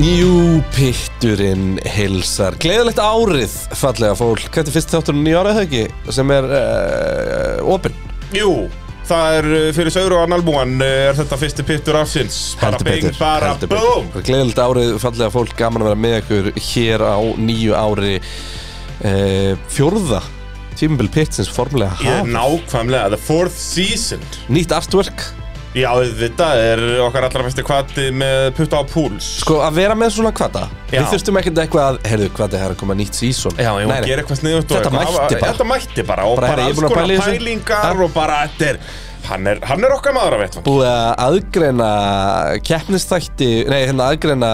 Jú, pitturinn hilsar Gleðilegt árið, fallega fólk Þetta er fyrst þátturinn í ára, eða ekki? Sem er uh, opinn Jú, það er uh, fyrir Sauru og Analbúan er þetta fyrsti pittur afsins bara Heldur bing, betur, bara heldur betur. búm Gleðilegt árið, fallega fólk Gaman að vera með ykkur hér á nýju ári uh, Fjórða Tímabil pittsins formulega Ég haf er nákvæmlega, the fourth season Nýtt artwork Já, þetta er okkar allra besti kvati með putta á púls Sko, að vera með svona kvata Já. Við þurftum ekkert eitthvað að Heyrðu, hvað er að koma nýtt sísón Já, ég var að gera eitthvað sniðut Þetta mætti bara. Þetta mætti bara og Bara, heyrðu, bara, ég er alls búin að konar pæla í þessu. pælingar og bara þetta er Hann er, hann er okkar maður af veitum búið að aðgreina keppnistætti, nei hérna aðgreina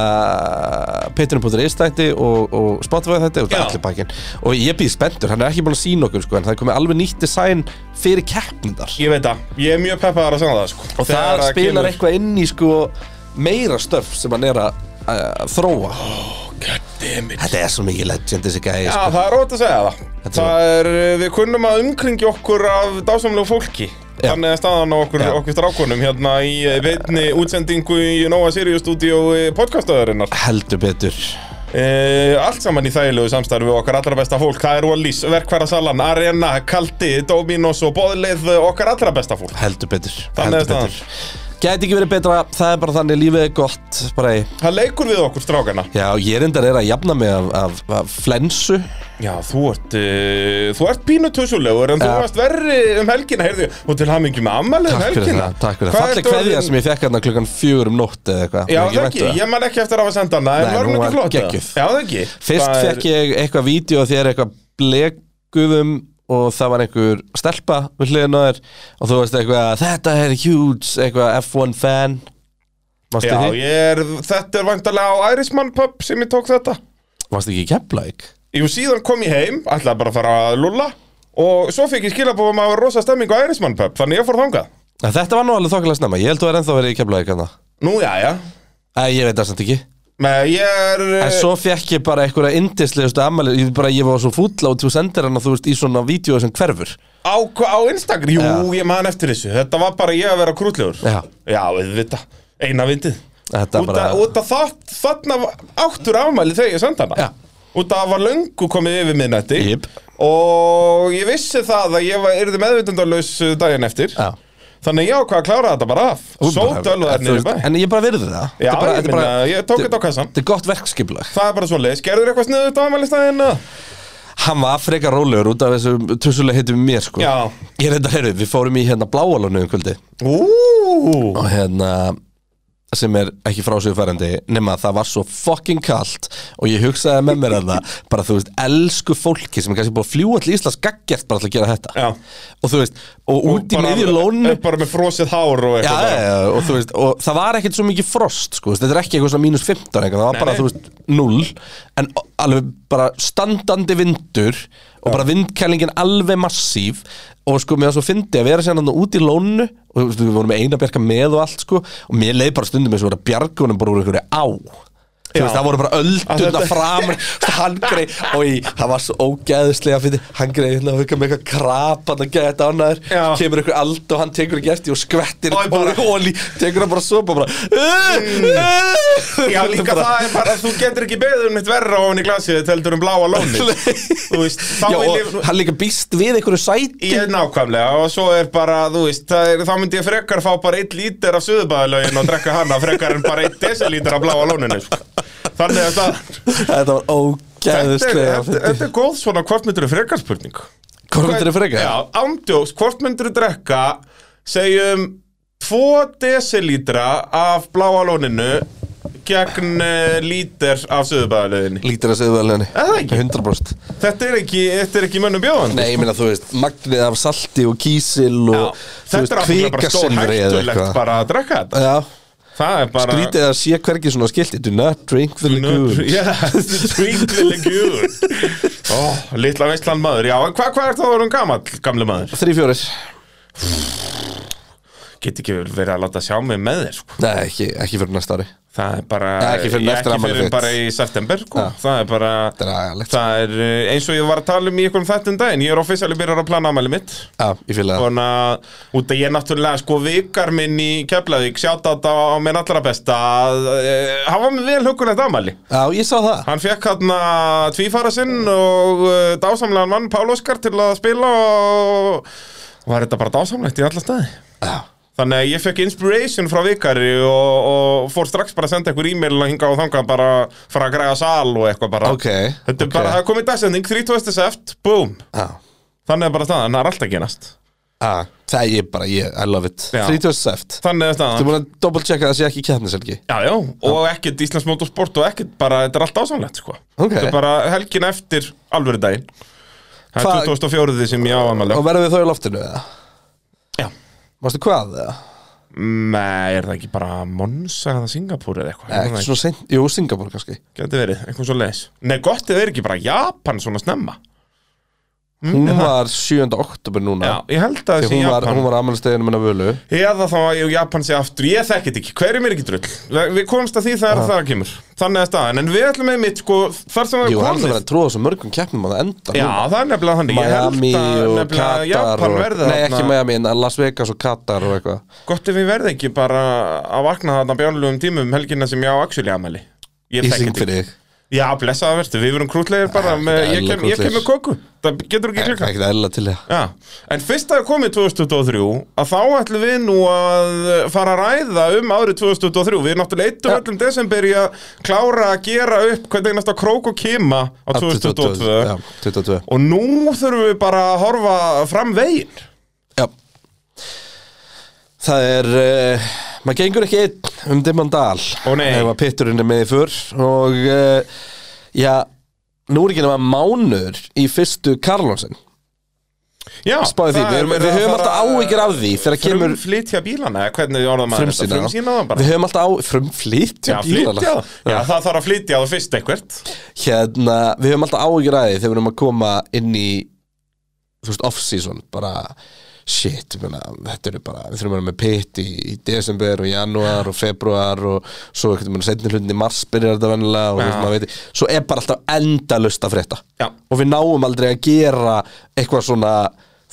patreon.is þætti og, og Spotify þætti og Já. allir bakinn og ég býð spenntur, hann er ekki búin að sína okkur sko en það er komið alveg nýtt design fyrir keppnindar Ég veit það, ég er mjög peppaðar að segja það sko og það spilar eitthvað inn í sko meira stöf sem hann er að að þróa eitthvað Þetta er svo mikið legend þessi gæði Já, sko. það er rót að segja það Þetta Það er, uh, við kunnum að umkringi okkur af dásamlegu fólki Já. Þannig að staðan á okkur, Já. okkur strákunum hérna í eh, beinni útsendingu í Nóa Sirius Studio eh, podcastöðurinnar heldur betur e, Allt saman í þægilegu samstarfi og okkar allra besta fólk Það er Wallís, Verkfærasalan, Arena, Kaldi, Dominos og Bóðleið Okkar allra besta fólk heldur betur, Þannig er heldur betur. Gæti ekki verið betra, það er bara þannig lífið er gott bara í Það leikur við okkur strákana Já, ég reyndar er að jafna mig af, af, af flensu Já, þú ert, uh, þú ert pínu tussulegur en þú Já. varst verri um helgina, heyrðu Og til hamingi með ammalið um Takk fyrir helgina það, takk fyrir það Hvað Falleg ertu orðin- kveðja sem ég fekk hérna klukkan fjögur um nótt eða eitthvað Ég Já, það væntu ekki, ég man ekki eftir að hafa senda hana, en Nei, hún var hún ekki var flott? eða? geggjuð. Já, það ekki. Fyrst fekk ég eitthvað vídeo af þér eitthvað bleguðum og það var einhver stelpa við hliðin á þér og þú veist eitthvað þetta er huge, eitthvað F1 fan Mástu Já, því? ég er, þetta er vantarlega á Irisman pub sem ég tók þetta. Mástu ekki í Keflæk? Jú, síðan kom ég heim, ætlaði bara að fara að lulla og svo fekk ég skilabóð um að hafa rosa stemming á Irisman pub, þannig ég fór þangað. Þetta var nú alveg þokkilega snemma, ég held þú er ennþá verið í Keflæk hérna Nú, já, já. Æ, ég veit það samt ekki Men ég er... En svo fekk ég bara einhverja indislegustu ammæli Ég, bara, ég var svo fúll á þú sendir hana, þú veist, í svona vídeo sem hverfur Á, hva- á Instagram, jú, Já. ég man eftir þessu. Þetta var bara ég að vera krútlegur. Já. Já, þetta, eina vindið. Þetta Út bara- að, út að það, þarna var- áttur afmæli þegar ég sendi hana. Já. Út að það var löngu komið yfir miðnætti. Jep. Og ég vissi það að ég var, yrði meðvitundarlaus uh, daginn eftir. Já. Þannig ég ákvað að klára þetta bara af. Þú bara- þú Sótölu þær niður í veist, bæ. En ég bara virði það Já, Þetta er bara, þetta ég er bara- minna, ég tók þetta- þetta á kassan. Þetta er gott verkskipulag Það er bara svo leiðis. Gerður eitthvað sniðut á afmælistæðin? eða? Hann var frekar rólegur út af þessu Tussulega hittum mér sko Já. Ég reynda að heyru, við fórum í hérna bláalónu um kvöldi Ú, Og hérna sem er ekki frá sig færandi nema að það var svo fucking kalt og ég hugsaði með mér að það bara þú veist, elsku fólki sem er kannski búið að fljúa til Íslands gaggjart bara til að gera þetta Já. og þú veist, og út í bara- eh, miðju lónu Bara með frosið hár og Já, eitthvað. já, já, og þú veist, og það var ekkert svo mikið frost, sko, þú veist, þetta er ekki eitthvað svona mínus 15 eitthvað, það var bara, nei. þú veist, 0 en o- alveg bara standandi vindur og bara vindkælingin alveg massív og sko, mér var svo fyndi að vera sérna þarna út í lónu og þú veist, við vorum með eina bjarga með og allt, sko, og mér leið bara stundum eins og vera bjargunum bara úr einhverju á Þú veist, Já. það voru bara öldurna þetta- framar Hangrei, og ég, það var svo ógæðislega fyrir Hangrei, hérna, við með eitthvað krap Hann að gæða þetta Já. ánæður kemur einhver ald og hann tekur ekki eftir og skvettir Og bara- Mm. óli, tekur hann bara sopa bara Já, líka það er bara að þú getur ekki beðið um eitt verra ofan í glasið þegar heldur um bláa lónið Þú veist, þá Já, vil og ég hann líka býst við einhverju sæti Ég er nákvæmlega og svo er bara, þú veist, það er, þá myndi ég frekar fá bara eitt lítir af suðubæðalögin og drekka hana frekar en bara eitt desilítir af bláa lóninu sko. Þannig að það Þetta var Þetta er, þetta, ógæðislega þetta er góð svona hvort myndir frekar spurning Hvort myndirðu um frekar? Já, ándjóks, hvort myndir drekka segjum 2 desilítra af bláa lóninu gegn uh, lítir af suðubæðalöginni Lítir að segja vel henni Er það ekki? 100% Þetta er ekki, þetta er ekki mönnum bjóðan Nei, ég meina, þú veist, magnið af salti og kísil og, þú veist, Þetta er alveg bara kvikasilfri eða stórhættulegt eitthvað bara að drekka þetta Já, Það er bara grítið að sé hvergi svona skilti Do not drink the liqueur Já, skrítileg gúr Ó, litla veistlan maður Já, en hvað hva er það að vera um gamall, gamli maður? Þrý fjórir Get ekki verið að láta sjá mig með þér sko. Nei, ekki, ekki fyrir næsta ári Það er bara, Ja, ekki fyrr en ég- eftir ekki afmælið fyrr en þitt. bara í september sko. Ja. Það er bara Dragalegt. Það er eh, eins og ég var að tala um í einhverjum þættum daginn Ég er offisæli byrjar að plana afmæli mitt Já, ég fylg það Svona, út að ég náttúrulega sko vikar minn í Keflavík Sjátt á á minn allra besta eh, Hann var með vel huggulegt afmæli Já, ég sá það Hann fekk hann tvífara sinn og uh, dásamlegan mann Pál Óskar til að spila og var þetta bara dásamlegt í alla staði. Já, Þannig að ég fekk inspiration frá vikari og, og fór strax bara að senda einhver e-mail og hinga og þangað bara fara að græða sal og eitthvað bara. Ok, Þetta er ok. bara, það er komið dagsending, 30. seft, boom. já Þannig er bara staðan, það er alltaf genast. Já, Ah, það er bara, ég, I love it Já. Ah. 30 seft Þannig er Þú staðan. búin að double checka það sé ekki keppniselgi Já, já, og ekkert Íslands motorsport og ekkert bara, þetta er allt ásamlegt, sko. Ok. Þetta er bara helgin eftir alvöru daginn. Það Hvað- er 2004 sem ég á aðmæli. Og verðum við þá í loftinu eða? Já. Mástu hvað eða? Nei, er það ekki bara Monsa eða Singapúr eða eitthvað? Nei, ekki svona seint, jú, Singapur kannski Gæti verið, eitthvað svo leis Nei, gott eða er ekki bara Japan svona snemma Hún var 7. oktober núna Mm, Já, ég held að Því það sé hún var, Japan hún var ammælisteginu minna völu Eða þá að Japan sé aftur Ég þekki þetta ekki, hverjum er ekki drull Vi- Við komumst að því það er að það kemur Þannig að staðan, en við ætlum með mitt sko Þar sem það Jú, er hann er verið komið að trúa þessu mörgum keppnum að það enda Já, núna. það er nefnilega þannig Ég Miami held að og nefnilega Katar Japan og, verði Nei, ekki þarna- Miami, en Las Vegas og Katar og eitthvað Gott ef við verði ekki bara að vakna þarna bjánlegum tímum um helgina sem ég á Axel í amæli Ég Í syng þekki þetta ekki fyrir þig Já, blessaða verður, við verum krútlegir bara Ekki með, ég, eðlilega kem, ég krútlegir. kem með kóku, það getur ekki Ekki klukka það eðla til það Já, en fyrst að komið 2023 að þá ætlum við nú að eh, fara að ræða um árið 2023 við náttúrulega eittum Já. öllum desember í að klára að gera upp hvernig næsta krók og kima á 2022 Já, 2022 og nú þurfum við bara að horfa fram veginn Já Það er, uh, maður gengur ekki einn um dimman dal Ó, nei. Ef að pitturinn er með í fyrr Og, uh, já, nú er ekki nema mánur í fyrstu Karlonsen Já, Spáði því, það við, er erum, verið við að höfum fara- alltaf áhyggjur af því Þegar kemur Frumflytja bílana, eða hvernig við orðum að frumsýna Frumsýna það bara Við höfum alltaf á, frumflýtja Já, bílana flytja það. Já, það þarf að flytja það fyrst eitthvert Hérna, við höfum alltaf áhyggjur af því Þegar við erum að koma inn í, þú veist, off-season Bara, shit, ég meina, þetta eru bara Við þurfum að vera með pitt í, í desember og janúar og februar Og svo einhvern veginn setni hlutin í mars byrjar þetta venlega og, þú veist, Já. maður veit, Svo er bara alltaf endalust að frétta Já. Og við náum aldrei að gera eitthvað svona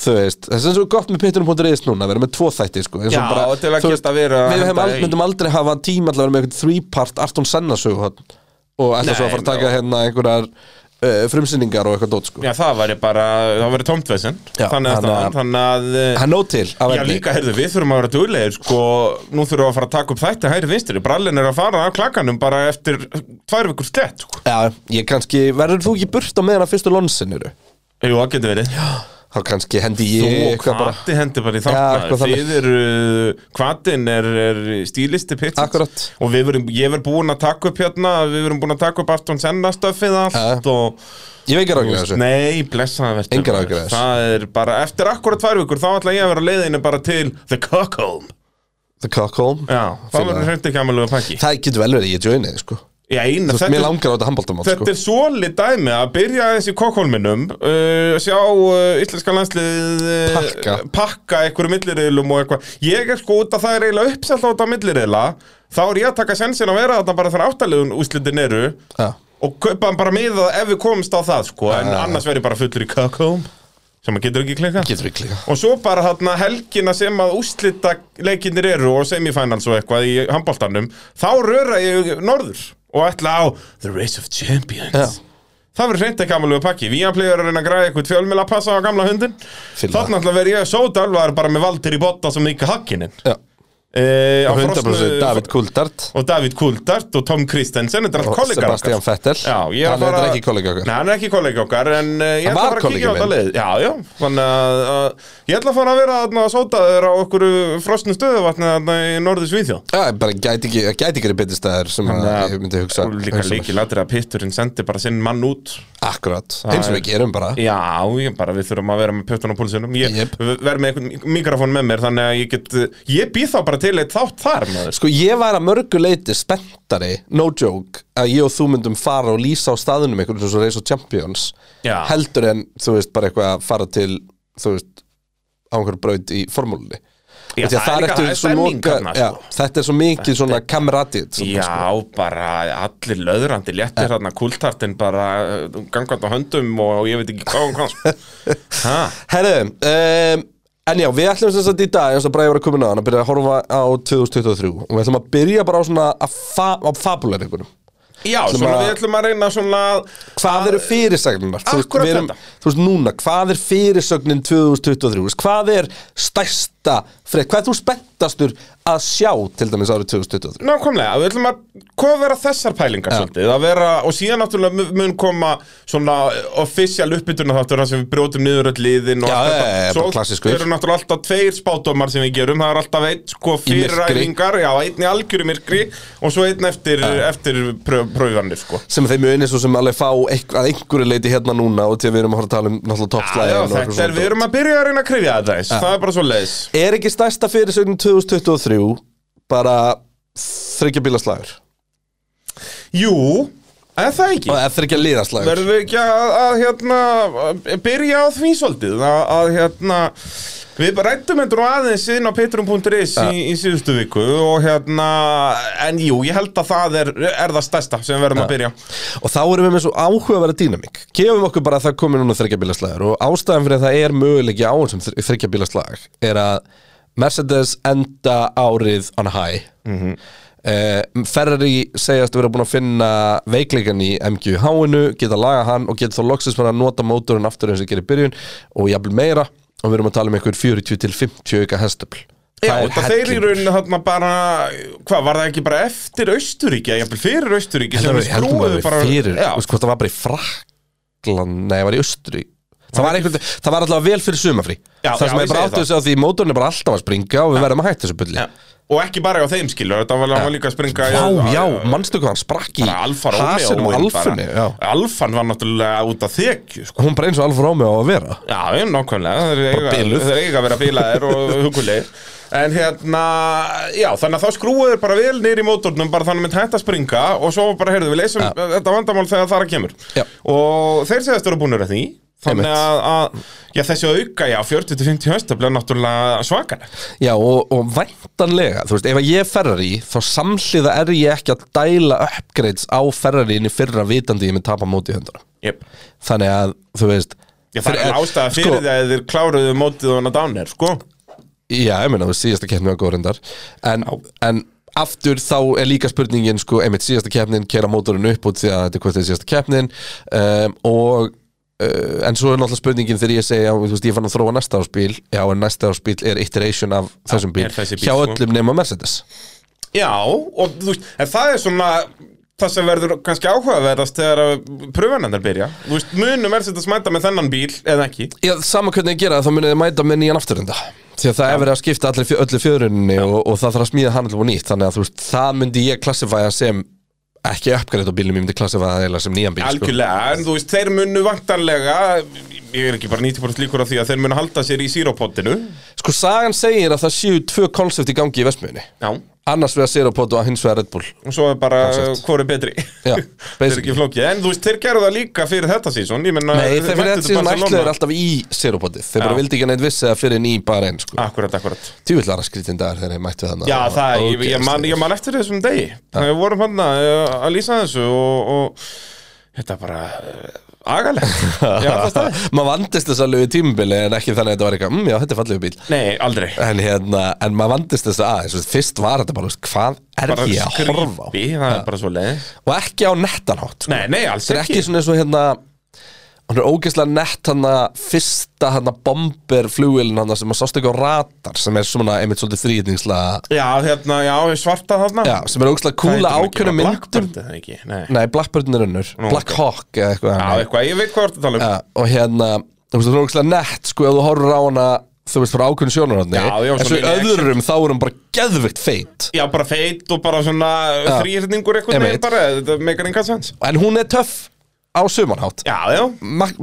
Þú veist, það er sem svo gott með pittunum.is núna, við erum með tvo þætti sko, eins og Já, bara, til að þú veist, geta verið að Við henda hefum í. aldrei, myndum aldrei hafa tíma alltaf að vera með einhvern three-part Arton Senna sögu hann og ætla svo Nei, að fara að no. taka hérna einhverjar uh, frumsýningar og eitthvað dót sko. Já, það væri bara, það væri tómtvesen Já, Þannig að, þannig að- þannig að, þannig að eh, Hann nóg til af Já efni. líka, heyrðu, við þurfum að vera duglegir sko, nú þurfum við að fara að taka upp þætti hægri vinstri, brallin er að fara af klakanum bara eftir tvær vikur slett sko. Já, ég kannski, verður þú ekki burt á meðan að fyrstu lonsin eru? Jú, það getur verið Þá kannski hendi Þú ég og eitthvað bara Kvati hendi bara í Já, þátt eitthvað maður. þannig. Þið eru, Kvatin er, er stílisti pitt Akkurat. Og við verum, ég verð búin að taka upp hérna, við verum búin að taka upp Arton Senna stöfið allt og Ég veit ekki ráðgjur þessu Nei, blessaða verður Engar áhyggjur af þessu. Það er bara, eftir akkurat tvær vikur þá ætla ég að vera leiðinu bara til The Cockholm The Cockholm Já, þá Fíla verður það. hreint ekki amalegu pakki Það getur vel verið, ég joinið sko. Já, eina, Þú veist, þetta Mér er langar á þetta handbóltamál Þetta sko. er svolít dæmi að byrja aðeins í kokkólminum uh, sjá uh, íslenska landslið uh, Pakka. pakka einhverju millireilum og eitthvað ég er sko út að það er eiginlega uppsellt á þetta millireila þá er ég að taka sensin að vera þetta bara þannig áttalegun úslitin eru Já. og kaupa hann bara miða ef við komumst á það sko, en Já. annars verður ég bara fullur í kakóm sem maður getur ekki klika Getur við klika og svo bara þarna helgina sem að úslita leikinir eru og semifinals og eitthvað í handbóltanum þá röra ég norður og ætla á The Race of Champions Já. það verður hreint ekki amalegu pakki við hann plegar að reyna að græða eitthvað fjölmil að passa á gamla hundin Fíla það. þarna ætla verð ég svo dölvar bara með valdir í botta sem líka hakkinin Já. e, 100% David Kuldart og David Kultart og Tom Kristensen þetta er allt og kollegar Sebastian Vettel Já, ég Hann er ekki kollega okkar Nei, hann er ekki kollega okkar En uh, ég Hann ætla að var fara að kíkja á kollegi þetta minn. leið Já, já Þannig að uh, Ég ætla að fara að vera þarna að sóta þér á okkur frosnu stöðuvatni þarna í norðu Svíþjóð Já, bara gæti ekki, gæti ekki verið betri staðar sem að ég myndi hugsa, Og Líka hugsa um mér. líki latur að pitturinn sendi bara sinn mann út Akkurat, eins og við gerum bara Já, ég bara við þurfum að vera með pjötun á púlsinum Ég Jep. verð með einhvern mikrofón með mér Þannig að ég get uh, Ég býð þá bara til eitt þátt þar maður Sko ég var að mörgu leiti spenntari, no joke Að ég og þú myndum fara og lýsa á staðunum einhvern eins og Race of Champions Já. Heldur en, þú veist, bara eitthvað að fara til, þú veist, á einhverju braut í formúlunni Já, Af því að það er líka- ertu það er svo stemning loka- þarna, já, sko. Þetta er svo mikið svona kamratið Já, bara allir löðrandi léttir þarna kultartinn bara uh, gangandi á höndum og ég veit ekki hvað og hvað Ha, Herðu, um, en já, við ætlum sem sagt í dag, eins og bara ég var að koma inn á hann, að byrja að horfa á 2023 og við ætlum að byrja bara á svona að fa á fabuleir einhvernum. Já, Ætlum svona að- við ætlum að reyna svona að Hvað eru fyrirsögnunar? Þú veist, Akkurat við erum- þetta. Þú veist, núna, hvað er fyrirsögnin 2023? Þú veist, Hvað er stærsta frétt? Hvað er þú spenntastur að sjá til dæmis árið 2023? Nákvæmlega, við ætlum að hvað vera þessar pælingar svolítið að vera, og síðan náttúrulega mun- mun koma svona eh, official uppbytuna þáttur þar sem við brjótum niður öll liðin og Já, allt já, þetta. já, já, Svo bara klassískur. eru náttúrulega alltaf tveir spátdómar sem við gerum, það er alltaf einn sko myrkri. fyriræfingar, já, einn í algjöru myrkri og svo einn eftir, eftir pröf, pröfanir sko sem þeim unni svo sem alveg fá einh- að einhverju leiti hérna núna og til við erum að horfa að tala um náttúrulega Já, toppslæðin og eitthvað þetta er, svona. við erum að Ah. byrja að reyna að krifja þetta eins, það er bara svo leiðis Er ekki stærsta fyrirsögnin 2023 bara þryggja bílaslægur? Jú, en það ekki Það er þryggja liðaslægur Verðum við ekki að, að hérna, að byrja á því svolítið að, að hérna, við bara rættum þetta nú aðeins inn á petrum.is í, í síðustu viku og hérna, en jú, ég held að það er, er það stærsta sem við verðum að byrja Og þá erum við með svo áhugaverða dýnamík Gefum okkur bara að það komi núna þryggja bílaslægur Og ástæðan fyrir að það er möguleiki á þessum þryggja bílaslæg Er að Mercedes enda árið on high mm Mhm. -hmm. Ferrari segjast að vera búin að finna veikleikan í MGH-inu Geta laga hann og geta þá loksins bara að nota mótorinn aftur eins og gerir í byrjun Og jafnvel meira Og við erum að tala um einhver 40 til 50 auka hestöfl Já, þetta þeir í rauninni þarna bara, hvað, var það ekki bara eftir Austuríki, jafnvel fyrir Austuríki Heldur sem að við Hérna við heldum að skrúðum við bara fyrir já, Þú veist hvort það var bara í Frakland Nei, það var í Östri Það var, einhvern, það var alltaf vel fyrir sumafrí Já, Það já, sem ég er bara segi áttu það. þessi á því mótorinn er bara alltaf að springa og við verðum að hætta þessu bulli já. og ekki bara á þeim skilur, þetta var, hann var líka að springa í- Vá, á- já, manstu hvað hann sprakk í Alfa Romeo Hasinum og er Alfunni bara- já. Alfan var náttúrulega út af þekju sko. Hún bara eins og Alfa Romeo á að vera Já, ég, nákvæmlega, þeir eiga, biluð. þeir eiga að vera bílaðir og hugulegir En hérna, já, þannig að þá skrúuður bara vel niður í mótornum bara þannig að mynd hætt að springa og svo bara, heyrðu, við leysum þetta vandamál þegar það er að kemur Já. Og þeir segðast eru búinur að því Þannig að, að, já, þessi auka, já, 40-50 hösta bleið náttúrulega svakar Já, og, og væntanlega, þú veist, ef að ég er Ferrari þá samhliða er ég ekki að dæla upgrades á Ferrari inn í fyrra vitandi ég með tapa móti í höndunum yep. Þannig að, þú veist Já, það þeir- sko- er ástæða fyrir því að þeir kláruðu mótið hana dánir, sko Já, ég meina, þú veist, síðasta keppni var góð reyndar en, en aftur þá er líka spurningin sko, einmitt síðasta keppnin, kera mótorinn upp út því að þetta er hvort þetta er síðasta keppnin um, og uh, en svo er náttúrulega spurningin þegar ég segja, þú veist, ég fann að þróa næsta áspíl já, en næsta áspíl er iteration af þessum bíl, er þessi bíl, hjá sko. öllum nema Mercedes Já, og þú veist, en það er svona það sem verður kannski áhugaverðast þegar að pröfunarnar byrja Þú veist, munum er þetta smæta með þennan bíl eða ekki Já, sama hvernig ég gera það, þá munið þið mæta með nýjan afturrenda því að það er verið að skipta allir, fjö- öllu fjöruninni og, og það þarf að smíða hann allir og nýtt þannig að þú veist, það myndi ég klassifæja sem ekki uppgrætt á bílum, ég myndi klassifæja það eiginlega sem nýjan bíl sko. Algjörlega, en þú veist, þeir munu vantarlega ég er ekki bara 90% líkur á því að þeir munu halda sér í sírópottinu Sko sagan segir að það séu tvö konsept í gangi í Vestmiðunni Já, og Annars vegar Seropod og hins vegar Red Bull svo er bara Concept. hvor er betri Já, Þeir er ekki basically flókið, en þú veist, þeir gerðu það líka fyrir þetta sísón Nei, þeir fyrir þetta sem ætlaði er alltaf í Seropodið Þeir bara Já. vildi ekki neitt vissi að fyrir ný bara einn sko. Akkurat, akkurat Tjúvillara skrítin dagar þegar þeir mættu þannig Já, það, ég, ég, man, ég man eftir þessum degi Það við vorum hann að, að lýsa þessu og, og þetta er bara eh, agalegt Já, það staði Maður vandist þess alveg í tímubili en ekki þannig að þetta var eitthvað mm, Já, þetta er fallegu bíl Nei, aldrei En, hérna, en maður vandist þess aðeins þú veist, Fyrst var þetta bara, þú veist, hvað er Bara ég að horfa á skrýpi, það er bara svo leið Og ekki á nettanhátt sko. Nei, nei, alls Þetta er ekki ekki svona eins og hérna Hún er ógeðslega nett hann fyrsta hann að bomber flugilin hann sem að sást ekki á ratar sem er svona einmitt svolítið þrýðningslega Já, hérna, já, svarta þarna Já, sem er ógeðslega Það kúla heitir nú ekki ákveðnum bara myndum Mm. Blackbird, er það ekki, nei Nei, Blackburn er önnur Black Hawk eða eitthvað Já, annað. eitthvað, ég veit hvað þú ert að tala um Já, Og hérna, þú veist, hún er ógeðslega nett sko ef þú horfur á hana, þú veist, frá ákveðnum sjónarhóttni Já, já, En svo í svona í action. öðrum þá er hún bara geðvikt feit Já, bara feit og bara svona þrýrningur eitthvað Ég neginn veit. bara, þetta meikar engan sens En hún er töff á sumanhátt Já, já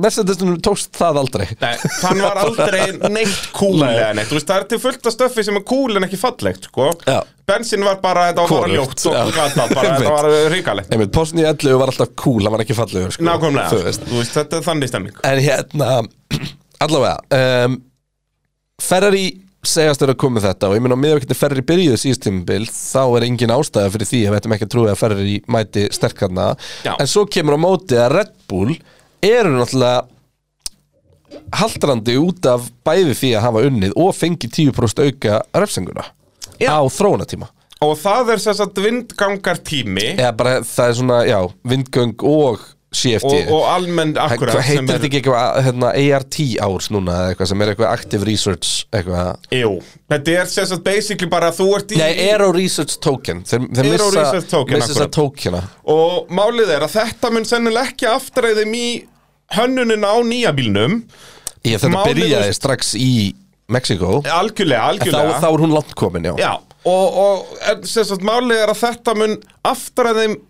Mercedesnum tókst það aldrei Nei, hann var aldrei neitt cool eða neitt, þú veist, það er til fullt af stöffi sem er cool en ekki fallegt, sko Já. Bensin var bara, þetta var bara Hvorugt, ljótt og já. gata, bara, Einmitt. þetta var ríkalegt Einmitt, postin í 11 var alltaf cool, hann var ekki fallegur sko, Nákvæmlega, þú veist. sko. þú veist, þetta er þannig stemming En hérna, allavega um, Ferrari segjast þeirra komið þetta og ég meina á miðavíkti ferri byrjuð síðust tímabil þá er engin ástæða fyrir því að við ættum ekki að trúið að ferri mæti sterkarna Já. en svo kemur á móti að Red Bull eru náttúrulega haldrandi út af bæði því að hafa unnið og fengi 10% auka refsinguna Já. á þróunatíma Og það er þess að vindgangar tími eða bara það er svona, já, vindgöng og CFD og, og almenn akkurat Hvað heitir þetta ekki eitthvað hérna, ART árs núna eða eitthvað sem er eitthvað Active Research eitthvað Jú, þetta er sem sagt basically bara að þú ert í Nei, Aero Research Token Þeir, þeir Aero missa, Research Token, missa þessa akkurat. tokena og málið er að þetta mun sennilega ekki aftræðum í hönnunina á nýja bílnum Ég, Þetta Málið byrjaði er- strax í Mexiko þá, algjörlega, algjörlega þá er hún langt komin, já, Já, og, og en, sem sagt málið er að þetta mun aftræðum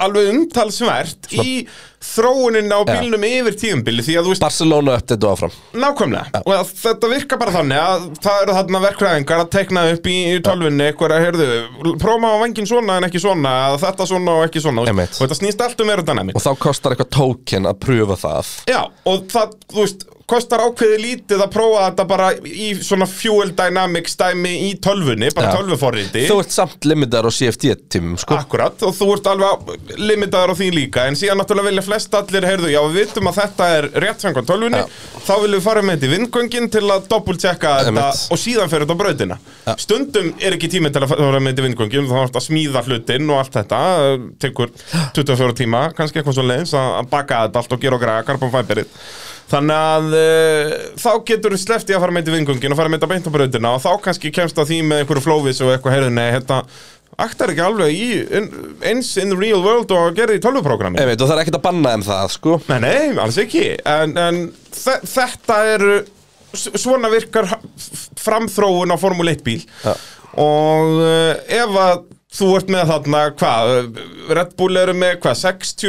alveg umtalsvert Sko. í þróunin á bílnum yfir tíðumbili því að þú veist Barcelona uppdættu áfram Nákvæmlega, og að þetta virkar bara þannig að það eru þarna verkræðingar að tekna upp í tölvunni eitthvað að heyrðu, próma á vangin svona en ekki svona, að þetta svona og ekki svona Einmitt. og þetta snýst allt um aerodynamic Og þá kostar eitthvað token að pröfa það Já, og það, þú veist, kostar ákveðið lítið að prófa þetta bara í svona fuel dynamics dæmi í tölvunni, bara Já. tölvuforriti Þú ert samt limitar á CFD-tímum sko. Akkurat, og þú ert alveg limitaður á því líka En síðan náttúrulega vilja flest allir, heyrðu, já, við vitum að þetta er rétt samkvæmt tölvunni Þá viljum við fara með þetta í vindgöngin til að doppultjekka þetta Einmitt. Og síðan fer þetta á brautina Stundum er ekki tími til að fara með þetta í vindgöngin Þá ert að smíða hlutinn og allt þetta Tekur 24 tíma, kannski eitthvað svo leiðis Að baka þetta allt og gera og græða karbonfæberið Þannig að uh, þá getur þú sleppt í að fara með þetta í vingungin og fara með þetta beint á brautina og þá kannski kemst að því með einhverju flóvis og eitthvað heyrðu, nei, þetta aktar ekki alveg í, in, eins in the real world og gerði í tölvuprógrammi. Einmitt, Og það er ekkert að banna þeim það sko. Nei, nei, alls ekki, en, en þe þetta eru, s- svona virkar ha- f- framþróun á Formule 1 bíl Ja. og uh, ef að þú ert með þarna, hvað, eh, Red Bull eru með, hvað,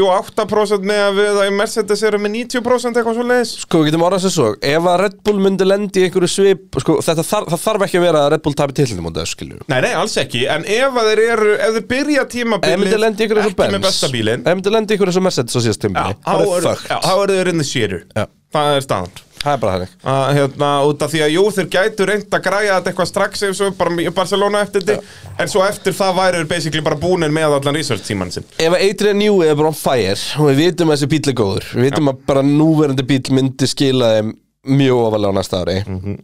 68% með að við að Mercedes eru með 90% eitthvað svo leiðis? Sko, við getum orðað sér svo Ef að Red Bull myndi lendi í einhverju svip sko, þetta, þar, Það þarf ekki að vera að Red Bull tapi tillinu mútið, skilju Nei, nei, alls ekki, en ef að þeir eru, ef þeir byrja Ef tímabilið myndi lendi í einhverju ekki svo Benz með besta bílinn Ef myndi lendi í einhverju svo Mercedes á síðast tímpi Já, þá Það er eru fuck já, þá eru þeir inn í séru Já. Það er staðan Það er bara þannig að, hérna, út af því að jú, þeir gætu reynd að græja þetta eitthvað strax ef svo bara í Barcelona eftir þetta en svo eftir það væri þeir basically bara búnir með allan research tíman sinn Ef að Adrian Newey er bara on fire og við vitum að þessi bíl er góður við vitum að bara núverandi bíl myndi skila þeim mjög ofalega á næsta ári Mhm.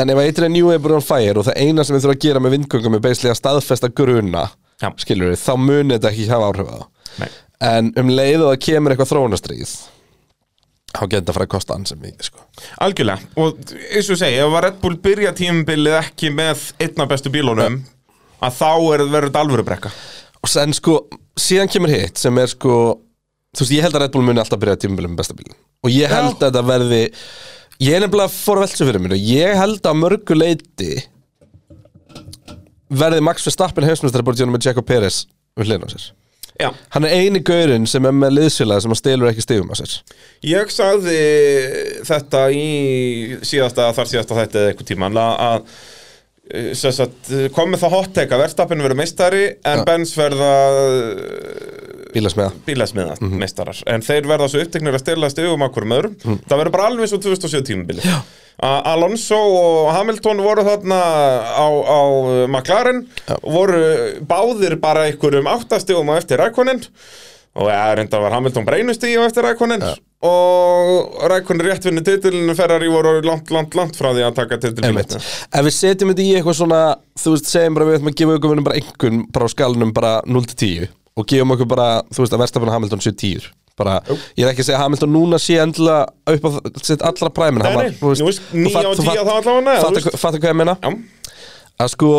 en ef að Adrian Newey er bara on fire og það eina sem við þurfum að gera með vindgöngum er beislega að staðfesta gruna Já. skilur við, þá muni þetta ekki hafa áhrif á það. Nei. en um leið og það kemur eitthvað þróunastrýð þá getur þetta að fara að kosta ansið mikið sko. Algjörlega, og eins og ég segi, ef að Red Bull byrja tímabilið ekki með einna bestu bílunum að þá er- verður þetta alvöru brekka og sen sko, síðan kemur hitt sem er sko, þú veist, ég held að Red Bull muni alltaf byrja tímabilum með besta bílinn og ég held að þetta verði ég er nefnilega fór að velsa fyrir mér og ég held að mörgu leiti verði Max Verstappen hefsmestari bara tjónum með Jaco Pérez við hliðin á sér Já, hann er eini gaurinn sem er með liðsfélagi sem að stelur ekki stigum á sér Ég sagði þetta í síðasta, þar síðasta þetta eða eitthvað tíman að, að eh, sem sagt, kom með það hot take að verðstapinu verður meistari en Benz verða bílasmiða bílasmiða meistarar en þeir verða svo uppteknir að stela stegum okkur með öðrum það verður bara alveg svo 2007 tímabili A- Alonso og Hamilton voru þarna á, á McLaren voru báðir bara einhverjum áttastegum á eftir Rækonin og ja, reyndar var Hamilton breynustíði á eftir Rækonin og Rækonin rétt vinnu titilinu ferrar í voru langt, langt, langt frá því að taka Einmitt. titilinu Ef við setjum þetta í eitthvað svona Þú veist, segjum bara við ætlum að gefa okkur bara einhvern bara á skalunum bara 0 til 10 og gefum okkur bara, þú veist, að verstafan Hamilton séu 10 bara, ég er ekki að segja að Hamilton núna sé endilega upp á sitt allra præmin Nei, nei, þú veist, níu á tíu þá allavega, þú veist. Fattu hvað ég meina? Já, Að sko,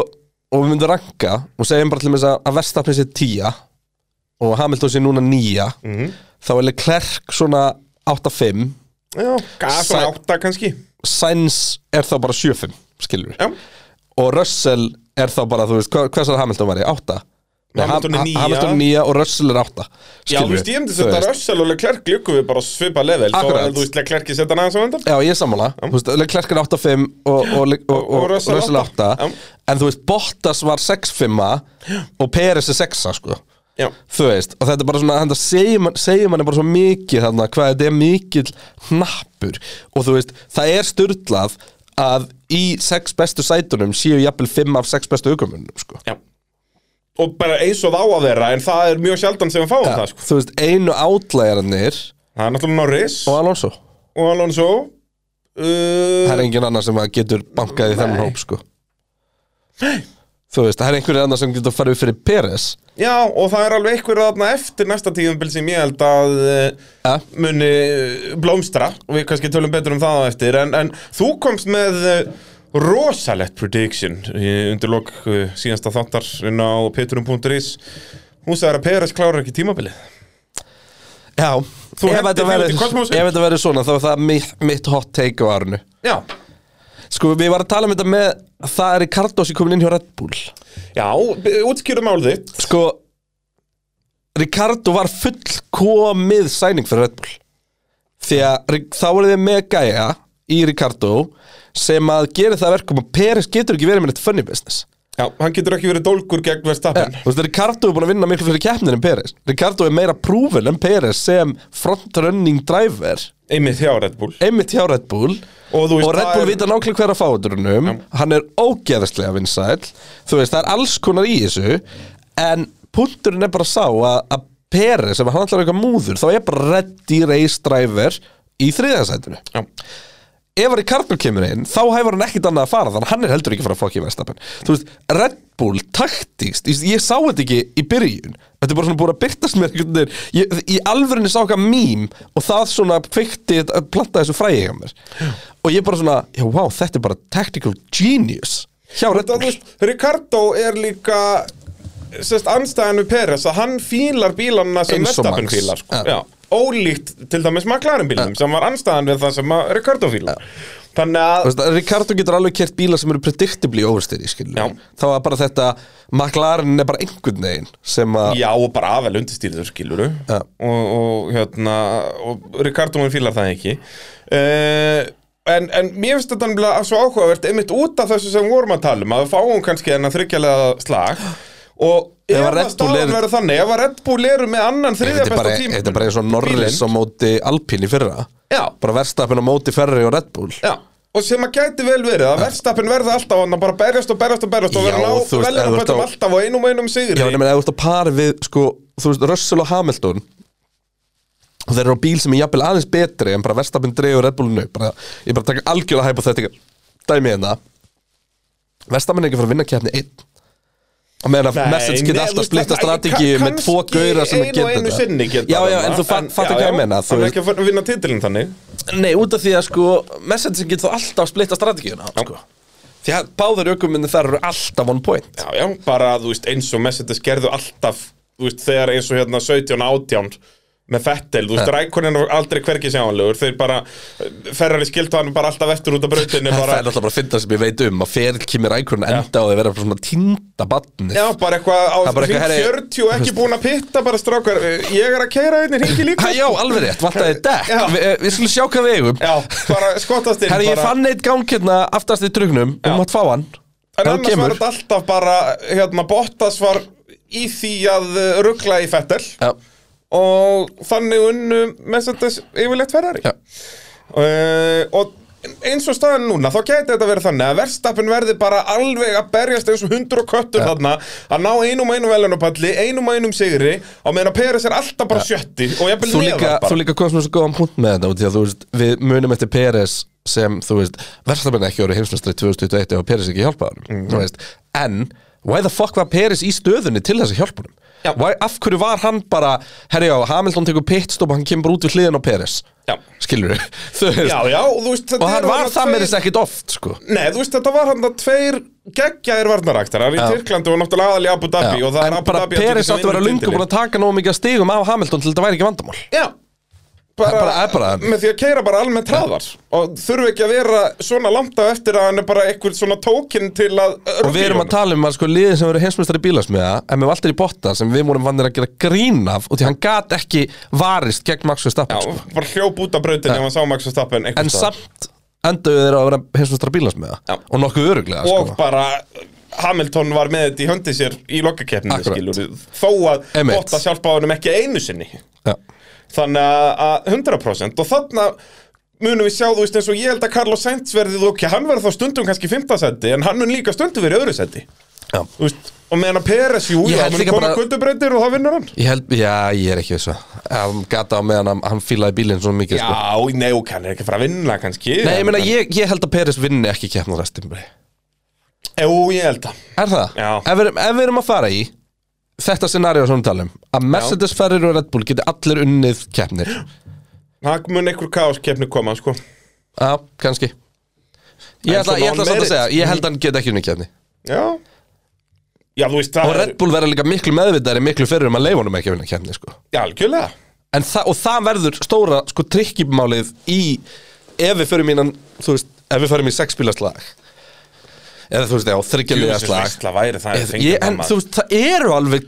og við myndum ranka og segjum bara til þess að, að verstafan sé 10 og Hamilton sé núna 9 Mhm. þá er Leclerc svona 8-5 já, gaf Sæ- svona átta kannski Sainz er þá bara 7-5 skilur Já, og Russell er þá bara, þú veist, hva- hvers er Hamilton var í? Átta? Nei, Hamilton er Ha- níu. Hamilton nýja og Russell er átta Já, þú veist, ég myndi setja Russell og Leclerc líku við bara á svipað level Þó Akkurat. að þú veist, Leclerc ég setja hann aðeins á undan Já, ég er sammála, þú veist, Leclerc er 8-5 og, og, og, og, Og- og Russell Russell átta. 8 Já. en þú veist, Bottas var 6-5 og Peres er 6 sko Já, þú veist, og þetta er bara svona þannig að segja mann, segja mann bara svo mikið þarna, hvað þetta er mikill hnappur og þú veist, það er styrlað að í sex bestu sætunum séu jafnvel fimm af sex bestu aukumunum sko. Já. Og bara eins og það á að vera, en það er mjög sjaldan sem við fáum það, sko. þú veist, einu átlægarnir Það er náttúrulega Norris og Alonso og Alonso. Uh, það er engin annar sem að getur bankað í þennan Nei. hóp sko. þú veist, það er einhverjir annar sem getur farið fyrir Peres já, og það er alveg einhverja þarna eftir næsta tíðumbil sem ég held að uh, ja. muni eh, blómstra og við kannski tölum betur um það á eftir en, en þú komst með eh, rosalegt prediction eh, undir lok eh, síðasta þáttar inn á peturum.is hún sagði að Peres klárar ekki tímabilið já, Þú ef hendir þetta þeim út í verður- kosmósið. ef þetta verður svona þá er það mitt, mitt hot take á árinu já, sko, við varum að tala um þetta með það er Ricardo sem komin inn hjá Red Bull já, b- útskýrðu mál þitt sko Ricardo var fullkomið sæning fyrir Red Bull því að Ri- þá voru þið með gæja í Ricardo sem að gera það að verkum að Peres getur ekki verið með eitt funny business já, hann getur ekki verið dólgur gegn Verstappen Þú veist, Ricardo er búin að vinna miklu fyrir keppnin en Peres Ricardo er meira prúfin en Peres sem frontrunning driver einmitt hjá Red Bull einmitt hjá Red Bull Og þú veist, Red það Bull er- vita nákvæmlega hver að fáuturunum ja. hann er ógeðislega vinsæll þú veist, það er alls konar í þessu en punkturinn er bara sá að, að Peres, ef hann ætlar að eitthvað múður þá er bara ready race driver í þriðansætinu já, ef Ricardo kemur inn, þá hefur hann ekkit annað að fara þannig að hann er heldur ekki að fara að fokki í verðstapin þú veist, Red Bull, taktíkst ég, ég sá þetta ekki í byrjun þetta er bara svona búin að byrtast mér einhvern veginn. ég, í alvörinni sá okkar mím og það svona kveikti að planta þessu fræði hjá mér og ég bara svona, já, wow, þetta er bara tactical genius hjá Red þetta, þú Bull veist, Ricardo er líka sérst, anstæðan við Peres að hann fílar bílanna sem Eins og Verstappen Max. fílar sko. Já. já, ólíkt til dæmis McLaren bílum sem var anstæðan við það sem að Ricardo fílar þannig Þú að veist, Ricardo getur alveg kert bíla sem eru predictably overstyri, Já. skiljum þá var bara þetta, McLaren er bara einhvern veginn sem að Já, og bara afvel undirstýriður skiluru Já. og, og hérna og Ricardo mann fílar það ekki uh, en, en mér finnst þetta nefnilega svo áhugavert einmitt út af þessu sem við vorum að tala um að við fáum kannski hennar þryggjalega slag og Ef ef að að Red Bull staðan eru- verður þannig ef að Red Bull eru með annan þriðja Þetta er, besta bara, tíma þetta er bara eins og Norris á móti Alpine í fyrra Já. Bara verstafin á móti Ferri og Red Bull Já, og sem að gæti vel verið að verðstappin verða alltaf hann bara berjast og berjast og berjast Já, og verða þú ná veist, ef velja þú að ert bæta á- alltaf og einum og einum sigri Já, nema, ef þú ert að pari við, sko, þú veist, Russell og Hamilton Og þeir eru á bíl sem er jafnvel aðeins betri En bara verstafin dregur Red Bullinu bara, Ég bara taka algjörlega hæpa þetta Dæmi hérna Verstafin er ekki að fara að vinna keppni einn Og meðan að Nei, message nei, geta þú alltaf veist, splitta kann- strategi Með tvo kannski gauðra sem einu að geta og einu sinni geta Já, já, þarna, en þú fa- fattar já, hvað ég já, menna þú hann er veist- ekki að fara- vinna titilin þannig Nei, út af því að sko messaging getur þá alltaf að splitta strategíuna sko. Því að báður aukuminni þar eru alltaf one point já, já, bara þú veist eins og Mercedes gerðu alltaf þú veist, þegar eins og hérna 17 18 með Fettel, þú veist, Rækonin er aldrei hvergi sjáanlegur, þeir bara eh, Ferrari skildu hann bara alltaf eftir út af brautinni Það bara, er alltaf bara að finna sem ég veit um að feril kemur ægrun enda á því að vera bara svona týnda batni já, bara eitthvað á Það er bara eitthvað, hring herri- 40 og ekki búin að pitta bara strákar, Eh, ég er að keira einnig hringi líka Já, alveg rétt, vantaði dekk Já. Vi, eh, Við skulum sjá hvað við eigum já, bara skottast inn Herra, ég bara, fann eitt gang hérna aftast í drugnum og Já. mátt fá hann en Hann annars var þetta alltaf bara hérna, Bottas var í því að ruggla í Fettel Já, og þannig unnu Mercedes yfirleitt Ferrari Já. uh, og eins og staðan núna þá gæti þetta verið þannig að verðstappin verði bara alveg að berjast eins og hundur og köttur þarna að ná einum og einum velunarpalli einum og einum sigri á meðan að Peres er alltaf bara sjötti og ég Þú byrði neðar líka, þú bara líka komst með svo góðan punkt með þetta út í að þú veist, við munum eftir Peres sem, þú veist, verðstafinn ekki voru heimsmestri 2021 ef Peres ekki hjálpaði honum Mm, þú veist, en why the fuck var Peres í stöðunni til þess að hjálpa Já. honum why, af hverju var hann bara herjá, Hamilton tekur pitstop, hann kemur út við hliðin á Peres Já. skilur við, þú veist já, já, og þú veist þetta og hann eru var þarna það með tveir- þess ekkit oft sko. Nei, þú veist, þetta var hann að tveir geggjaðir varnaraktarar í Tyrklandi og náttúrulega aðal í Abu Dhabi og það er en Abu bara Dhabi að Peres sem átti að vera vinnur lungu titilinn. búin að taka nógu mikið af stigum af Hamilton til þetta væri ekki vandamál Já bara, Það er bara- er bara- með því að keira bara almennt hraðar og þurfi ekki að vera svona langt á eftir að hann er bara eitthvað svona tókin til að og við erum að tala um að sko liðin sem eru heimsmeistari bílasmiða en með Valtteri Botta sem við vorum vannir að gera grín af og því hann gat ekki varist gegn Max Verstappen sko. Já, bara hljóp út af brautinni ef hann sá Max Verstappen einhvers en staðar. samt endaðu þeir á að vera heimsmeistari bílasmiða Já. og nokkuð öruglega og sko. bara uh, Hamilton var með þetta í höndi sér í lokkakeppninu Akkurat. skilur þó að Einmitt. Botta hjálpa honum ekki einu sinni Já. þannig að- að 100% og þarna munum við sjá, þú veist, eins og ég held að Carlos Sainz verðið, ok, hann verður þá stundum kannski 15 seti, en hann mun líka stundum verið öðru seti Já. Þú veist, og meðan að Peres, jú, Ég já, held mun líka koma bara... bara- guttubreytir og það vinnur hann Ég held, já, ég er ekki þessu Hann gata á meðan hann, hann fílaði bílinn svo mikið Já, sko. nei, ok, hann er ekki að fara að vinna kannski Nei, ég meina, ég, ég held að Peres vinni ekki keppnum restimbri Jú, ég held að Er það? Já. Ef við, erum- ef við erum að fara í þetta scenario sem við talum að Mercedes, Ferrari og Red Bull geti allir unnið keppnir Það mun einhver kaoskeppni koma, sko Já, kannski Ég En ætla, svona ég ætla on samt að merit. segja, ég held að hann geti ekki unnið keppni Já Já, þú veist, það Og Red Bull verður líka miklu meðvitaðri miklu fyrir um að leifa honum ekki að vinna keppni sko. Já, algjörlega En það, og það verður stóra sko trikkimálið í ef við förum í innan, þú veist, ef við förum í sexbílaslag eða þú veist, já, þryggjalega Jú, þessi slag veisla væri það ef Eð- fengið ég, það En maður. þú veist, það eru alveg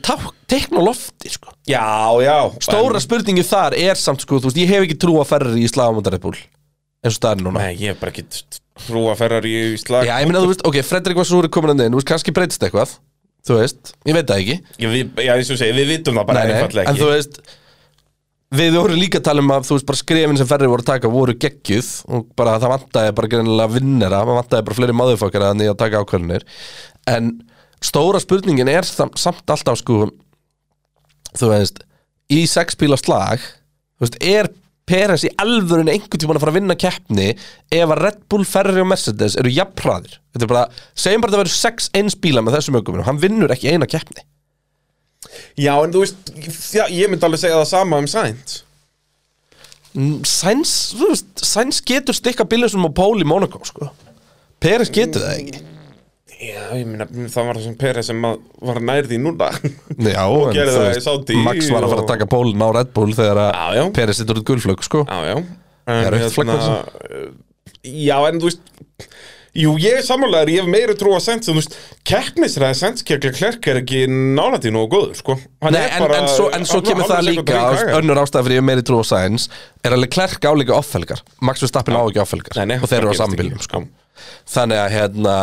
tekn á lofti, sko Já, já Stóra en, spurningin þar er samt, sko, þú veist, ég hef ekki trú að ferri í slagamöndarreipúl eins og það er núna Nei, ég hef bara ekki t- trú að ferrar í slag Já, ég meina, þú veist, ok, Fredrik var súri komin að inn, þú veist, kannski breytist eitthvað Þú veist, ég veit það ekki Já, við, já, eins og segi, við vitum það bara nei, nei, einfallega en ekki þú veist við vorum líka að tala um að þú veist bara skrefin sem ferri voru að taka voru geggjuð og bara það vantaði bara greinilega vinnera það vantaði bara fleiri maðurfokkar að nýja að taka ákvörðunir en stóra spurningin er samt, samt alltaf sko þú veist í sexbíla slag þú veist, er Peres í alvörun einhvern tímann að fara að vinna keppni ef að Red Bull, Ferrari og Mercedes eru jafnræðir þetta er bara, segjum bara að það verður 6-1 bíla með þessum aukumunum, hann vinnur ekki eina keppni Já, en þú veist, já, ég myndi alveg segja það sama um Sainz Sæns, Mm, þú veist, Sæns getur stikka bílinsum á pól í Monaco, sko Peres getur það ekki Já, ég myndi, það var það sem Peres sem að var nærði núna Já, og gerði það í Saudi Max var að fara að og- taka pólinn á Red Bull þegar Já, já. að Peres sittur út gulflögg, sko Já, já Já, en, hérna, rautt flagg var það eh, Já, en þú veist Jú, ég er sammálaður, ég hef meiri trú að Sainz en þú veist, keppnisræði Sainz kjörglega klerk er ekki nálætti nógu góður, sko Hann Nei, er en, bara- en, svo, en svo hálfur- kemur það hálfur líka sekúndur í ást- kagan. önnur ástæð fyrir ég er meiri trú á Sæns er alveg klerk álíka offelgar Max Verstappen á ekki offelgar Nei, nei, og þeir eru á það gerist sambílum, ekki. sko Þannig að, hérna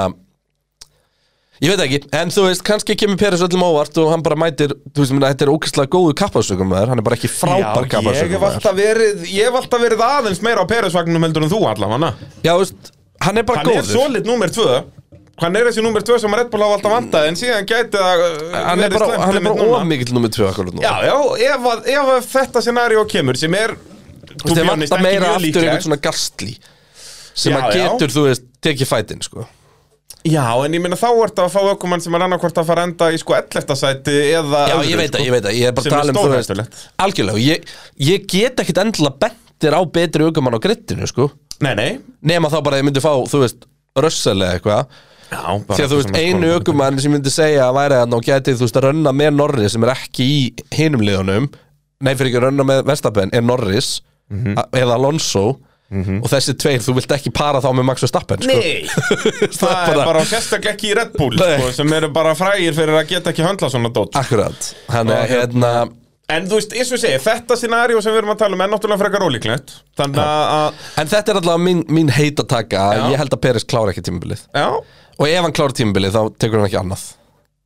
Ég veit ekki, en þú veist, kannski kemur Peres öllum á óvart og hann bara mætir, þú veist, ég meina, þetta er ókvæslega góðu kappasökum hann er bara ekki frábær Já, ég hef kappasökum alltaf verið ég hef alltaf verið aðeins meira á Peresvagnum heldur en þú allavega Já, þú veist, hann er bara Hann er góður solid númer tvö Hann er þessi númer tvö sem að Red Bull hafa alltaf vantað en síðan gæti það uh, Hann er verið bara, slæmt hann er einmitt bara núna. ómikill nummið tvö akkur nú Já, já, ef, að, ef að þetta scenario kemur sem er to Þú veist, be þeir honest, vantar ekki meira mjög aftur líklegt. einhvern svona gastli sem Já, að já. getur, þú veist, tekið fætin, sko Já, en ég meina þá ertu að fá ökumann sem er annarkvort að fara að enda í sko 11. sæti eða Já, öðru, ég veit sko. það, ég veit það, ég er bara Sem að er tala um, þú veist stórhættulegt. Algjörlega, og ég, ég get ekkit endilega bentir á betri aukumann á grittinu, sko Nei, nei Nema þá bara að ég myndi fá, þú veist, rössal eða eitthvað Já, Því að þú veist, einu aukumann sem ég myndi segja að væri að ná getið, þú veist, að rönna með Norris sem er ekki í hinum liðunum Nei, fyrir ekki að rönna með Verstappen er Norris a- eða Alonso og þessi tveir, þú vilt ekki para þá með Max Verstappen, sko Nei, það er bara- bara og sérstaklega ekki í Red Bull Nei. Ah. sko, sem eru bara frægir fyrir að geta ekki höndla svona dót Akkurat, hann er Og hérna En þú veist, eins og ég segi, þetta scenario sem við erum að tala um er náttúrulega frekar ólíklegt Þannig að, En þetta er allavega mín, mín heit að taka Já. Ég held að Peres klára ekki tímabilið já, Og ef hann klára tímabilið þá tekur hann ekki annað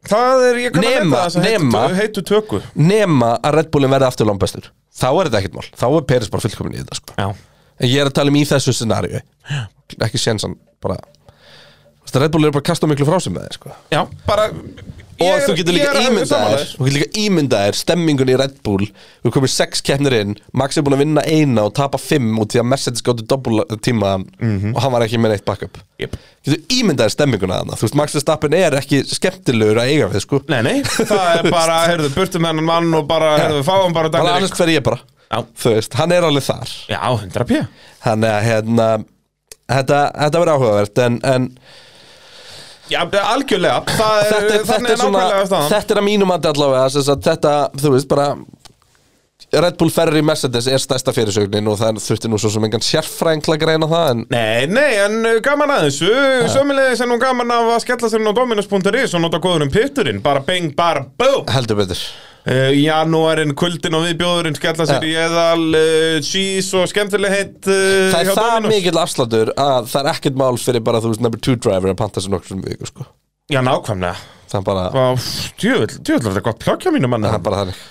það er, ég kann að Nema, leta þess að heitu, nema. tö- heitu tökur Nema að Red Bullin verði aftur langbestur Þá er þetta ekkert mál, þá er Peres bara fullkomin í þetta sko. Já, En ég er að tala um í þessu scenaríu Ekki séns hann bara Þú veist að Red Bull eru bara að kasta miklu frá sig með þeir sko. já, bara Og ég er- þú getur ég er líka alveg ímyndað sammála þér Þú getur líka ímyndað þér stemmingun í Red Bull Þú komir sex keppnir inn Max er búin að vinna eina og tapa fimm út Því að Mercedes gáttu doppul tíma Mhm. Og hann var ekki með neitt backup Jep. Getur ímyndaðið stemminguna þarna Þú veist, Max Verstappen er ekki skemmtilegur að eiga við sko. Nei, nei, það er bara, heyrðu, burtu með hennan mann og bara, heyrðu, fáum bara Hann daglega annars hver ég bara Já. Þú veist, hann er alveg þar Já, 100 pjö Þannig að hérna Þetta, þetta verður áhugavert en, en Já, algjörlega, það er, þetta, er, þetta, þannig er er svona, nákvæmlega staðan þetta er að mínum andi allavega sem sagt, Þetta, þú veist, bara Red Bull Ferrari Mercedes er stærsta fyrirsögnin og það þurfti nú svo sem engan sérfræðingla að greina það en Nei, nei, en uh, gaman að þessu Sömmulegis er nú gaman af að skella sér inn á Dominus.is og nota góðurinn pitturinn Bara beng, bara búm heldur betur uh, Janúarinn, kvöldin og viðbjóðurinn skella sér Já. í eðal uh, Cheese og skemmtileg heitt uh, Það er hjá það Dominos. mikill afslátur að það er ekkert mál fyrir bara, þú veist, number two driver að panta sér nokkur sem við, sko Já, nákvæmlega Það er bara, Djöfull, djöfull, er þetta gott plöggja mínu manna það er bara þannig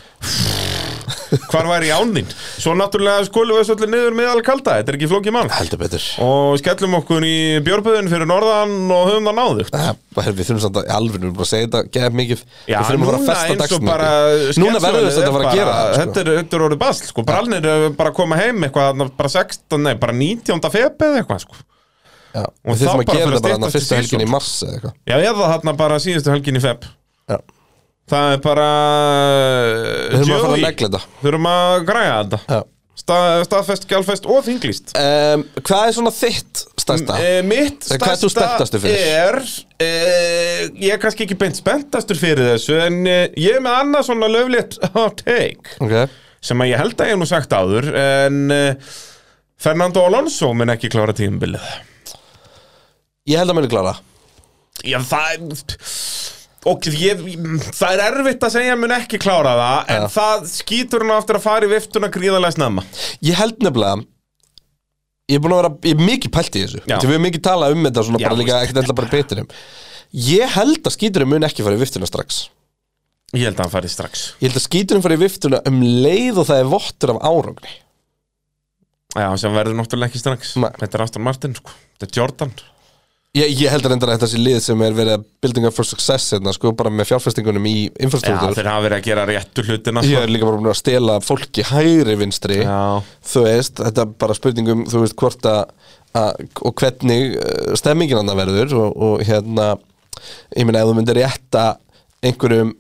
hvar væri áninn svo náttúrulega skulum við þessu öllu niður meðal kalda þetta er ekki flókið mál heldur betur og skellum okkur í björböðin fyrir norðan og höfum það náðu Eh, Við þurfum samt að, í alveg, við erum bara að segja þetta geða mikið, Já, við þurfum að fara að núna festa eins og dagsmyndi bara Núna verður sketsjónið þetta að fara að er gera bara- það, sko. Þetta er, þetta er orðið basl, sko, bara alnir eh, bara að koma heim eitthvað, þarna bara 16, nei, bara 19. feb eða eitthvað, sko Já, Og Við þá þurfum að bara gera fyrir að þetta bara þarna styttast í fyrstu helgin season. í mars eða eitthvað Já, eða þarna bara síðustu helgin í feb Já. Það er bara Við þurfum að fara Joey. að negla þetta Þurfum að græja þetta Já. Stað, Staðfest, gjálfest og þinglist um, Hvað er svona þitt stærsta? Eh, Mitt Eh, hvað ert þú spenntastur stærsta fyrir? er eh, Ég er kannski ekki beint spenntastur fyrir þessu En eh, ég er með annað svona löflétt hot take Ok, sem að ég held að ég hef nú sagt áður en uh, Fernando Alonso mun ekki klára tímabilið Ég held að muni klára Já, það og ég, það er erfitt að segja að mun ekki klára það en Já. það skýtur hann aftur að fara í viftuna gríðarlega snemma Ég held nefnilega Ég er búin að vera, ég er mikið pælt í þessu Já. Þegar við erum mikið talað um þetta svona Já, bara líka veist, ekkert enda bara betur um Ég held að skíturum mun ekki fara í viftuna strax ég held að hann fari strax Ég held að skíturum fara í viftuna um leið og það er vottur af árangri Já, sem verður náttúrulega ekki strax Nei. þetta er Aston Martin, sko, þetta er Jordan Ég, ég held reyndar að þetta sé lið sem er verið að building up for success hérna, sko, bara með fjárfestingunum í Já, infrastruktúr þeir hafa verið að gera réttu hlutina Ég sko. er líka bara búin að stela fólki hægri vinstri Já, þú veist, þetta er bara spurningum þú veist hvort að, að og hvernig eh, stemmingin hann verður og, og hérna ég meina ef þú myndir rétta einhverjum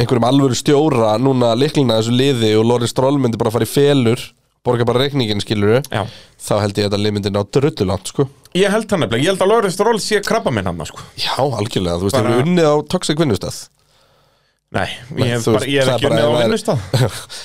einhverjum alvöru stjóra núna líklina þessu liði og Loris Stroll myndi bara fara í felur borga bara reikningin skilur já þá held ég að þetta lið myndi ná drullulant sko Ég held hann nefnilega, ég held að Lóris Ról sé krabba minn hann sko. Já, algjörlega, þú veist, Bara- bara... hefur unnið á toxic vinnustæð Nei, Nei, ég hef, þú bara, ég hef það ekki er bara- unnið á það er- vinnustað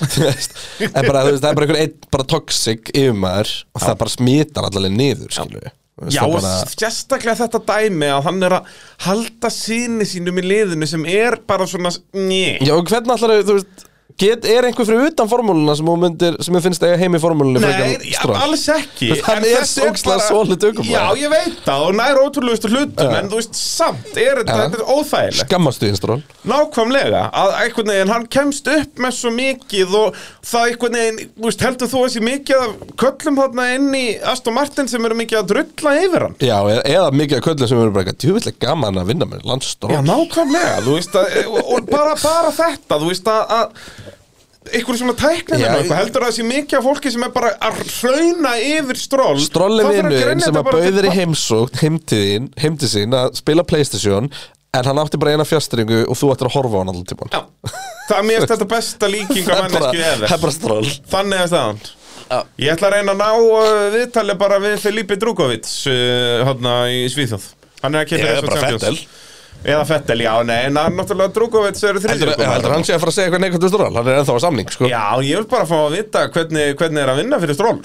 Þú veist, það er bara, þú veist, það er bara einhver einn bara toxic yfirmaður og það bara smitar allaleg niður, skilur við Þú veist, Já, það og bara, sérstaklega þetta dæmi að hann er að halda síni sínum í liðinu sem er bara svona njö. já, og hvernig allar, þú veist get, er einhver fyrir utan formúluna sem þú myndir, sem þú finnst eiga heim í formúlunni Nei, frekar en ja, Stroll? alls Þú ekki veist, hann En er þessi ógeðslega bara- solid ökumaður. Já, ég veit það og nær ótrúlegustu hlutum En þú veist, samt er þetta, Ja. þetta er óþægilegt skammastu þín stról Nákvæmlega, að einhvern veginn hann kemst upp með svo mikið og það einhvern veginn, þú veist, heldur þú þessi mikið af köllum þarna inn í Aston Martin sem eru mikið að drulla yfir hann já, eða, eða mikið af köllum sem eru bara eitthvað djúvillig gaman að vinna með landstról Já, nákvæmlega, þú veist að, og og bara, bara þetta, þú veist að, að einhverjum svona tæknir Já, með eitthvað, heldur það sé mikið af fólki sem er bara að hrauna yfir stról Strolli Þá þarf að vinnurinn grenja sem þetta að bara til bauðir í pa- heimsókn heimtiðin, heimtiðin að spila Playstation en hann átti bara eina fjastringu og þú ættir að horfa á hann allan tímann Já, það er mér finnst þetta besta líking af Það er bara- mannesku eða það er bara stról Þannig að staðan Já. Ég ætla að reyna að ná uh, viðtali bara við Filipe Drukovic uh, hana í Svíþjóð Hann er að kemja Eða bara Vettel. Eða Fettel, já, nei, en hann náttúrulega Drukovic er Heldur þriðjökum heldur hann sé að fara að segja eitthvað neikvæmt um stról Hann er ennþá á samning sko sko. Já, ég vil bara fá að vita hvernig, hvernig er að vinna fyrir stról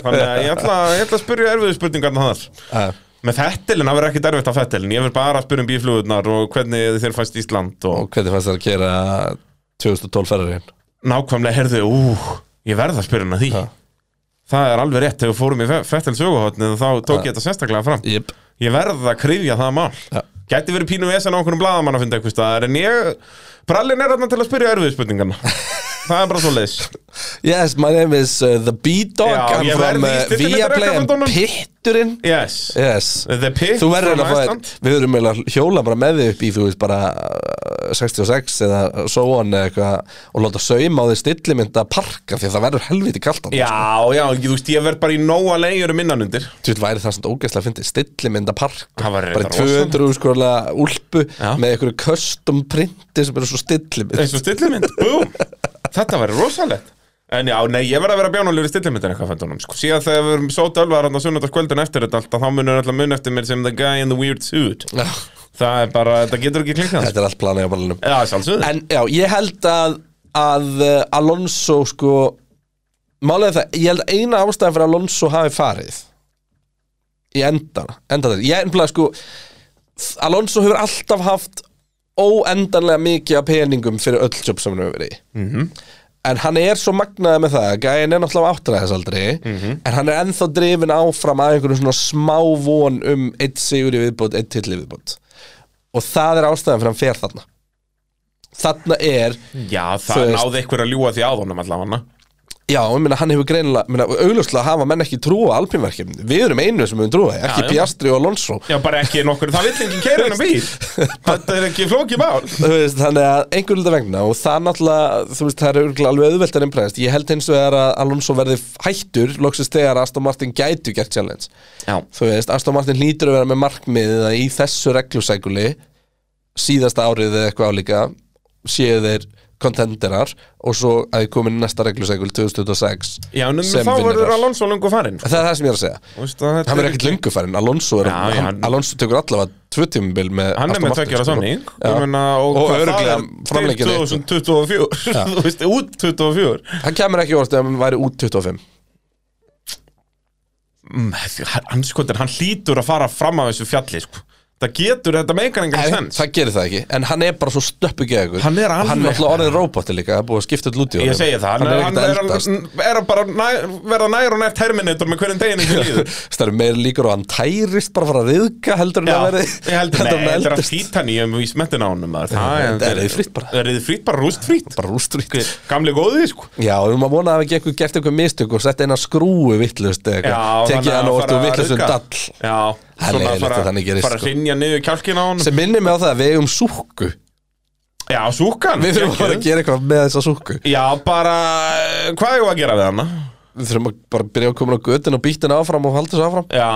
Þannig að ég ætla, ég ætla að spyrja erfiðu spurningarna þar Já. Með Fettelin, það verður ekkit erfitt af Fettelin Ég vil bara spyrja um bíflugurnar og hvernig þér fæst Ísland og Og hvernig fannst það að gera 2012 ferðarinn nákvæmlega herðu, ú, ég verð að spyrja hann að því Ha. Það er alveg rétt, þegar við fórum í Fettel söguhotnið þá tók ég þetta sérstaklega fram Jip Ég verð að krifja það mál Já. Gæti verið pínu vesen á okkur um blaðamann að finna eitthvað staðar En ég, brallin er þarna til að spyrja erfiðu spurningarna Það er bara svo leis Yes, my name is uh, The B-Dog Já, I'm ég from verð í uh, stillinni Viaplay drekka I'm frá dónum. Pitturinn Yes Yes The Pit Þú verður from að fá Iceland. Við verðum eiginlega að hjóla bara með þig upp í Þú veist bara uh, 66 eða so on eða eitthvað Og láta sauma á þig stillimynda parka Því að það verður helviti kalt á Já, já, ég, þú veist, ég verð bara í nóa leiðurum innan undir Þú veist, væri það svona ógeðslega að fyndi stillimynda parka Það væri Bara reyndar 200 úrskorla úlpu Já. Með einhverju custom printi sem eru svo stillimynd Eins og stillimynd, búm Þetta verður rosalegt En já, nei, ég verð að vera bjánulegur í stillimyndin eitthvað fendunum sko. Síðan þegar við erum sót ölvaðar hann á sunnudagskvöldin eftir þetta alltaf, þá munur alltaf mun eftir mér sem the guy in the weird suit Þetta Það er bara, þetta getur ekki klikkað sko. er allt planið á ballinum Já, sjálfsögðu En já, ég held að, að uh, Alonso sko Málega það, ég held að eina ástæðan fyrir að Alonso hafi farið Í endana, enda þetta Ég ennblega sko Alonso hefur alltaf haft óendanlega mikið af peningum fyrir öll jobb sem hann hefur verið í en hann er svo magnaði með það gæin er náttúrulega áttræðisaldri mm -hmm. en hann er ennþá drifin áfram að einhverjum svona smá von um eitt sigur í viðbót, eitt tilli viðbót og það er ástæðan fyrir hann fer þarna þarna er Já, það Þú veist- náði einhver að ljúa því að honum allavega Já, ég meina, hann hefur greinilega, meina, augljóslega hafa menn ekki trúa alpinverkjum, við erum einu sem höfum trúa, því, ekki já. Piastri og Alonso Já, bara ekki nokkur, það vill enginn keira hennar bíl Þetta er ekki flókið mál Þú veist, þannig að einhverjum hluta vegna og það náttúrulega, þú veist, það er örugglega alveg auðvelt en impressed, ég held eins og er að Alonso verði hættur, loksist þegar Aston Martin gætu gert challenge, Já, þú veist Aston Martin hlýtur að vera með markmiðið að í þessu reglusækuli síðasta árið eða eitthvað álíka séu þeir kontenderar og svo að þið komin næsta reglusækul 2026 já en um sem þá verður vinnurar. Alonso lungu farinn það er það sem ég er að segja hann verður ekkert lungu farin, Alonso, er, Já, já, hann, hann- Alonso tekur allavega tvö tímubil með Hann Aston er með Martin, tveggjara sko. samning Já. Ég meina, og, Og hvað það örugglega er framlengja til það eitthvað. 2024 Þú veist, út 2024 hann kemur ekki orðið að hann væri út 25 Mm, Hann skotir, hann hlýtur að fara fram af þessu fjalli sko. Það getur, þetta meikar engan en, sens það gerir það ekki, en hann er bara svo stöppu gegur Hann er og hann alveg- er alltaf orðin róbóti líka, það er búið að skipta alltaf út í Ég honum. segi það, hann er hann ekkert er, að hann eldast er, er að bara nær, verða nær og nær Terminator með hverjum deginu sem líður það eru meira líkur og hann tærist bara að fara að riðka heldur en Já, að veri ég heldur, heldur nei, en þetta er að eldist. fýta nýjum í smettina ánum maður. Það þetta er riðfrítt bara. Það er riðfrýtt bara, rústfrýtt bara rústrýtt Gamli góði, sko já, við erum að vona að hafa ekki eitthvað gert eitthvað mistök og sett eina skrúu vittlust tekið hann og orðið vittlustum um dall Já, Það er svona leiðilegt fara- að þannig gerist, Fara að sko. rinja niður kjálkina ánum sem minnir mig á það að við eigum súkku Já, súkan við þurfum bara að gera eitthvað með þessa súkku Já, bara, eh, hvað er að gera við hana? við þurfum að bara byrja að koma á götin og býta hann áfram og halda þessu áfram Já,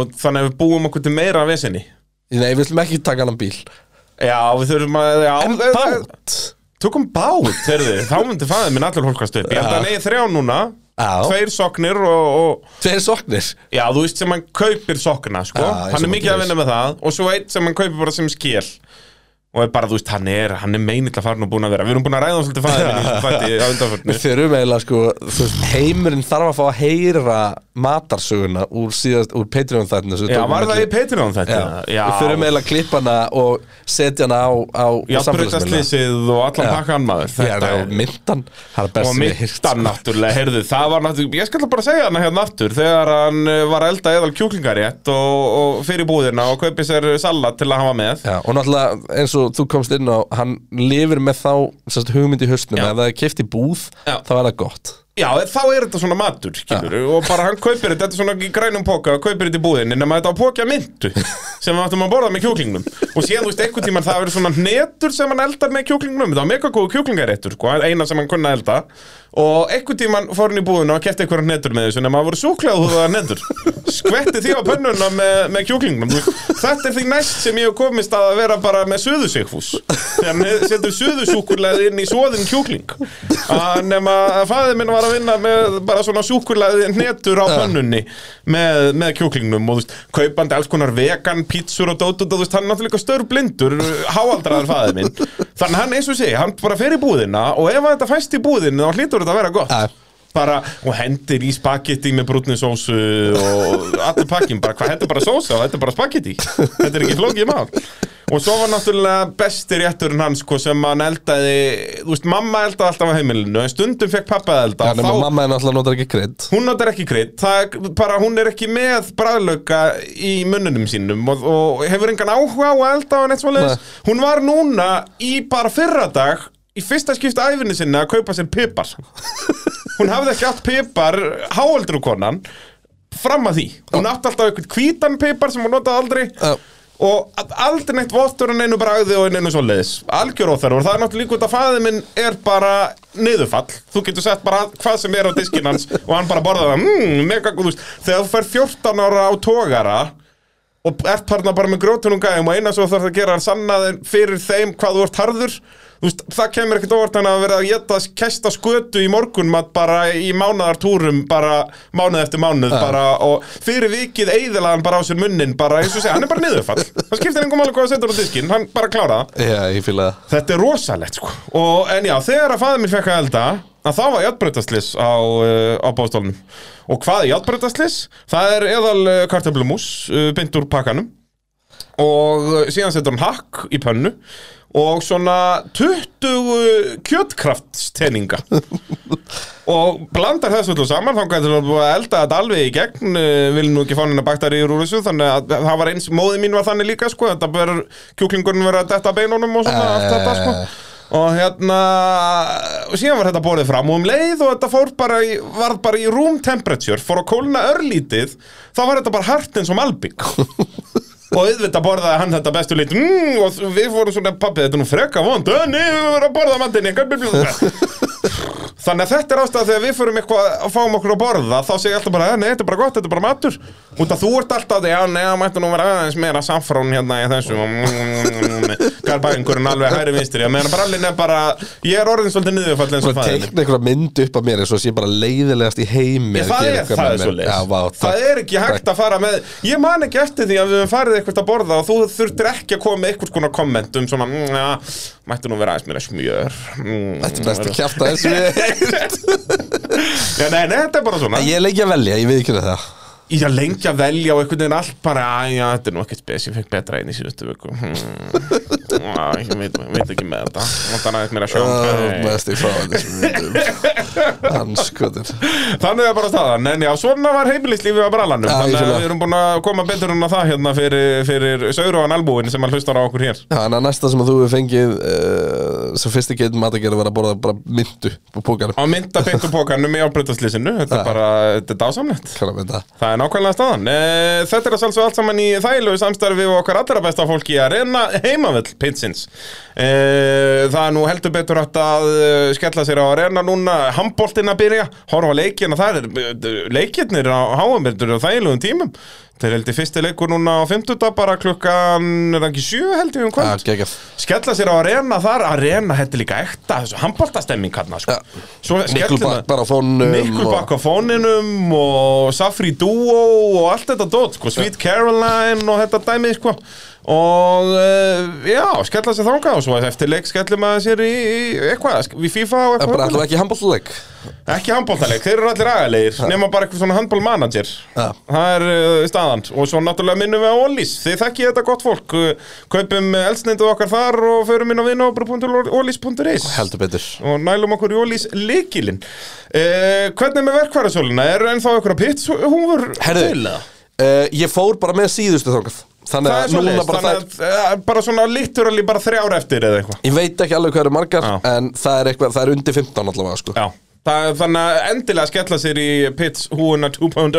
og þannig að við búum okkur til meira af vesinni nei, við ætlum ekki taka hann bíl Já, við þurfum að já, en eh, bát Tökum bát, heyrðu Þá myndi fæðið minn allir hólkast upp Ég held Já. að hann eigi þrjá núna Já. Tveir soknir og, og tveir soknir Já, þú veist sem hann kaupir sokna, sko Já, eins og Hann er maður mikið að gerir. vinna með það Og svo eitt sem hann kaupir bara sem skil Og er bara, þú veist, hann er, hann er meinill að fara nú búin að vera Við erum búin að ræða um svolítið fæðið minn í þessu þætti á undanförnu Við þurfum eiginlega sko, þú veist, heimurinn þarf að fá að heyra matarsöguna úr, síðast, úr Patreon þættinu Já, var það í Patreon þetta? Já, við þurfum eiginlega að klippa hana og setja hana á, á Já, samfélagsmiðla. brutaslýsið og allan Já. pakkan maður Já, sko. Þetta og myndan, það er best og sem ég hef heyrt, mittan náttúrulega, heyrðu, það var náttúrulega ég skal bara segja hana hérna aftur þegar hann eh, var að elda eðal kjúklingarétt og, og fyrir búðina og kaupið sér salat til að hafa með Já, og náttúrulega eins og þú komst inn á hann lifir með þá sérst, hugmynd í hausnum, Já. ef það er keift í búð Já. þá er það gott Já, þá er þetta svona matur, skilur og bara hann kaupir þetta, þetta er svona í grænum póka og kaupir þetta í búðinni, nema þetta á pókja myntu sem við áttum að borða með kjúklingnum og síðan, þú veist, einhvern tímann það eru svona hnetur sem hann eldar með kjúklingnum, það var mega góð kjúklingaréttur, sko, eina sem hann kunna elda og einhvern tímann fór hann í búðinu og kefti einhverja hnetur með þessu, nema það voru súklaðu húðaða hnetur skvetti því á pönnuna með, með kjúklingnum Þú veist, þetta er því næst sem ég hef komist að vera bara með söðusikfús þegar hann setur söðusúkulegð inn í svoðin kjúkling að nema að faðið minn var að vinna með bara svona súkulegð hnetur á pönnunni með, með kjúklingnum og þú veist, kaupandi alls konar vegan pítsur og dót og þú veist, hann er náttúrulega störu blindur háaldraður faðið minn þannig að hann eins og sé, hann bara fer í búðina og ef að þetta fæst í búðinu þá hlýtur þetta að vera gott Já. bara, og hendir í spagetti með brúnni sósu og allir pakkin bara, hvað, þetta er bara sósa og þetta er bara spagetti þetta er ekki flókið mál og svo var náttúrulega besti rétturinn hans sko, sem hann eldaði, þú veist, mamma eldaði alltaf á heimilinu, en stundum fekk pappa að elda Já, nema mamma er náttúrulega notar ekki krydd hún notar ekki krydd, það er bara hún er ekki með bræðlauka í munnunum sínum og, og hefur engan áhuga á að elda og neitt svoleiðis hún var núna í bara fyrradag í fyrsta skipta æfinni sinna að kaupa sér pipar hún hafði ekki átt pipar háöldrukonan fram að því hún átti alltaf einhvern hvítan pipar sem hún notaði aldrei Já. og að- aldrei neitt vottur en einu bragði og einu svoleiðis algjör óþar og það er náttúrulega líka út að fæði minn er bara niðurfall þú getur sett bara hvað sem er á diskin hans og hann bara borðar það mmm, mega góð þú veist, þegar þú fer 14 ára á tógara og ert parna bara með grótunum gæðum og eina svo þarf það að gera er sannaðin fyrir þeim hvað þú ert harður Þú veist, það kemur ekkert óvart hann að vera að geta kesta skötu í morgunmat bara í mánaðartúrum bara mánuð eftir mánuð bara og fyrir vikið eiðilaðan bara á sér munnin bara eins og segja, hann er bara niðurfall það skiptir engum alveg hvað að setja á diskinn, hann bara klára það Já, ég fíla það Þetta er rosalegt sko og, En já, þegar að faðið mér fekk að elda að þá var játbreytaslis á, uh, á bóstólnum og hvað er játbreytaslis? Það er eðal uh, kartöflumús uh, beint úr pakkanum og uh, síðan setur hann hakk í pönnu og svona 20 kjötkraftsteninga og blandar þessu öllu saman þá gæti hann búið að elda þetta alveg í gegn eh, vil nú ekki fá hann að baktaríur úr þessu þannig að það var eins, móði mín var þannig líka sko, þetta ber kjúklingurinn verið að detta af beinunum og svona allt þetta sko og hérna og síðan var þetta borðið fram og um leið og þetta fór bara í, varð bara í room temperature fór að kólna örlítið þá var þetta bara hart eins og malbygg og auðvitað borðaði hann þetta bestu lit mmm, og við fórum svona pappi þetta er nú freka vond Nei, við vorum að borða mandinni Þannig að þetta er ástæða þegar við förum eitthvað að fáum okkur að borða þá segja ég alltaf bara, "Eh, nei, þetta er bara gott, þetta er bara matur út að þú ert alltaf, já, nei, það mætti nú vera aðeins meira saffrón hérna í þessu mm, garbaðingurinn alveg hæri vinstri að meðan brallin er bara ég er orðin svolítið niðurfall eins Svo og fæðin teikna einhverja mynd upp af mér eins og sé bara leiðilegast í heimi Ég, það er, það er svo leys Það er ekki hægt að fara með Ég man ekki eftir því að við höfum farið eitthvað að borða og þú þurftir ekki að koma með eitthvað konar komment um svona, "Mm, ja, mætti nú vera aðeins meira smjör Mm, Þetta er best að kjafta þessu við- Já, nei, nei, þetta er bara svona Ég er lengi að velja, ég við ekki það Ég er lengi að velja og einhvern veginn allt bara "Æ, Já, þetta er nú ekkert spes, ég fekk betra einn í síðustu viku hmm. Já, ég veit, veit ekki með þetta Vantan aðeins meira sjón Ah, Æ. Best að fara þessum myndum Hanskotin Þannig er bara staðan, en já, svona var heimilislífið á brallanum, Já, þannig að vissulega. við erum búin að koma betur en að það hérna fyrir, fyrir Sauruan albúin sem að hlustar á okkur hér Þannig að næsta sem að þú hefur fengið uh, Sophisticated matagerð var að borða bara myndu På pókarum á mynda pinkupokanum í ábreytaslýsinu, þetta Já. er bara, þetta er dásamlegt Hvað er mynda? Það er nákvæmlega staðan. Eh, Þetta er að sjálfsög allt saman í þægilegu samstarfi við okkar allra besta fólki að reyna heimavöll pinsins. Það er nú heldur betur hægt að eh, skella sér á að reyna núna handbóltin að byrja, horfa á leikina þar, er- eh, leikirnir á háamildur og þægilegum tímum. Þetta er heldur fyrsti leikur núna á 50 bara klukkan, er það ekki 7 heldur við um Já, kvöld? Ah, geggjað Skella sér á arena þar, arena, þetta er líka ekta, þessu handbóltastemming hann, sko. Já. Svo skellum það- Mikkelbakk bara á fónum Nickelback á fóninum og Safri Duo og allt þetta dót sko, Sweet Caroline og þetta dæmi sko. og uh, já, skella sér þangað og svo eftir leik skellum að sér í, í eitthvað, sk- við FIFA Það er og Eh, bara eitthvað alltaf ekki handbólluleik ekki handbóltaleik, þeir eru allir agalegir nema bara eitthvað svona handbólmanager Já. það er uh, staðan og svo náttúrulega minnum við á Ólís, þið þekkið þetta gott fólk Uh, kaupum elsneindu okkar þar og förum inn á vinobru.ólís.is Heldur betur og nælum okkur í Ólís leikilinn eh, Hvernig er með verkvarðasöluna? Er ennþá ykkur að pitt húfur Herðu, uh, ég fór bara með síðustu þangað Þannig Það er að svo núna leist, bara þannig þær að eh, bara svona literally bara þrjár eftir eða eitthvað Ég veit ekki alveg hvað eru margar Já. En það er, eitthvað, það er undir 15 allavega sko. Já Það, þannig að endilega skella sér í Pits húuna 2.0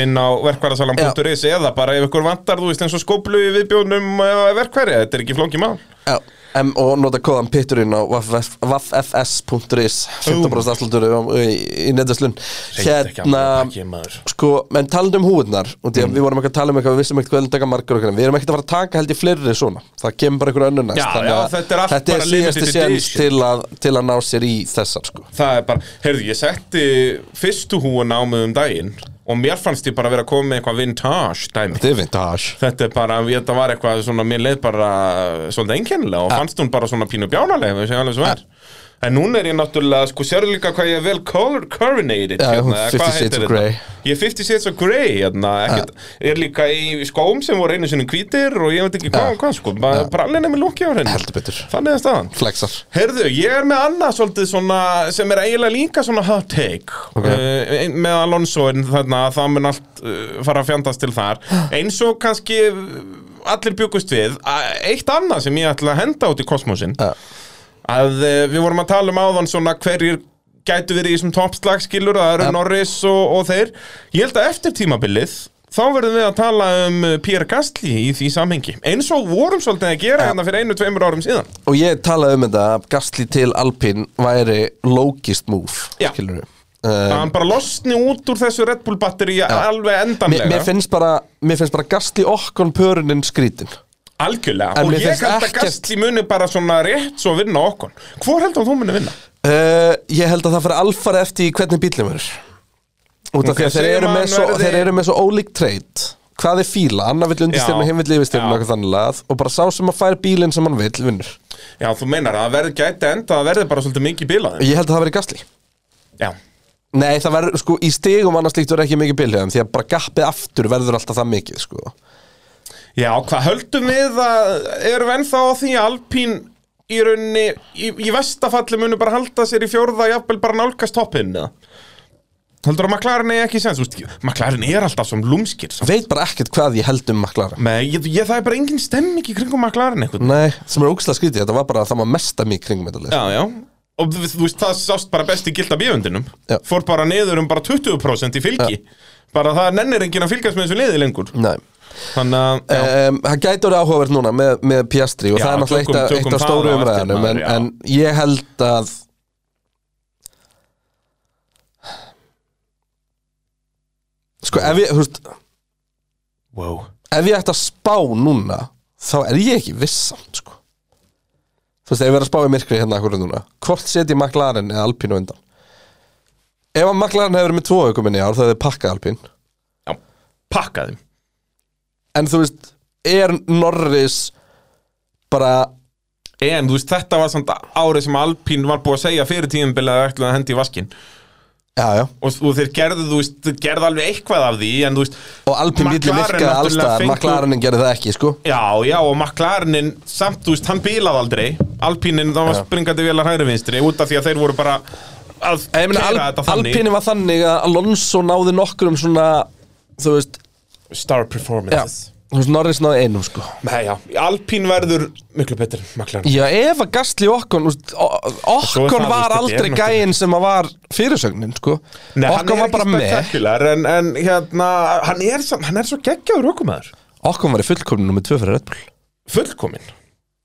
inn á verkvarðasalan.is eða bara ef ykkur vantar, þú veist, eins og skóplu í viðbjónum eða verkvarði, þetta er ekki flókið mál Já. Em, og nota kóðan pitturinn á vaffs- vaffs.is 15% afslutur í, í netverslun hérna sko, menn talandi um húðnar og Mm. því að við vorum ekki að tala um eitthvað, við vissum ekkert hvað við taka margar okkar, við erum ekkert að fara að taka held í fleiri svona, það kemur bara einhver önnur næst Já, þannig já, að þetta er allt þetta bara er síðasti limited séns edition. til að, til að ná sér í þessar sko. Það er bara, heyrðu, ég setti fyrstu húuna á mig um daginn og mér fannst ég bara vera að koma með eitthvað vintage dæmi þetta er vintage Þetta er bara, ég- þetta var eitthvað svona, mér leið bara svolítið einkennilega Ah. og fannst hún bara svona pínu bjánalega, við segjum alveg svo er. En núna er ég náttúrulega, sko, sérðu líka hvað ég er vel color coordinated, Já, hún eða 50 hvað Shades heitir of þetta? Grey. Ah. Ég er 50 Shades of Grey, hérna, ekkert, er líka í skóm sem voru einu sinni hvítir og ég veit ekki hvað Já. og hvað, sko, Ah. bara brallin er með lóki á henni. Heldur betur. Þannig er staðan. flexar Herðu, ég er með annað svolítið svona sem er eiginlega líka svona hot take Ok. uh, ein- með Alonso en þarna að það mun allt uh, fara að fjandast til þar eins og kannski uh, allir byggust við að eitt annað sem ég ætla að henda út í kosmosin Já. að uh, við vorum að tala um áðan svona hverjir gætu verið í þessum toppslagskilur það eru Ja. Norris og, og þeir ég held að eftir tímabilið þá verðum við að tala um uh, Pierre Gasly í því samhengi eins og vorum svolítið að gera hérna fyrir einu, tveimur árum síðan og ég talaði um þetta að gasli til Alpine væri logist move Já. skilurðu. að Um, hann bara losni út úr þessu Red Bull batteri alveg mér, endanlega mér finnst bara, mér finnst bara gasli okkon pörunin skrítin algjörlega En og mér ég finnst held að ekkert- Gastli muni bara svona rétt svo vinna okkur hvor heldur þú muni vinna? Uh, ég held að það fyrir alfara eftir í hvernig bílum verður Út af Ok, því að þeir segjum eru, að með hann svo, verði- þeir eru með svo ólík treyt Hvað er fíla, annar vill undirstyrna, Já, hinn vill yfirstyrna já. og þannig lagað Og bara sá sem að fær bílinn sem hann vill vinnur já þú meinar að það verði gæti enda að verði bara svolítið mikið bílaði Ég held að það verði gasli já Nei, það verður, sko, í stigum annars líkt verður ekki mikið bílhjöðum Því að bara gappið aftur verður alltaf það mikið, sko Já, hvað höldum við að erum við ennþá á því að Alpín í rauninni, í, í vestafalli munu bara halda sér í fjórða jafnvel bara nálgast toppinn eða? Heldur að McLaren er ekki sens Þú veist, McLaren er alltaf som lúmskir samt. Veit bara ekkert hvað ég held um McLaren Nei, ég, ég, það er bara engin stemming í kringum McLaren einhvern Nei, sem er ógæslega skrítið, þetta var bara það maður mesta mig kringum þetta lið Já, já Og þú þú veist, það sást bara best í gilda bífundinum Já. Fór bara niður um bara 20% í fylgi Bara það nennir enginn að fylgjast með þessu liði lengur Nei Þannig að já. Um, það gæti orðið áhugavert núna með, með Piastri og Já, það er náttúrulega eitt tökum- af- eitt tökum af það stóru á eftir, umræðanum en, maður, já. en ég held að sko ef ég, þú veist, Wow ef ég ætti að spá núna þá er ég ekki vissan sko. þú veist, ef ég verið að spá í myrkri hérna akkur núna, hvort set ég McLaren eða Alpín á undan ef að McLaren hefur verið með tvo aukum minni ár þá hefði pakkað Alpín Já, pakka þeim en þú veist, er Norris bara En þú veist, þetta var samt árið sem Alpín var búið að segja fyrir tíðumbilið að ætla að hendi í vaskinn já, já, og, og þeir gerðu, þú veist, þeir gerðu alveg eitthvað af því en þú veist, og Alpín villi McLaren virkaði náttúrulega allstaðar, fengu- McLarenin gerði það ekki sko. já, já, og McLarenin samt, þú veist, hann bílaði aldrei Alpínin, það var Já. springandi vel að hægri vinstri út af því að þeir voru bara að Ég meina, keira Al þetta þannig Alpínin var þannig að Alonso náði nokkrum svona þú veist, Star já, performances þú veist Norris náði einum sko Nei, já, Alpín verður miklu betur, McLaren Já, ef að Gastli Okkon úst, O- Svo er Okkon var það, veist, þetta er aldrei náttúrulega- gæinn sem að var fyrirsögnin, sko Nei, hann Okkon er var ekki bara með spektakular, en, en hérna, hann er, samt- hann er svo geggjaður okkumæður Okkon var í fullkomni nummer 2 fyrir Red Bull Fullkomin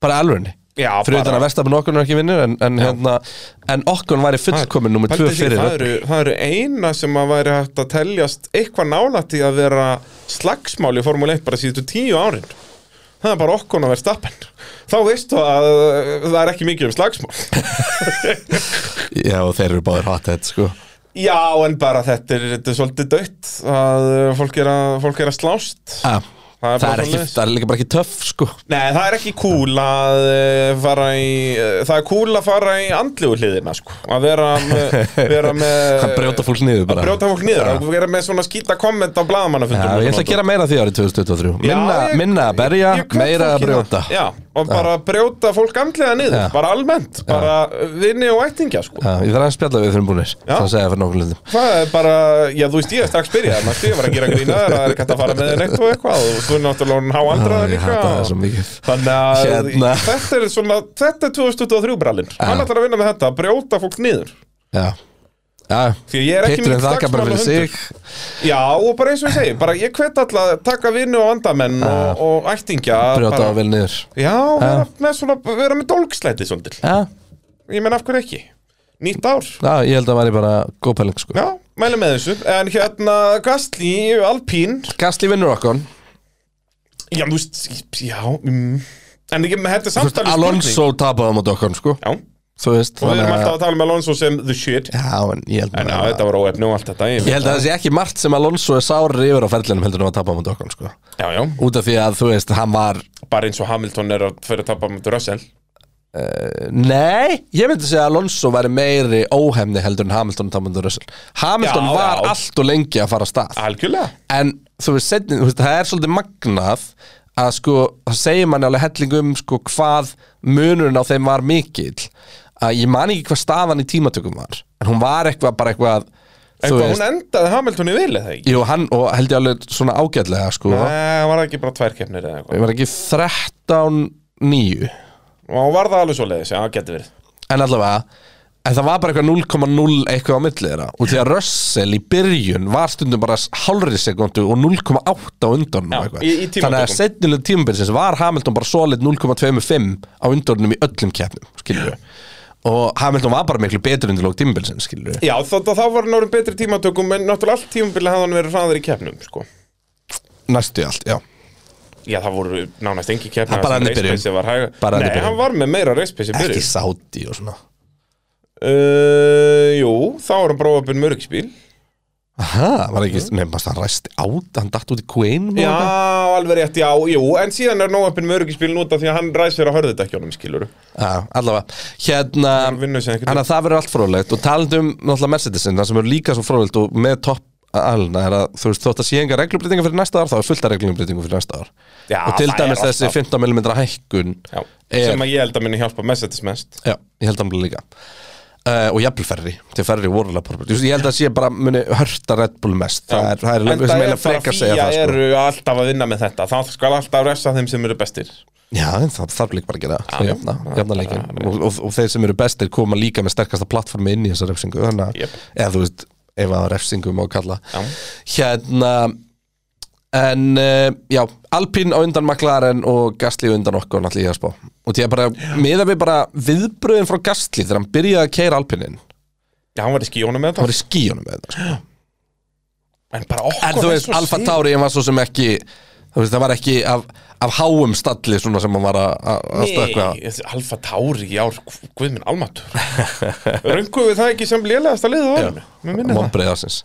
Bara alvörunni Já, Fyrir utan að Vestafn Okkon er ekki vinnur En, en, hérna, en Okkon var í fullkomni nummer 2 Pældi því, fyrir það Red Bull eru, það eru eina sem að væri hægt að teljast eitthvað nálætt í að vera slagsmál í Formule 1 bara síðustu tíu árin það er bara okkur að vera stappen þá veistu að uh, það er ekki mikið um slagsmál Já, og þeir eru báðir hot head, sko já en bara þetta er, þetta er svolítið dött að uh, fólk er að, fólk er að slást ah, Það er það, bara er ekki, svoleiðis. það er líka bara ekki töff, sko Nei, það er ekki cool að uh, fara í, uh, það er cool að fara í andlegu hliðina, sko, að vera með, vera með Hann brjóta fólk niður bara Eh, brjóta fólk niður, að vera með svona skýta komment á Já, blaðamannafundum ég ætla að gera meira af því árið 2023 Já, Minna, ég- minna að berja, ég hvet meira að fólk í brjóta það. Já, og bara brjóta fólk andlega niður, Já. bara almennt, bara vinni og ættingja, sko Já, Ég þarf að spjalla við fyrir búinir Það að segja fyrir nokkur lindum Það er bara, já þú veist ég er strax byrjað, maður ég var að gera grína þér, það er ekki hægt að fara með þér neitt og eitthvað og þú er náttúrulega hún há Já, andraðar ég hata það svo líka mikið. Þannig að Hérna. þetta er svona, þetta er 2023 brallinn, hann ætlar að vinna með þetta, að brjóta fólk niður Já, já Því að ég er ekki Pitturinn mikill þakka bara fyrir slagsmálahundur. sig Já og bara eins og ég segi, bara ég hvet alla að taka vinnu og andamenn og, og ættingja að Brjóta á bara- vel niður Já, vera með svona, vera með dólgslæti svolítil Já, Ég menn af hverju ekki, nýtt ár já ég held að það væri bara góð pæling sko Já, mæli með þessu, en hérna Gastli, Alpín Gastli vinnur okkur Já, þú veist, já mm. En ekki, þetta er samtalið Alonso tapaði á móti okkur sko Já, og Þú veist við erum þannig alltaf að tala um Alonso sem the shit Já, en ég held En já, bara þetta var óefni og allt þetta Ég held að það sé ekki margt sem Alonso er sári yfir á ferlinum heldur en að tapa á móti okkur sko Já, já, Út af því að þú veist, hann var bara eins og Hamilton er að fyrir að tapa með Russell Nei, ég myndi segja að Alonso væri meiri óhemni heldur en Hamilton og Tamandur Russell Hamilton Já, var já. allt og lengi að fara af stað Algjörlega en þú veist, setni, þú veist, það er svolítið magnað að sko, það segir manni alveg helling um sko hvað munurinn á þeim var mikill að ég man ekki hvað staðan í tímatökum var en hún var eitthvað bara eitthvað þú Eitthvað, hún endaði Hamilton í vilja það ekki jú, hann, og held ég alveg svona ágætlega sko, Nei, það var ekki bara tværkeppnir eða eitthvað ég var ekki 13 9 Og var það alveg svo leiðis, já, geti verið en allavega en það var bara eitthvað 0,0 eitthvað á milli þeirra og því að Russell í byrjun var stundum bara hálfri sekundu og 0,8 á undan Já, í- í tímatökum. þannig að setnilega tímabilsins var Hamilton bara solid 0,25 á undanum í öllum keppnum skilur við og Hamilton var bara miklu betur undir lók tímabilsins skilur við Já, þá, þá var hann orðin betri tímatökum En náttúrulega allt tímabilið hafði hann verið hraður í keppnum, sko næstu í allt, já Já, það voru nánast engi Það keppna er bara hann í byrjun. var hæg Bara hann í Nei, byrjun. hann var með meira racepace í byrjun ekki sáti og svona Uh, jú, þá er hann bara opinn mörgisbíl aha, var ekki, nefnast nefnast hann ræsti át hann datt út í Queen Já, alveg rétt, já, jú En síðan er nóg opinn mörgisbíl núta því að hann ræsir á hörðutekjónum, skilur Já, allavega hérna, Hann vinnur sig einhvern þannig að það verður allt fróðlegt og talandi um náttúrulega Mercedesin, það sem er líka svo fróðlegt og með topp alna er að þú veist þótt að sé enga reglumbreytinga fyrir næsta ár þá er fullt af reglumbreytingum fyrir næsta ár Já, og til það er dæmis alltaf. þessi 15mm hækkun Já, Er- sem að ég held að minni hjálpa Mercedes mest Já, ég held að hann líka uh, og jafnvel ferri til ferri voru alveg bara, Þú veist, ég held að sé bara muni hörta Red Bull mest það er, það er Enda alveg sem er eiginlega bara frekar segja fía það sko. eru alltaf að vinna með þetta Það skal alltaf refsa þeim sem eru bestir já, en það þarf líka bara að gera það, jafna, jafna leikin og, og, og þeir sem eru bestir koma líka með sterkasta plattformi inn í þessa refsingu þannig að, Jep. eða þú veist, ef að refsingu má kalla Já. hérna en uh, já, Alpín á undan McLaren og Gastli á undan okkur náttúrulega í að spá og því að bara, miða við bara viðbröðin frá Gastli þegar hann byrjaði að keira Alpinin Já, hann var í skíónu með hann þetta var í skíunum með þetta sko. En bara okkur En þú veist, Alfa Tauri var svo sem ekki þú veist, það var ekki af, af háum stalli svona sem hann var að- að að stökkva Nei, Alfa Tauri, já, guðminn almatur Röngum við það ekki sem lélegasta liðið á orðinu Mér minni það Mónbreið ásins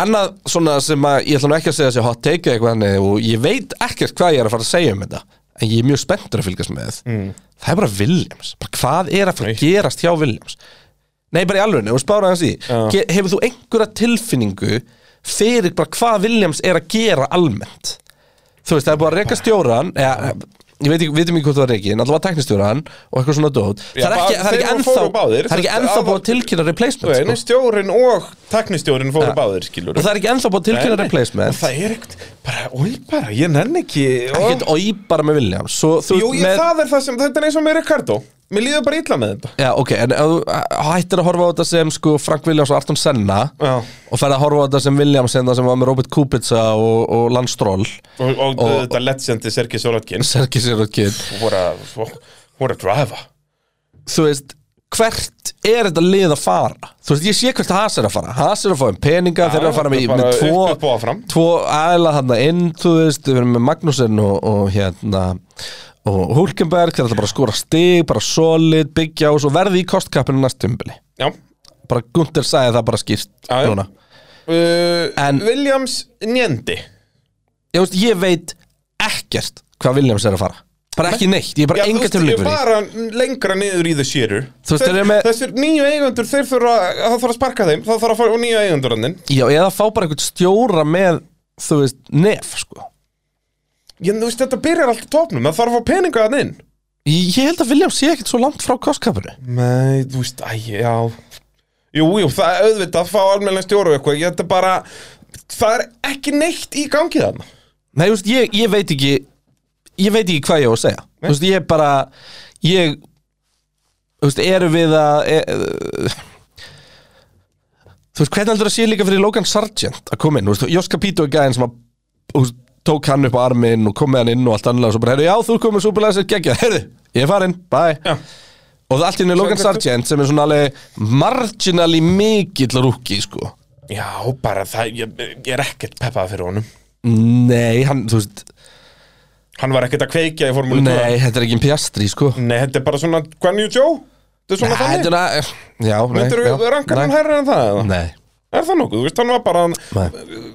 Annað svona sem að ég ætla nú ekki að segja þessi hot take eða eitthvað hannig og ég veit ekkert hvað ég er að fara að segja um þetta en ég er mjög spenntur að fylgjast með mm. það er bara Williams, bara hvað er að fara að gerast hjá Williams Nei, bara í alveg, og spára hans í Ge- Hefur þú einhverja tilfinningu fyrir bara hvað Williams er að gera almennt? Þú veist, það er búið að reyka stjóran eða, ég veit ekki, við veitum ekki hvort það var reygin allavega teknistjóran og eitthvað svona dót Já, það er ekki, það er ekki bara þeir voru ennþá fóru báðir, það er ekki þetta- ennþá að- búið að tilkynna replacement sko. Nei, nei, stjórin og taknistjórin fóru báðir, skilur og það er ekki ennþá búið að tilkynna En replacement það er ekkert, bara, oi bara, ég nenn ekki ekkert oi bara með Williams svo, þú, Jú, veist, ég, það er það sem, þetta er eins og með Ricardo Mér líður bara illa með þetta já, ok, en ef þú uh, hættir að horfa á þetta sem sko Frank Williams og Arton Senna Já. og ferð að horfa á þetta sem Williams hérna sem var með Robert Kubica og, og Lance Stroll Og, og, þetta legendi sko, Sergi Solatkin Sergi Sirotkin What a, what a driver þú veist hvert er þetta lið að fara þú veist, ég sé hvert Haas er að fara Haas er að fá um peninga, þeir eru að fara með, bara með tvo, upp- upp og áfram. tvo aðla þarna inn, þú veist, við erum með Magnúsin og, og hérna og Hulkenberg, þeir eru bara að skora stig bara solid, byggja og svo verði í kostkappinu næstumbili, Já bara Gunther sagði það bara skýrt Já, já. núna uh, En- Williams Njendi ég, veist, ég veit ekkert hvað Williams er að fara bara ekki neitt, ég er bara enga ég tilfylgur í bara lengra niður í the sharer Þú veist, þeir eru með- Þessir nýju eigendur, þeir þurfa Það þarf að sparka þeim, það þarf að fara og nýju eigendur hann já, eða fá bara einhvern stjóra með þú veist, nef, sko Ég, þú veist, þetta byrjar allt á topnum Það þarf að fá peninga hann inn Ég held að Williams sé ekkert svo langt frá kostkapinu Nei, þú veist, æ, já Jú, jú, það er auðvitað, fá almennlega stjóru og eitthvað Ég þetta bara, það er ekki neitt í gangi þarna Nei, þú veist, ég, ég veit ekki Ég veit ekki hvað ég á að segja Þú veist, ég er bara Ég Þú veist, eru við að e, Þú veist, hvernig heldur að sé líka fyrir Logan Sargent að koma inn Þú veist, Joska Pítu er gæðin sem að þú veist, tók hann upp á arminn og kom með hann inn og allt annað og svo bara, heyrðu, já, þú komið súperlega sér geggja Heyrðu, ég er farinn, bye Já. Og það allt inn er Logan Sargent sem er svona alveg marginally mikill rúki, sko Já, bara, það, ég, ég er ekkert peppað fyrir honum Nei, hann, þú veist Hann var ekkert að kveikja í formúlu 2. Nei, þetta er ekki en pjastri, sko Nei, þetta er bara svona Guan Yu Zhou Þetta er svona Nei, þannig þetta er að Já, nei Þetta já, eru rankar hann nei. herra en það eða? Nei Er það nokkuð? Þú veist, hann var bara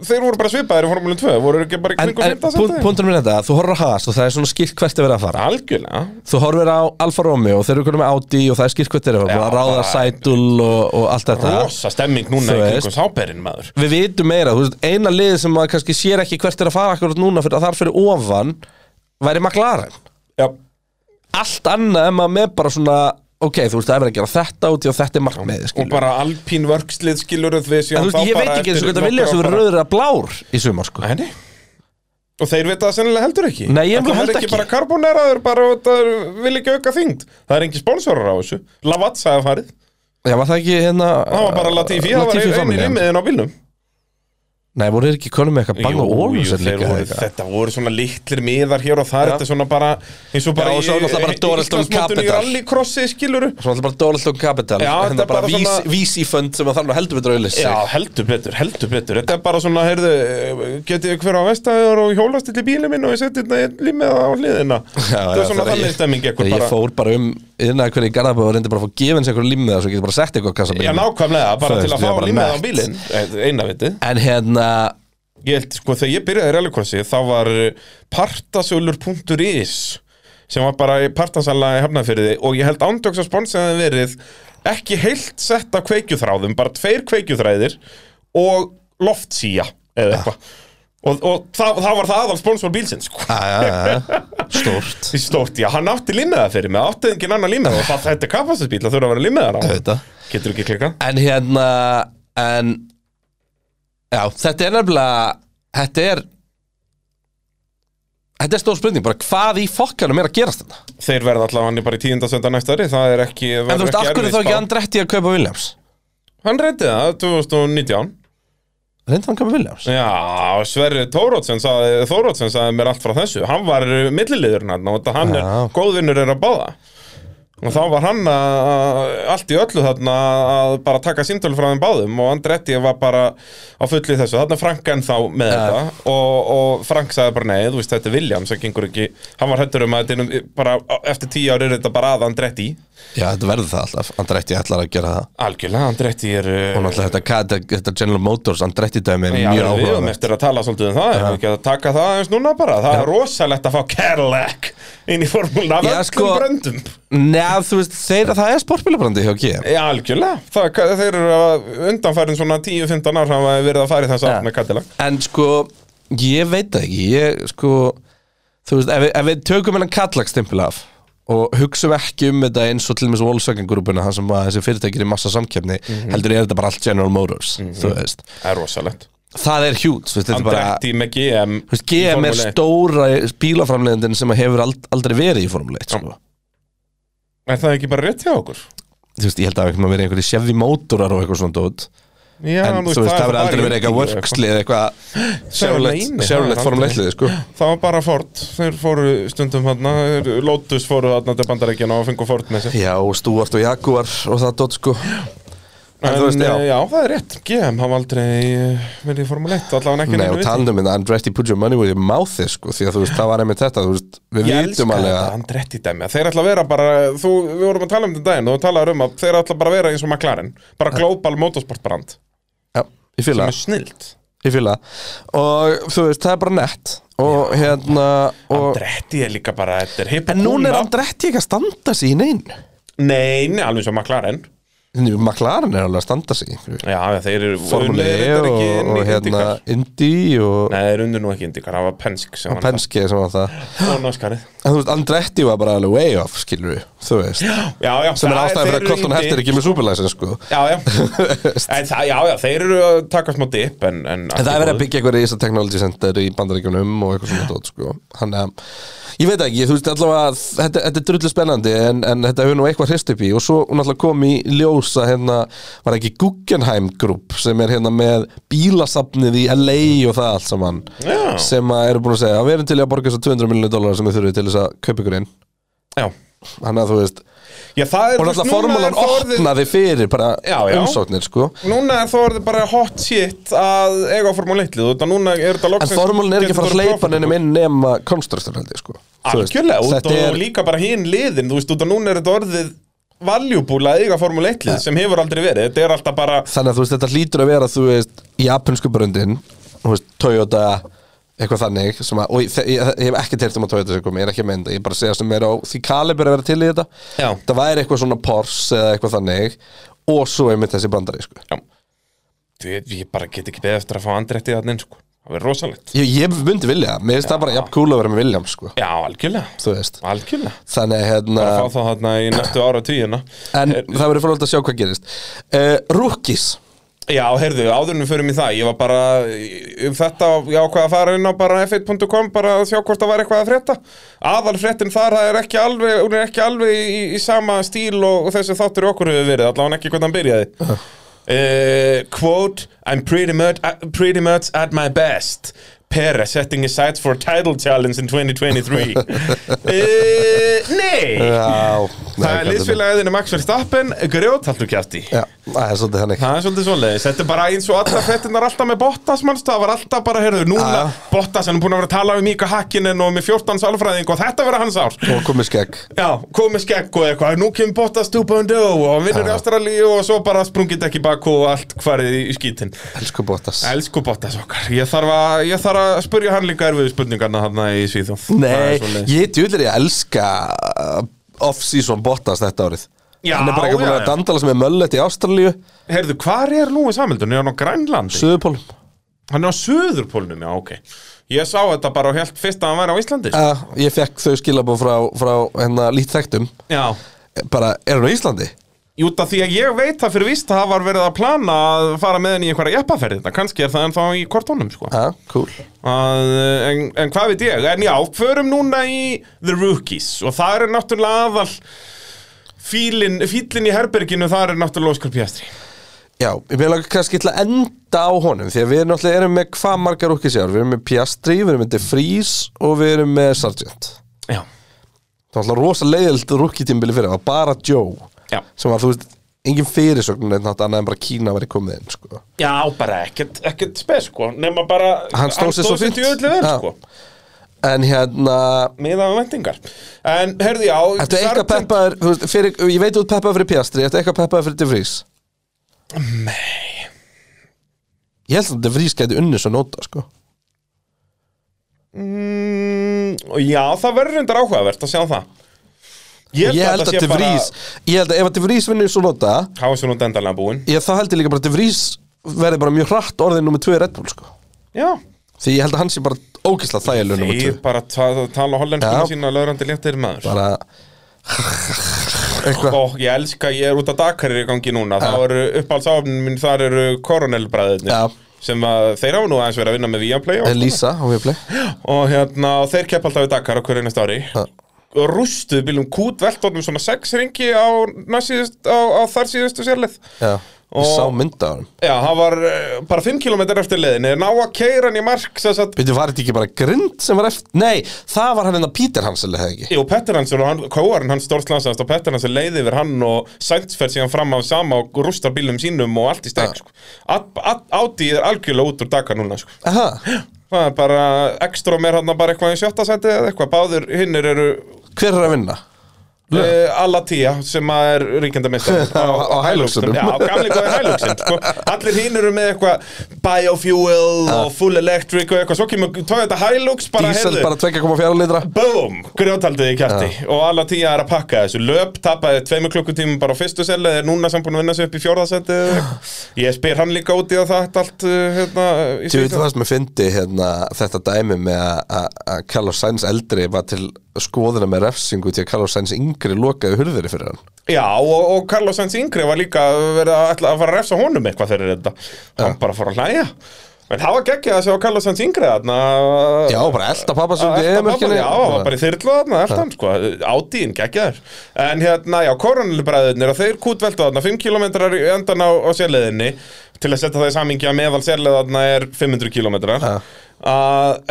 Þeir voru bara svipaðir í formúlu 2 Voru ekki bara í En, kringum en 15 pún- sæti? punktur minn er þetta, að þú horfir á Haas og það er svona skýrt hvert er verið að fara Algjörlega Þú horfir á Alfa Romeo og þeir eru konum með Audi og það er skýrt hvert er að fara Já, Búið að ráða bara- sætul og, og allt þetta Rosa stemming núna Þú í veist. kringum sáberinn maður Við vitum meira, þú veist, eina liðið sem maður kannski sér ekki hvert er að fara akkurat núna fyrir að þar fyrir ofan væri McLaren Já Allt annað er maður með bara svona, ok, þú veist, það er verið að gera þetta út í og þetta er markmiðið, Og skilur bara alpín vörkslið skilur Við En séum þú veist, ég veit ekki eins og hvað það vilja sem verður rauður að blár í sumar, sko Nei, nei Og þeir vita það sennilega heldur ekki Nei, ég Ætli held það er ekki. bara karboneraður bara og það vil ekki auka þyngd Það er engin spónsorar á þessu Lavazza hefði farið Já, var það ekki hérna Það var bara Latifi, það var Latifi einu familjan. rýmiðin á bílnum Nei, voru þeir ekki konum með eitthvað bang og Jú, ólum jú, sér þeir líka voru, eitthvað? Þetta voru svona litlir miðar hér og þar Þetta er svona bara eins og bara Já, og svo er náttúrulega bara Doralton Íslandsmótinu í Capital. rallycrossi skiluru Svo alltaf bara Doleston Capital Já, þetta hérna bara, er bara bara vís, svona- vísifönd sem að þarf nú heldur við draulis Já, heldur betur, heldur betur Þetta er bara svona, heyrðu, getið ykkur á vestæður og hjólastill í bílum minn og ég seti þetta límið á hliðina Þetta er svona þannig stemming ekkur Ég bara fór bara um innan að hverju í Garðabæð og reyndi bara að fá gefin sér einhverju limmiða svo ég geti bara sett eitthvað á Já, kassabílum nákvæmlega, bara Þú veist, til ég að fá bara límið á nett. bílinn Eh, Eina vitið En hérna, Ég held, sko, þegar ég byrjaði í rallycrossi þá var eh, partasölur.is sem var bara í partasala í hafnafyrði og ég held ándjóks að sponsaði verið ekki heilt sett Ah. af kveikjuþráðum, bara tveir kveikjuþræðir og loftsía eða eitthvað og, og það, það var það aðal sponsor bílsins Ah. sko. Stórt Því stórt, já, hann átti limmiða fyrir mig, átti engin annar limmiða og það, þetta er kapasinsbíl að þurfa að vera limmiðar á Auðvitað. Getur ekki klikka? En hérna En Já, þetta er nefnilega Þetta er Þetta er stór spurning, bara hvað í fokkanum er að gerast þetta? Þeir verða allavega hann bara í tíundasönda næsta ári, það er ekki En þú veist, af hverju þá ekki andrætti að kaupa Williams? Hann reyndi það, 2019 Reynda hann kaupa Williams? Já, Sverri Þórótsen sagði, Þórótsen sagði mér allt frá þessu Hann var milliliðurinn hann og þetta hann er, Já. góðvinnur er að báða Og þá var hann að, að, allt í öllu þarna að bara taka símtölu frá þeim báðum og Andretti var bara á fullu í þessu. Þarna er Frank ennþá með þetta og, og Frank sagði bara nei, þú veist þetta er William sem gengur ekki, hann var hættur um að þetta er nú- bara eftir tíu ári er þetta bara að Andretti. Já, þetta verður það alltaf, Andretti ætlar að gera það Algjörlega, Andretti er... uh, Og náttúrulega þetta, hvað- þetta, þetta General Motors Andretti dæmi er Já, mjög við höfum áhuga eftir að tala svolítið um það, ef við ekki að taka það aðeins núna bara Það er rosalegt að fá Cadillac inn í formúluna af Já, öllum sko- bröndum Nei, þú veist, þeir, það er sportbílabrandi hjá GM Já, algjörlega, það, ka- þeir eru að undanfærin svona 10-15 ár hafa verið að fara í þess Já. átt með Cadillac En sko, ég veit það ekki Ég sko Þú veist, ef við, ef við tökum hennan kallagstimpil af Og hugsum ekki um þetta eins og til með Volkswagen grúpuna Það sem að þessi fyrirtækir í massa samkeppni Mhm. Heldur er þetta bara allt General Motors Þú veist, Það er rosalegt það er hjút Þú veist, þetta er bara Andretti með GM þú veist, GM í er Formúlu 1. stóra bílaframleiðindin sem að hefur ald- aldrei verið í Formule 1 sko. Er það ekki bara rétt hjá okkur? Þú veist, ég held að það hafi verið einhverju Chevy mótorar og eitthvað svona dót Já, En þú veist, það hefur aldrei verið eitthvað Indy workslið eitthvað eina, það Chevrolet er Chevrolet aldrei- Formule 1 liði, sko Það var bara Ford, þeir fóru stundum hann Lotus fóru hann til bandarækjana og fengu Ford með sér Já, og Stuart og Jaguar og það dótt sko En En, þú veist, já. eh, já, það er rétt, GM hafa aldrei eh, verið í Formule 1, allavega ekki Nei, neinu og um viti. talandum minna, Andretti put your money where your mouth is sko, því að þú veist, það var einmitt þetta þú veist, við Ég elska vitum alveg þetta, að Andretti dæmi að Þeir ætla að vera bara, þú, við vorum að tala um þetta daginn Þú talaður um að þeir ætla bara að vera eins og McLaren Bara global motorsport brand Já, ég fíla, Sem er snilt ég fíla og þú veist, það er bara nett og hérna og, Andretti er líka bara, þetta er hipp En núna er kúla. Andretti ekki að standa sig í neinu Nei, nei, alveg eins og McLaren Þannig, McLaren er alveg að standa sig í einhverju. Já, þeir eru Formule unnu E reyndar og, ekki inn og í hérna IndyCar. Indy og Nei, þeir eru unnu nú ekki Indikar, það var Penske sem var Ah, Penske sem var það það Og náskarið En þú veist, Andretti var bara alveg way off, skilur við, þú veist Já, já sem er það- ástæðan þeir fyrir að eru Colton Indy. Herter er ekki með superlæsin sko Já, já En það, já, já, þeir eru að taka smá dip En, en, En það er verið að byggja eitthvað reysa technology center í bandaríkjunum og eitthvað svona tótt sko Hann, um, ég veit ekki, þú veist allavega að þetta, þetta er drullu spennandi en, en þetta hefur nú eitthvað hrist upp í og svo hún alltaf kom í ljósa hérna, var ekki Guggenheim Group sem er hérna með bílasafnið í LA og það allt saman Já. sem að eru búin að segja, að við erum til í að borga þess að 200 miljonu dólar sem við þurfum til þess að kaupa ykkur inn Já Þannig að þú veist, Já, það og er þú veist, náttúrulega núna er formúlan það orðið- opnaði fyrir bara Já, já. umsóknir sko Núna er það orðið bara hot shit að eiga formúl 1 lið Þetta núna er þetta En loksins formúlin er ekki að fara að getur hleypa bara sko. nefnum inn nema konstruktur held ég sko Þú veist, Algjörlega, út Þetta og er, líka bara hinn liðin Þú veist, út og núna er þetta orðið valjúbúla að eiga formúl 1 lið sem hefur aldrei verið Þetta er alltaf bara þannig að þú veist þetta hlýtur að vera þú veist, japansku bröndin þú veist, Toyota eitthvað þannig sem að, og ég, ég, ég hef ekki teirt um að Toyota sem komi, ég er ekki að mynda, ég er bara að segja sem er á því kalibur að vera til í þetta Já. það væri eitthvað svona Porsche eða eitthvað þannig og svo einmitt þessi bandari sko. Já Ég, ég bara get ekki beðið eftir að fá andrætti þannig eins sko Það verður rosalegt ég, ég myndi vilja, það. mér finnst það bara jafn cool að vera með Williams sko, Já, algjörlega þú veist Algjörlega þannig að, hérna Fá það þarna í næstu ára tíuna en það verður fórhald að sjá hvað gerist uh, Rookies Já, heyrðu, áðurinn við förum í það, ég var bara um þetta, ég ákvað að fara inn á bara f1.com, bara að sjá hvort það var eitthvað að frétta aðal fréttin þar, það er ekki alveg hún er ekki alveg í, í sama stíl og, og þessi þáttur í okkur hefur verið, allavega ekki hvernig hann byrjaði uh. Quote, I'm pretty much, uh, pretty much at my best Perez setting his sights for title challenge in 2023 uh, Nei Eh, Já, Það er liðsfélagðinu Max Verstappen, grjóthaldur kjátti Já, það er svolítið þannig Það er svolítið svoleiðis, þetta er bara eins og allar fettinnar alltaf með Bottas mannstu, það var alltaf bara, heyrðu, núna Já. Bottas hann er búin að vera að tala um Mika Hakkinen og með 14 sálfræðing og þetta vera hans ár Og komið skegg Já, komið skegg og eitthvað, nú kemur Bottas 2.0 og hann vinnur í Ástralíu og svo bara sprungið ekki bak og allt hvarið í skítin Elsku Bottas Elsku Bottas okkar, ég þarf að, ég þarf að spurja hann líka erfiðu spurningarna hann í Svíþjóð Það Nei, er svoleiðis. ég djúlir ég að elska uh, Off-season Bottas þetta árið Já, Hann er bara ekki búin já, að já. dandala sem er möllet í Ástralíu Heyrðu, hvar er Lúi Samhildun, er hann á Grænlandi? Suðupólum Hann er á söðurpólnum, já, ok Ég sá þetta bara og held fyrst að hann væri á Íslandi sko. uh, Ég fekk þau skilabóð frá, frá hérna, lít þekktum Já Bara, er hún á Íslandi? Júta því að ég veit það fyrir víst að það var verið að plana að fara með henni í einhverja jeppaferði þetta, kannski er það ennþá í kortónum sko. Já, cool að, en, en hvað veit ég, en já, förum núna í The Rookies og það er náttúrulega aðal fílin, fílin í herberginu, það er náttúrulega Óskar Pjastri Já, ég vil ekki kannski til að enda á honum Því að við náttúrulega erum með hvað margar okkur sér Við erum með Piastri, við erum með De Vries Og við erum með Sargent Já, Það var alltaf rosa leiðild rúkitímbili fyrir Það var bara Joe já, Sem var, þú veist, engin fyrirsögn En þetta annað en bara Kína verið komið inn, sko já bara ekkert, ekkert spes sko, nema bara Hann stóð sig svo fínt. djöðlega vel Já. sko, En hérna miðað með vendingar en herði já, Ertu eitthvað Sargent- peppaður, þú veist, fyrir, ég veit út peppaður fyrir Piastri, ertu eitthvað peppaður fyrir De Vries? Nei Ég held að De Vries gæti unnið svo nota, sko Mm, já, það verður reyndar áhugavert að sjá það Ég held að, að þetta De sé bara- Vries, ég held að ef að De Vries vinnur svo nota Þá er svo nú dendalega búinn ég, þá held ég líka bara að De Vries verði bara mjög hratt orðin nummer 2 í Red Bull, sko Já Því ég held að hann sé bara ógislega þægjalur nummer 2 Þeir bara ta tala Já. hollenskuna sína löðrandi léttir maður Bara Eitthvað Og ég elska, ég er út að Dakarir í gangi núna Þá eru uppáhaldsáfnin mín, þar eru koronelbræðinir Já. Sem að þeir hafa nú aðeins verið að vinna með Viaplay og, Elisa, hún við play og hérna, og þeir kepp alltaf við Dakar á hverju næsta ári Já. Og rústuðu bílum kút veltónum svona sex ringi á, næsíðust, á, á þar síðustu sérleið Já, ég Og- sá mynda á hann Já, það var eh, bara 5 km eftir leiðinni Ná að keira hann í mark sem sagt, Veitu, var þetta ekki bara grind sem var eftir Nei, það var hann en að Peter Hansel, eða ekki Jú, Petter hans og hann, kóarinn hans stórslansaðast og Petter hans er leiði yfir hann og Sainz fer síðan fram á sama og rústar bílum sínum og allt í Ah. steg sko. Átti er algjörlega út úr daga núna sko. Aha, Það er bara, ekstra meir hann bara eitthvað í sjötta seti eða eitthvað, báður hinnir eru Hver er að vinna? e, alla tíja sem að er ríkendamistar Á- á Hiluxunum. Já, á gamli góði hæluxin sko. Allir hinn eru með eitthvað biofuel Ah. og full electric og eitthvað, svo kemur, tóðu þetta hælux bara, Diesel heyrðu, bara 2,4 litra Búm, grjótaldið í kjætti og alla tíja er að pakka þessu löp, tapaði tveimur klukkutímum bara á fyrstu selli er núna sem búin að vinna sig upp í fjórðasendi ég spyr hann líka út í að það allt uh, hérna, í Þú veit Svíþjóð. það sem ég fyndi hérna, þetta dæmi með að- að að Carlos Sainz eldri var til skoðina með refsingu til að Carlos Sainz yngri lokaði hurðiri fyrir hann Já, og, og Carlos Sainz yngri var líka verið að, ætla að fara að refsa honum eitthvað þegar þetta hann bara fór að hlæja en það var geggjað að sjá Carlos Sainz yngri þarna Já, bara elda pappa sem Elta pabba, Já, hann var Já, bara í þyrlu þarna, elta hann sko, átíðin, geggjaður En hérna, já, koronalbræðinir og þeir kútveldu þarna 5 km í endan á, á sérleðinni Til að setja það í samingja meðal sérleð þarna er 500 km Já.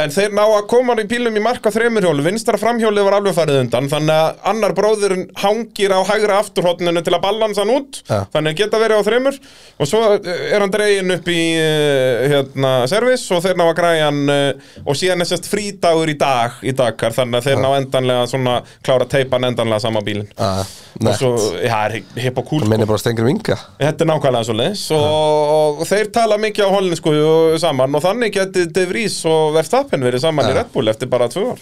En þeir ná að koma í pílum í marka þremurhjólu Vinstra framhjólið var alveg farið undan Þannig að annar bróðurinn hangir á hægra afturhotninu til að ballansa hann út Já. Þannig að geta verið á þremur Og svo eh, er hann dregin upp í eh, hérna, servis Og þeir ná að græja hann eh, Og síðan er sérst frídagur í dag Í dagar, þannig að þeir ná endanlega Svona klára að teipa hann endanlega sama bílinn Ah, Og nett svo, já, það er hipp og kúl Minni bara stengur vinga Þetta er nákvæmlega svo leis og, og þeir tala mikið á hollinsku saman og þannig geti De Vries og Verstappen verið saman í Red Bull eftir bara tvö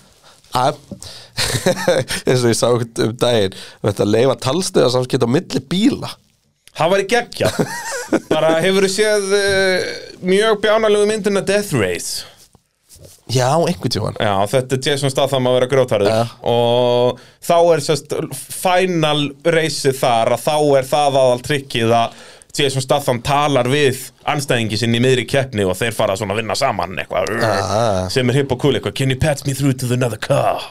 ár eins og ég sá eitthvað um daginn þetta leifa talstöða samskipt á milli bíla Það var í geggja Bara hefur þú séð uh, mjög bjánalegu myndina Death Race Já, einhvern tímann Já, þetta er Jason Statham að vera grótarður Já. og þá er sérst final reysið þar að þá er það aðal trikkið að Jason Statham talar við anstæðingi sinni í miðri keppni og þeir fara svona að vinna saman eitthvað Ah. sem er hipp og cool eitthvað Can you pass me through to another car?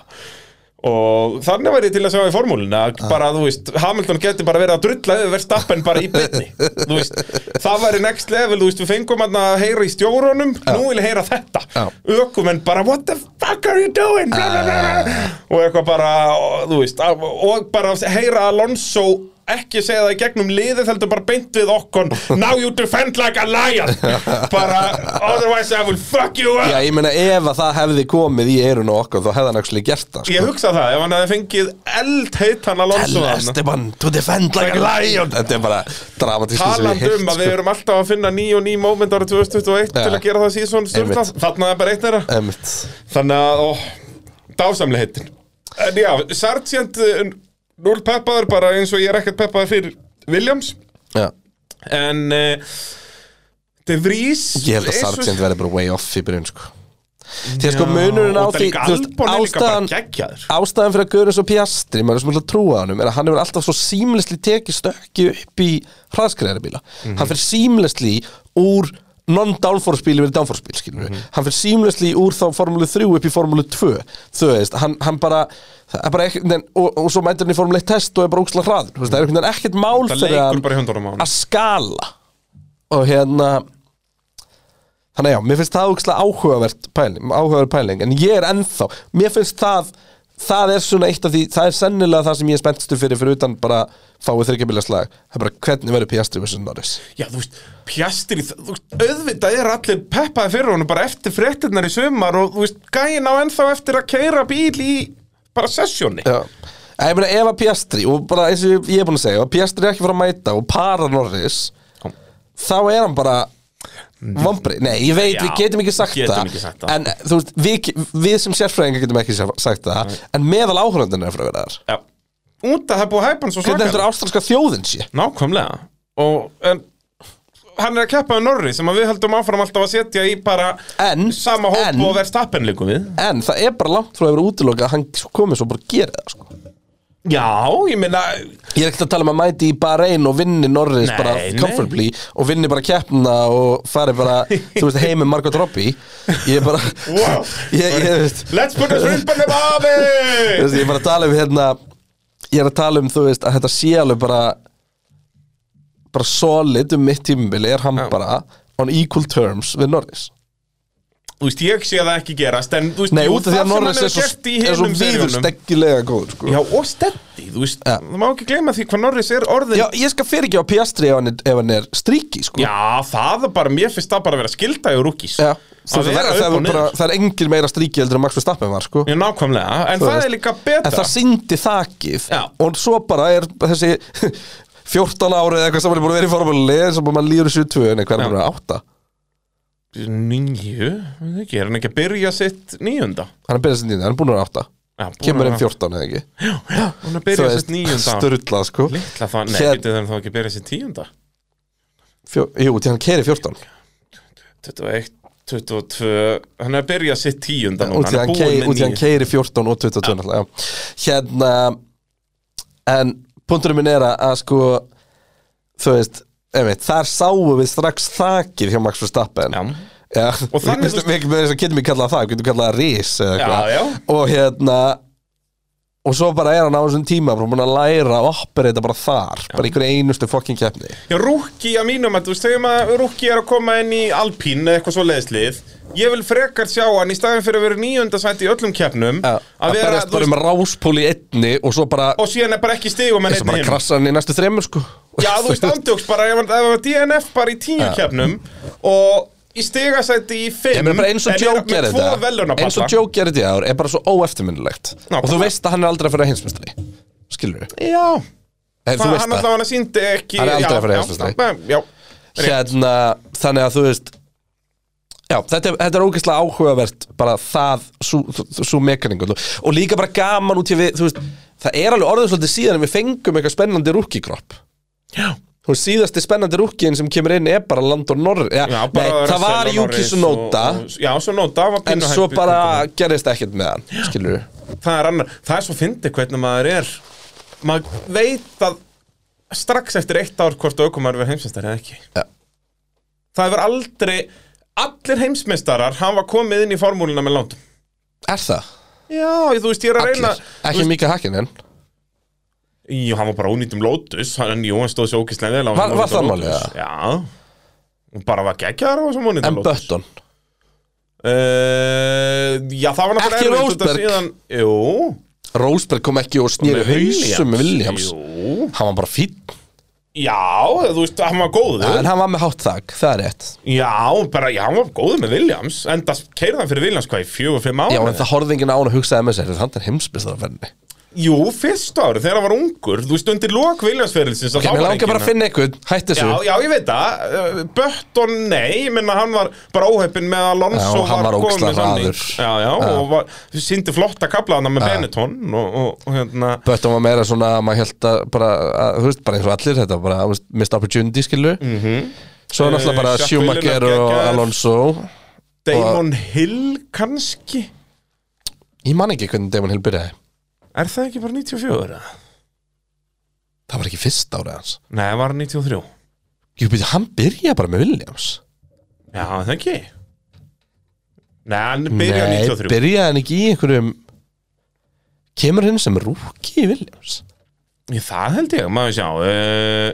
Og þannig væri ég til að sjá í formúlinu að Ah. bara, þú veist, Hamilton geti bara verið að drulla yfir verðstappen bara í byrni Þú veist, það væri next level, þú veist, við fengum hann að heyra í stjórunum Nú vil ég heyra þetta Já. Ökumenn bara, what the fuck are you doing? Bla, bla, bla, bla. Ah. Og eitthvað bara, og, þú veist, að- og bara heyra Alonso ekki segja það í gegnum liðið heldur bara beint við okkon Now you defend like a lion Bara, otherwise I will fuck you up Já, ég meina ef að það hefði komið í eirun og okkur þá hefði hann actually gert það sko. Ég hugsa það, ef hann hefði fengið eldheitan Alonso Tell hann Esteban to defend like a lion Þetta er bara dramatískt Talandi um að við sko. erum alltaf að finna ný og ný moment árið 2021 Ja. til að gera það síðan stundla Einmitt. Þarna er bara eitt þeirra Emmitt Þannig að, ó, dásamlega heitin En já, Sargent eh, núl peppaður bara eins og ég er ekkert peppaður fyrir Williams Já En uh, eh, De Vries Ég held að eins og- Sargent verði bara way off í byrjun sko Því að sko Já, munurinn á og það því líka þú veist, Albon er líka bara ástæðan, geggjaður. ástæðan fyrir að Guðurinn svo Piastri, maður er sem að trúa honum er að hann hefur alltaf svo símlesli tekið stökki upp í hraðskræðarbíla hann fyrir símlesli úr non-downforce bíli verið downforce bíl skilur við hann fyrir símlesli úr þá formúlu 3 upp í formúlu 2 þú veist, hann, hann bara, það er bara ekki, nein, og, og svo mætir hann í formúlu 1 test og er bara úksla hraður, þú veist, það er einhvern veginn ekkert mál Það fyrir hann leikur bara í höndunum á hann að skala og hérna þannig að já, mér finnst það ógæslega áhugavert pæling, áhugaverð pæling, en ég er ennþá mér finnst það, það er svona eitt af því, það er sennilega það sem ég er spenntstur fyrir fyrir utan bara fáið þryggjabíla slag það er bara hvernig verður Piastri versus Norris Já, þú veist, pjastri, þú veist, auðvitað er allir peppaði fyrir honum bara eftir fréttinnar í sumar og þú veist, gæin á ennþá eftir að keira bíl í bara sessjóni. já En Ég meina ef að Piastri, og bara eins og ég er búin að segja, ef að Piastri er ekki frá að mæta og para Norris, Já. þá er hann bara vombri, nei, ég veit, Já, við getum ekki sagt getum það ekki sagt það. en þú veist, við, við sem sérfræðingar getum ekki sagt það, en meðal áhörðunir er frá að vera þar, Já. Út að það er búið að hæpa hann svo hvernig þetta er slakar. ástralska þjóðin sé Nákvæmlega. Og en, hann er að keppa við Norri sem að við höldum áfram alltaf að setja í bara En- sama hóp en- og verðst appen líkum við. en það er bara langt frá að vera útilokað að hann komið svo bara að gera það sko. Já, ég meina, ég er ekkert að tala um að mæti í Bahrein og vinni Norris Nei, bara nei. comfortably og vinni bara keppna og fari bara, þú veist, heim með Margot Robbie ég er bara Wow. ég, ég, þú veist, let's put a shrimp on the Þú veist, barbie! ég er bara að tala um hérna Ég er að tala um, þú veist, að þetta sé alveg bara bara solid um mitt tímubili er hann bara on equal terms við Norris Þú veist, ég sé það ekki gerast, en þú veist, Nei, jú, út af því það að sem hann Norris er hefur svo, gert í er svo hinum víður seríunum- steggilega góður sko. Já, og steddi, þú veist, Já. það má ekki gleyma því hvað Norris er orðin Já, ég skal fyrir ekki á Piastri ef hann er, ef hann er stríki sko. Já, það er bara, mér finnst það bara að vera skilda í rúkis Já, þú veist, það, er, það, er bara, það er engin meira stríki heldur en Max Verstappen var sko. Já, nákvæmlega, en Þú það veist. er líka betra En það syndi þakið Já. Og svo bara er þessi 14 ári eða eitthvað sem hann er búin að vera í formúli sem mann líður í 72 en eitthvað er bara 8 Nýju, það ekki, er hann ekki að byrja sitt nýjunda hann er byrjað sér nýjunda, hann er búin að vera átta Já, búin kemur að- inn 14 eða ekki Hún er að byrja sitt nýjunda störðla sko Litla það, nei, Hér- getur það þá ekki að byrja sitt tíunda Fjó, jú, til hann keiri 14 21, 22, hann er að byrja sitt tíunda núna út til er hann, búinn kei, með út í hann níu. keiri 14 og 22 náttúrulega, já. hérna en punkturinn minn er að, að sko þú veist einmitt, þar sáum við strax þakið hjá Max Verstappen Já. Já, Og þannig- við, við, við, við getum ekki kallað það, við getum kallað það ris eða Já, eitthvað. já. Og hérna Og svo bara er hann á þessum tíma bara búin að læra að operita bara þar bara einhverju einustu fokkin keppni Já, Rúkki að mínum að þú veist, segjum að Rúkki er að koma inn í Alpín eða eitthvað svo leiðslið Ég vil frekar sjá hann í staðin fyrir að vera nýjöndasætt í öllum keppnum að, að vera, berjast þú bara veist, um ráspól í einni og svo bara, og síðan er bara ekki stigum en svo einnig bara hinn krassa hann í næstu þremur sko Já, þú veist, andjóks bara, ef ef það var DNF bara í tíu keppnum og í stigasætti í Ég fimm meina bara eins og en er Joe með gerir tvo þetta eins og velunapalla Joe gerir þetta í ár er bara svo óeftirminnilegt Ná, og þú bara- veist að hann er aldrei að fyrir heimsmyndstari skilur við, Já, þú veist það, hann það alltaf hann að síndi ekki Hann er aldrei já, að fara í já, heimsmeistari. Já, já, hérna, þannig að þú veist já, þetta, er- þetta er ógeðslega áhugavert bara það, svo mekaningu og líka bara gaman út í við þú veist, það er alveg orðið svolítið síðan en við fengum eitthvað spennandi rúkikropp já Þú veist, síðasti spennandi rúkkiðin sem kemur inn er bara Landon Norris ja, Já, nei, bara það Russell var og Juki Norris Sunoda og- og- Já, Sunoda var en pínu svo hægt- bara gerist ekkert með hann skilur við það er annar, það er svo fyndið hvernig maður er maður veit að strax eftir eitt ár hvort aukumar verður heimsmeistari eða ekki Já. það hefur aldrei allir heimsmeistarar hafa komið inn í formúluna með látum er það? já, þú veist, ég er að reyna Allir, ekki Mika Hakkinen jú, hann var bara ónýtum lótus hann, jú, hann stóð sér ókislega vel á Var- þessum var það ónýta málið, Lotus. já, hún bara var geggjar á þessum ónýtum en lótus Button uh, já, það var náttúrulega Ekki erfitt út af Rosberg. síðan, jú, Rósberg kom ekki og snýri með hausum með Williams jú hann var bara fín Já, þú veist, hann var góður en hann var með hátt þag, það er rétt Já, bara, já, hann var góður með Williams En það keirði hann fyrir Williams hvað í fjögur, fimm ára Já, en það horfði enginn á hann að hugsaði með sér Þannig er heimsbyrstara fenni Jú, fyrstu ári, þegar hann var ungur Þú veist, undir lok Williamsferilsins Ok, mér langar bara að finna einhvern, hætti Já, þessu já, ég veit það Uh, Button, nei, ég minna hann var bara óheppin með Alonso Já, hann var kominn ógeðslega með samning. hraður. Já, já, og var, síndi flotta kaplaðana með Benetton og, og, og hérna Böttum var meira svona að maður held að bara, að, þú veist, bara eins og allir þetta bara, þú veist, mist opportunity skilu mm -hmm. Svo er náttúrulega bara Eh, Jacques Schumacher Villeneuve og geggjaður. Alonso Damon Hill kannski Ég man ekki hvernig Damon Hill byrjaði Er það ekki bara 94? eða? Það var ekki fyrst árið hans Nei, það var 93 Jú, byrja, hann byrjaði bara með Williams Já, það ekki Nei, hann byrja 93 byrjaði hann ekki í einhverjum Kemur hinn sem rúki í Williams Ég, það held ég, maður sjá uh,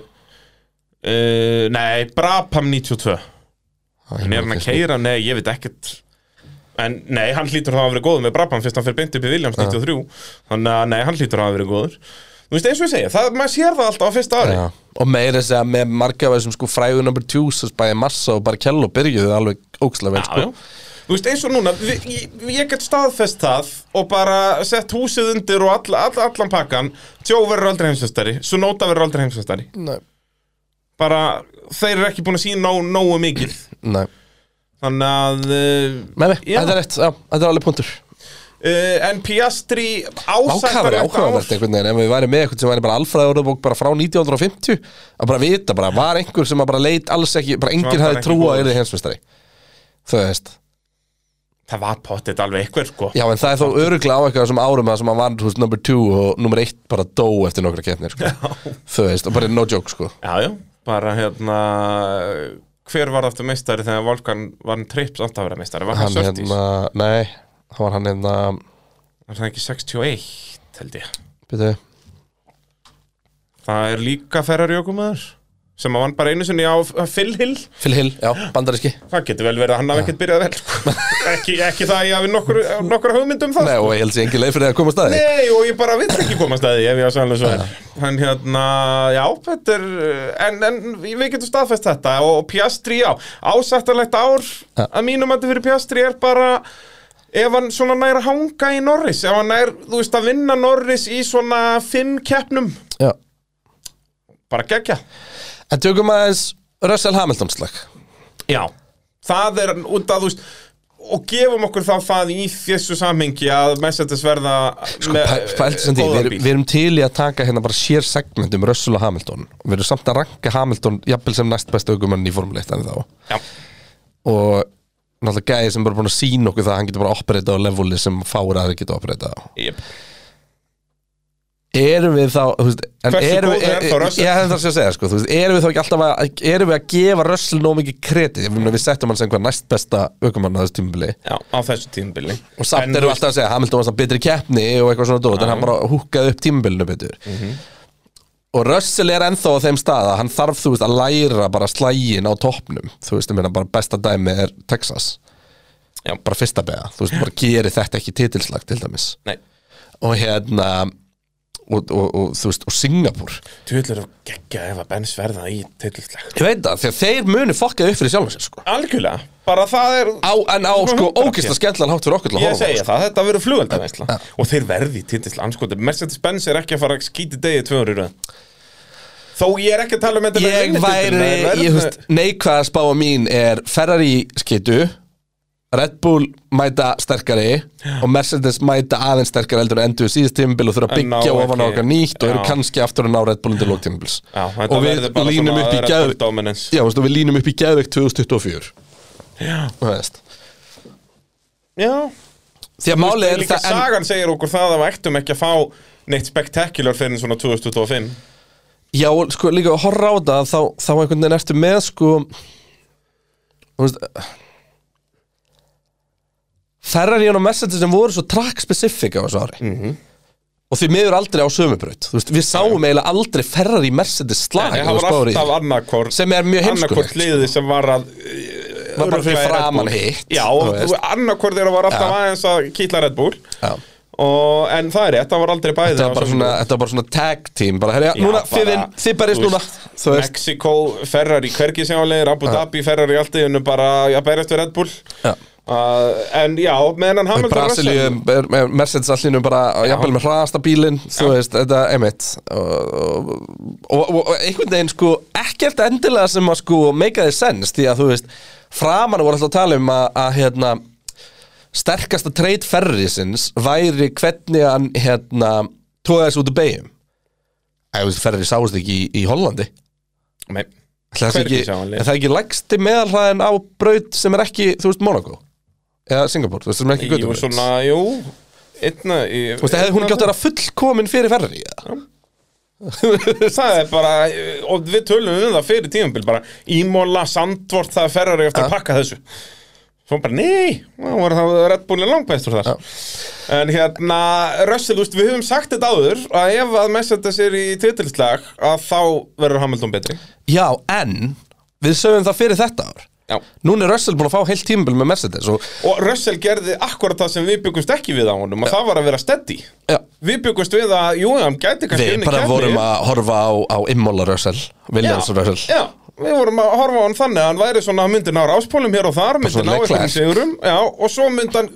uh, Nei, Brabham 92 Æ, En er hann að keira? Nei, ég veit ekkert En nei, hann hlýtur það að vera góður með Brabham Fyrst hann fyrir beint upp í Williams 93 Þannig að nei, hann hlýtur það að vera góður Þú veist, eins og ég segja, það, maður sér það alltaf á fyrsta ári Já. Og meira þess að með marga af þessum sko fræðu number twos, bæði Massa og Barkello byrjuðu alveg ókslega vel sko. já. Þú veist, eins og núna, vi- ég, ég get staðfest það og bara sett húsið undir og all, all, allan pakkan Tjó verður aldrei heimsvestari, Sunóta verður aldrei heimsvestari Nei. Bara, þeir eru ekki búin að sína nóg, nógu mikið Nei. Þannig að, uh, Nei, nei, Já. þetta er rétt, já, þetta er alveg punktur uh, en Piastri Ákafari ásættar ákafavert einhvern veginn, ef við væri með eitthvað sem væri bara alfræði orðabók bara frá 1950 að bara vita bara, var einhver sem að bara leit alls ekki, bara enginn bara hafði ekki trú að góður. erði hensmestari Þau veist Það var pottet alveg eitthvað, sko Já, en það er þó öruglega á eitthvað þessum árum að sem að var, þú veist, number two og nummer eitt bara dó eftir nokkra keppnir, sko Þau veist, og bara no joke, sko Já, já, bara hérna Hver var aftur meistari þegar Volkan var hann tripp samt að vera meistari? Var hann Hann Sörtís? hérna, nei, það var hann hérna, Var það ekki 61, held ég byrju Það er líka Ferrari ökumæður sem að vann bara einu sinni á Phil Hill Phil Hill, já, bandaríski Það getur vel verið að hann hafi ekkert byrjað vel sko. ekki, ekki það að ég hafi nokkur, nokkur hugmyndum það Nei, og ég held sér engin leið fyrir að koma að staði Nei, og ég bara vill ekki komast að því ef ég var sannlega svo er. En hérna, já, þetta er, en, en við getum staðfest þetta og Piastri, já, ásættalegt ár Ja. að mínum að fyrir Piastri er bara ef hann svona nær að hanga í Norris, ef hann nær, þú veist, að vinna Norris í svona fimm keppnum, Já. bara gegja. En tökum aðeins Russell Hamilton slag Já, það er út að þú veist og gefum okkur þá það í þessu samhengi að Mercedes verða Sko, pæ- pældu sem því, við, erum- við erum til í að taka hérna bara sér segment um Russell og Hamilton og við erum samt að ranka Hamilton jafnvel sem næst besta aukumann í Formule 1 en þá Já. og náttúrulega gæði sem bara búin að sína okkur það að hann getur bara að operita á leveli sem fáir aðri getur að operita á Yep. erum við þá þú veist, en Hversu erum við, góður er þá Russell? ég hefði það að segja sko, þú veist, erum við þá ekki alltaf að erum við að gefa Russell nóg mikið kredit ég meina, við settum hann sem hvað næst besta aukumann að þessu tímubili Já, á þessu tímbili og samt erum við alltaf að segja Hamilton var samt betri í keppni og eitthvað svona dót en hann bara húkkaði upp tímabilinu betur og Russell er ennþá á þeim stað að hann þarf þú veist að læra bara slægin á toppnum þú veist, ég meina bara besta dæmi er Texas Já. bara fyrsta beða þú veist, bara geri þetta ekki titilslag til dæmis Nei, og hérna og, og, og þú veist, og Singapur tjóðlega geggja ef að Benz verða í tillitlega ég veit það, því að þeir munu fokkað upp fyrir sjálfum sér sko Algjörlega, bara það er á, en á Svona sko 100%. ógist að skemmtlan hátt fyrir okkur til að Ég horfa á, segja sko. það, þetta verður flugeldaveisla Og þeir verði í tindisla anskotir Mercedes-Benz er ekki að fara að skýti degi tvöður í röð Þó ég er ekki að tala um þetta með ég vinnutildina, þeir væri, verða- ég veist, neikvæða spáa mín er Ferrari skitu Red Bull mæta sterkari og Mercedes mæta aðeins sterkari heldur en endur síðast tímabil og þurfa að En ná byggja ofan á ekki- okkar nýtt og eru Já. kannski aftur að ná Red Bull undir lóktímabils Já, og þetta við verður bara línum upp svona í Red Bull geð dominance. já, veistu, við línum upp í geðvegt 2024 Já, þú veist. já því að máli er Líka það en, sagan segir okkur það að við ættum ekki að fá neitt spektakular fyrir en svona 2025 já, sko, líka að horra á það þá, þá einhvern veginn ertu með sko þú veist Ferrari og Mercedes sem voru svo track specific á þessu ári Mhm. og því miður aldrei á sömubraut Þú veist, við sáum eiginlega aldrei Ferrari Mercedes slag Nei, ef það þú var spáir í alltaf því. annarkort sem er mjög annarkort heimskulegt liðið sem var að Var bara fyrir framan hitt, Já, þú veist. annarkort þeirra var alltaf Já. aðeins að kýtla Red Bull Já. og, En það er rétt, það var aldrei bæði þetta var bara svona, þetta var bara svona tag team bara, herja, Já, núna, bara, þið vinn, þið berist þú núna veist, þú veist, Mexiko, Ferrari, hvergi sjáleir Abu Dhabi, Ferrari, allt í hennu bara að berjast við Red Bull Já. Uh, en já, meðan hann Hamilton Brasilíu, Russell- er- er Mercedes allinu bara, jafnvel með hraðasta bílinn þú veist, þetta er mitt og, og, og, og einhvern veginn sko ekkert endilega sem að sko make a sense, því að þú veist framan voru alltaf að tala um að, að hérna, sterkasta treyt ferrisins væri hvernig hann hérna, tóða þessu út úr beigum Æ, þú veist, ferri sáist ekki í, í Hollandi Nei, Það er Hvergi ekki, sjáanleg. er það ekki lægsti meðalhraðin á braut sem er ekki, þú veist, Monaco eða Singapore, þú veist, sem er ekki Jú, göttubraut svona, jú Einna í Þú veist, hefði hún gætt að vera fullkomin fyrir ferri eða? Það er bara, eh, og við tölum um það fyrir tíðumbil bara Ímóla, Sandvort, það er ferrar eftir að pakka þessu Svo bara, nei, þá var það Red Bull er langbæstur þar En hérna, Russell, þú veist, við höfum sagt þetta áður að ef að Mercedes er í titilslag að þá verður Hamilton betri Já, en við sögum það fyrir þetta ár Já Núna er Russell búin að fá heilt tímabil með Mercedes og, Og Russell gerði akkurat það sem við byggumst ekki við á honum og það var að vera steady já, Við byggumst við að, jú, hann gæti kannski Við unnið bara keppni. vorum að horfa á, á Immola Russell, Williams Russell já, við vorum að horfa á hann þannig að hann væri svona að myndi ná ráspólum hér og þar, myndi svona ná eitthvað Leclerc. sigurum, já, og svo myndi hann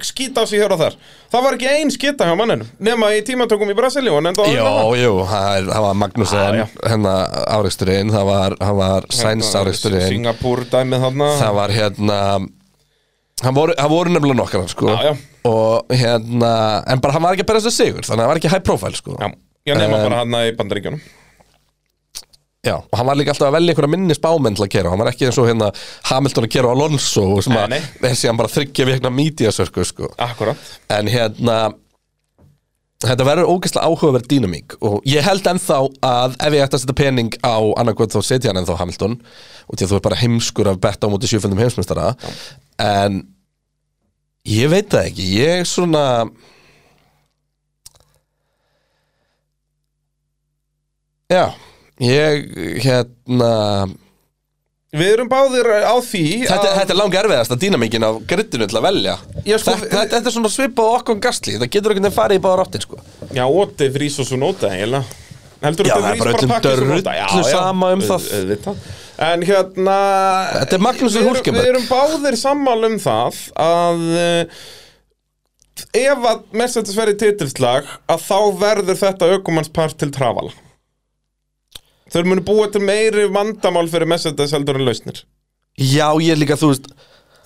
skýta á sig hér og þar. Það var ekki ein skýta hjá manninu, nema í tímatökum í Brasilíu, en enda Jó, jú, það er- það var Magnussen, Já, já. hérna áreksturinn, það var, það Hérna var Sainz áreksturinn Singapúr dæmið þarna. það var hérna hann voru, hann voru nefnilega nokkar hann sko Já, já. og hérna en bara hann var ekki að bera þess að sigur þannig að hann var ekki high profile sko Já, ég nema Um, bara hann í bandaríkjunum. Já, og hann var líka alltaf að velja einhverja minni spámenn til að kera hann var ekki eins og hérna Hamilton að kera Alonso sem að Nei, er síðan bara þryggja vikna mídíasörku sko Akkurat. en hérna þetta verður ógeðslega áhugaverð dýnamík og ég held ennþá að ef ég ætti að setja pening á annarkvöld þá setja hann ennþá Hamilton og því að þú er bara heimskur af betta á móti sjöfundum heimsmyndstara en ég veit það ekki ég svona já ég hérna Við erum báðir á því þetta, að... þetta er langt erfiðast að dýnamíkin af grittinu til að velja Já, sko, þetta, þetta, þetta er svona svipað okkur um gastli það getur ekki að fara í báða ráttir sko Já, óti frís og svo nota eiginlega Heldur Já, þú það er frís bara öllum pakkið svo nota? Já, drullu já, sama um það. auð- auðvitað. En hérna Þetta er Magnús við erum- Hulkenberg. Við erum báðir sammál um það að uh, ef að Mercedes verði titilslag að þá verður þetta aukumannspar til trafala Þau munu búa til meiri vandamál fyrir Mercedes heldur en lausnir Já, ég líka, þú veist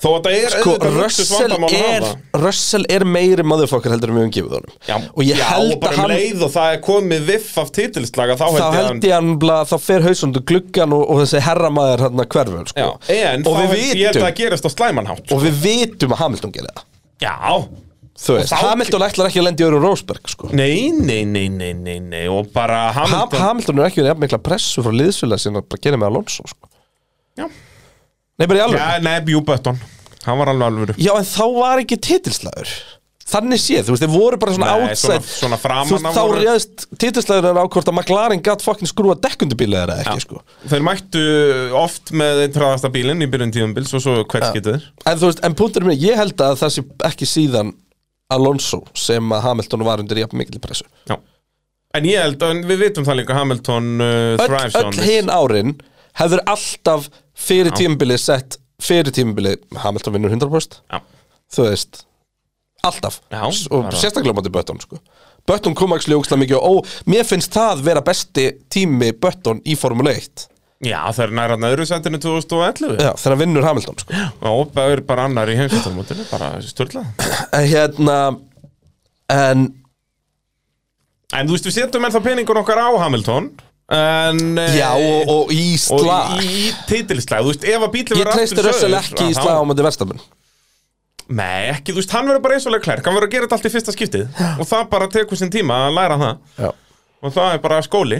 Þó að það er Sko, auðvitað luksus Russell vandamál að er, hafa. Russell er meiri motherfucker heldur en við höfum gefið honum Já, Og ég já, held og bara að um hann leið og það er komið viff af titilslaga þá Þá held ég að held ég hann blá, þá fer hausundu gluggan og, og þessi herramaður hann að hverfur sko. Já, en Og þá við held ég að vitum það gerist á slæmanhátt Og við vitum að Hamilton gerir það Já Þú veist, þá- Hamilton ætlar ekki að lenda í öru Rósberg sko. Nei, nei, nei, nei, nei, nei Og bara Ham, Hamilton Hamilton er ekki verið jafn mikla pressu frá liðsfélag sinna að bara gera með Alonso sko. Já, Nei, bara í alveg ja, nei, Bjú Bötton Hann var alveg alvöru Já, en þá var ekki titilslagur Þannig séð, þú veist, þeir voru bara svona Nei, outside svona- svona framan Þú veist, af þá voru- réðst titilslagur á hvort að McLaren gatt fokkin skrúa dekkundubíla þeirra ekki, sko Þeir mættu oft með einn traðasta bílinn í byrjun tíðumbils og svo hvert getur þeir En þú veist, en punkturinn minn, ég held að það sé ekki síðan Alonso sem að Hamilton var undir jafn mikil pressu Já En ég held, en við vitum það líka Hamilton uh, Öll, thrives on öll this hin árin hefur alltaf fyrir tímabilið sett fyrir tímabilið, Hamilton vinnur 100% Já, þú veist alltaf, Já, S- og bara. sérstaklega mátti Bötton sko. Bötton kom ekki ógstlega mikið og mér finnst það vera besti tími Bötton í Formule 1 Já það er nærað öðru sendinu 2011 Já, þegar hann vinnur Hamilton sko. Og það er bara annar í heimsvættarmótinu Bara störla en hérna en En þú veist, við setjum ennþá peningur okkar á Hamilton En eh, já, og, og í og slag í, í titilslag, þú veist, ef að bílum ég treysti Russell ekki í slag á mæti verstafn Nei, ekki, þú veist, hann verður bara eins og Leclerc, hann verður að gera þetta allt í fyrsta skiptið og það bara tekur sinn tíma að læra það og það er bara skóli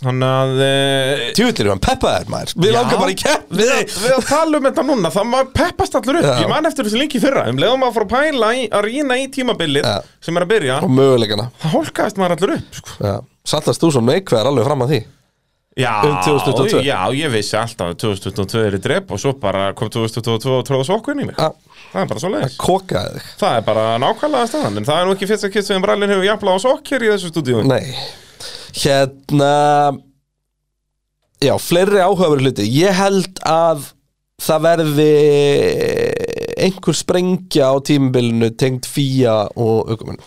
Þannig að e, tjúvillir hann peppaðir maður við Já. langar bara í kepp við, að- við að tala um þetta núna, það maður peppast allur upp Já. Ég man eftir þessu lengi í fyrra, um leiðum að fara að pæla í, að rýna í tímabilið Já. sem er að byrja og möguleikana Það hólkaðist maður allur upp, sko Já. Sallast þú svo neikvæðar alveg fram að því Já, Um 2022. já, ég vissi alltaf að 2022 er í drepp og svo bara kom 2022 og tróða sokkunni í mig Já, Það er bara svo Ah. leiðis kokaði þig Það er bara nákvæmlega staðan, en það er nú ekki fyrsta kitt sem Brælin hefur jafnlega á sokkir í þessu stúdíu Nei Hérna Já, fleiri áhugaveru hluti Ég held að það verði einhver sprengja á tímabilinu tengd fía og aukumenn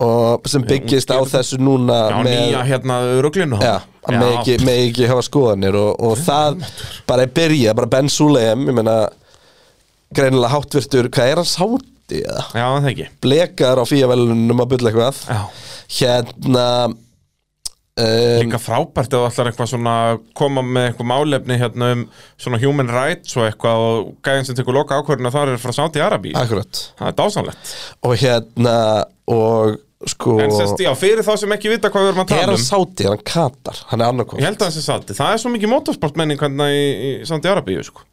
og sem byggist á þessu núna Já, nýja hérna ruglinu Já, að með ekki, með ekki hafa skoðanir og, og það bara í byrja, bara Ben Sulem ég meina greinilega háttvirtur, hvað er hans hátti eða? já, það ekki blekar á fíavelunum að bylla eitthvað Já, hérna um, Líka frábært ef þú ætlar eitthvað svona koma með eitthvað málefni hérna um svona human rights og eitthvað og gæðin sem tekur loka ákvörðina þar er frá Saudi Arabi Akkurat Það er dásanlegt Og hérna Og sko En sérst, já, fyrir þá sem ekki vita hvað við erum að Er tala hann um sáti, er hann katar Hann er Ég annarkoð held að það sé Saudi, það er svo mikið motorsportmenning hérna í, í Saudi Arabi, sko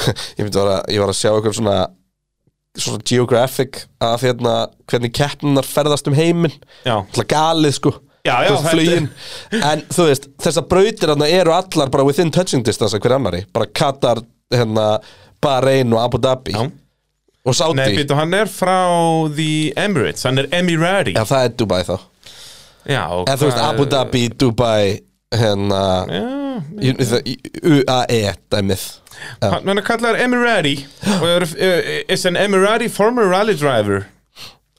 Ég, myndi vera- ég var að sjá eitthvað svona Svona geographic Af hérna Hvernig keppnunar ferðast um heiminn Já, Það er galið sko Já, já, Þú veist, þetta- flugin En þú veist Þessar brautir hann eru allar Bara within touching distance af Hver annari Bara Katar Hérna Bahrein og Abu Dhabi já Og Saudi Nei, býtu, hann er frá The Emirates, hann er Emirati Já, það er Dubai þá Já, og En þú veist, hvað- Abu Dhabi, Dubai hérna Já, í- í- í- UAE dæmið Hann hann er kallar Emirati og er, uh, is an Emirati former rally driver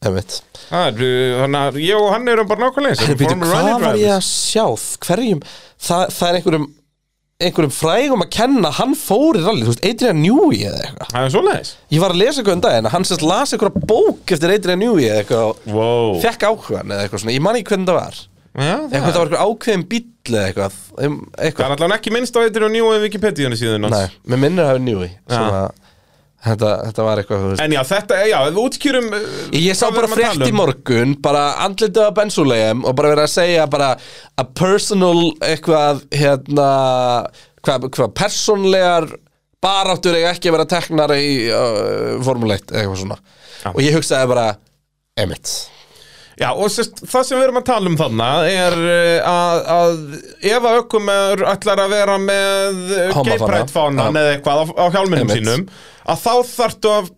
einmitt. Það er, uh, Þannig að ég og hann erum bara nákvæmlega eins, En erum býtu, former rally hvað var ég drivers. að sjá hverjum, það, það er einhverjum einhverjum frægum að kenna hann fór í rally, þú veist, Adrian Newey eða eitthvað Það er svoleiðis ég var að lesa eitthvað um daginn, að hann sérst las einhverja bók eftir Adrian Newey eða eitthvað og wow. fekk áhugan eða eitthvað svona, ég man ekki hvernig það var Já, það, eitthvað það var einhver ákveðin bíll eða eitthvað um, það eitthvað, er allan ekki minnst á eitthvað og nýjum Wikipedia síðan nei, með minnir að hafa Newey svona, þetta, þetta var eitthvað þú veist. En já, þetta, já, við útkýrum uh, Ég sá hvað við bara erum að frétt tala í um. morgun, bara andlitið af bensulegum og bara verið að segja bara a personal eitthvað, hérna, hvað, hvað persónlegar baráttur eiga ekki að vera teknar í uh, formuleitt eitthvað svona. Og ég hugsaði bara, emitt. Já, og sérst, það sem við erum að tala um þannig er uh, að, að ef að ökumur ætlar að vera með Homofána. geiprætfánan Já. eða eitthvað á, á hjálminum Einmitt. sínum að þá þarftu að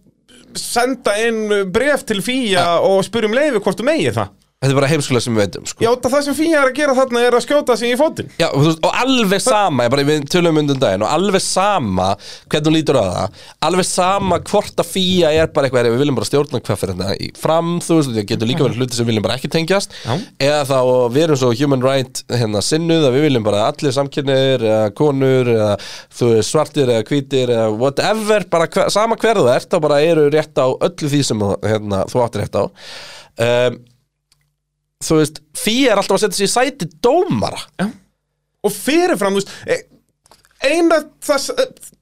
senda inn bref til fíja og spyrjum leifi hvort þú megi það Þetta er bara heimskulega sem við veitum, sko. Já, út af það sem fíja er að gera þarna er að skjóta sig í fótinn Já, og, þú veist, og alveg sama, ég bara við tölum undan daginn og alveg sama hvernig hún lítur á það alveg sama hvort að fýja er bara eitthvað, herri, við viljum bara stjórna hvað fyrir þetta í fram, þú veist, það getur líka verið hluti sem við viljum bara ekki tengjast Já. eða þá og við erum svo human right hérna sinnuð að við viljum bara að allir samkynniðir eða konur eða þú veist svartir eða hvítir eða whatever, bara hver, sama hver þú ert þá bara eru rétt á öllu því sem hérna, þú áttir rétt á um, þú veist, fýja er alltaf að setja sig í sæti dómara og fyrirfram, þú veist e- eina það, s-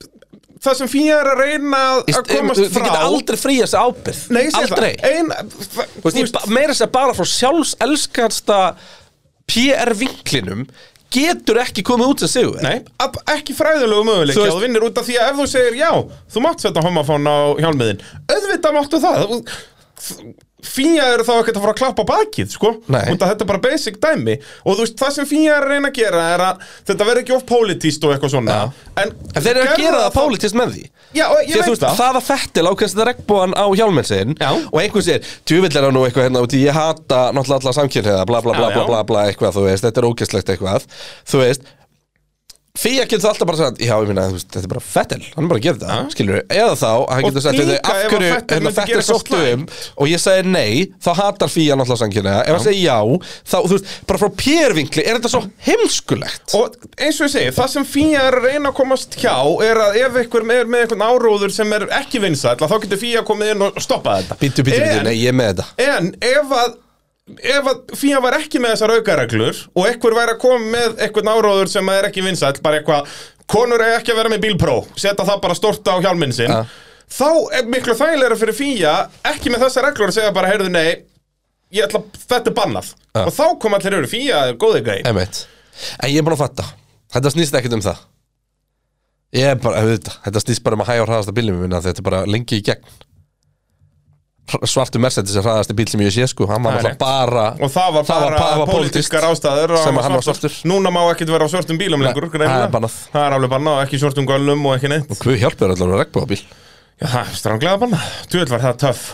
það sem fíja er að reyna að- Þú að komast frá Þið geta aldrei fríja sér ábyrð Nei, ég segi Aldrei það. Ein, það, Þú veist, ég ba- Meira sér bara frá sjálfselskasta PR vinklinum Getur ekki komið út sem sigur Nei, ab- ekki fræðilegu möguleik Þú að veist- þú vinnir út af því að ef þú segir já, þú mátt setja homafón á hjálmiðin auðvitað máttu það Þú- þ- fía eru þá ekkert að fara að klappa á bakið sko, Nei. út af þetta er bara basic dæmi og þú veist, það sem fía er að reyna að gera er að þetta verður ekki of politíst og eitthvað svona en, En þeir eru að gera það pólitist með því Já, og ég Því að þú veit veist, það það að fettil ákveðst þetta regnbúan á hjálminn sinn Já. og einhvern sér, tjúvill er hann nú eitthvað hérna út í ég hata náttúrulega alla samkynniða bla bla bla Já, bla já. bla bla eitthvað, þú veist, þetta er ógæslegt eitthvað þú veist Fía getur alltaf bara sagt, já, ég minna, þú veist, þetta er bara fettil, hann er bara að gera þetta, skilur eða þá, að hann Og getur sagt, við líka þau, af ef að hverju, Fettel hérna, myndi gera fettil eitthvað sóttu um og ég segi nei, þá hatar fía náttúrulega samkynniða, ef hann segi já, þá, þú veist, bara frá pérvinkli, er þetta svo heimskulegt? Og eins og ég segi, það sem fía er að reyna að komast hjá er að ef einhver er með einhvern áróður sem er ekki vinsæll að þá getur fía komið inn og stoppað þetta Bítu, bítu, bítu, En- nei, ég er með þetta En ef að ef að fíja var ekki með þessar aukareglur og einhver væri að koma með eitthvað áróður sem er ekki vinsæll, bara eitthvað konur er ekki að vera með bílpró, setja það bara stort á hjálminn sinn, Ja. þá er miklu þægilega fyrir fíja, ekki með þessar reglur að segja bara, heyrðu nei ég ætla, þetta er bannað, Ja. og þá kom allir yfir fíja, góði gæ Einmitt. En ég er búin að fatta Þetta snýst ekkert um það Ég er bara, auðvitað, þetta snýst bara um að hægja og hraðasta bílum minna Þetta er bara lengi í gegn Hr- Svartu Mercedes er hraðasti bíl sem ég sé sko Hann var Það er alltaf bara og það var það bara það var pólitískt. pólitískar ástæður og Sem að hann var svartur. núna má ekkert vera á svörtum bílum það lengur, er greinilega. bannað. það er alveg bannað, og ekki í svörtum göllum og ekki neitt Hvað hjálpar allar að regnbúða bíl Já, það er stranglega banna Tjöld var það töff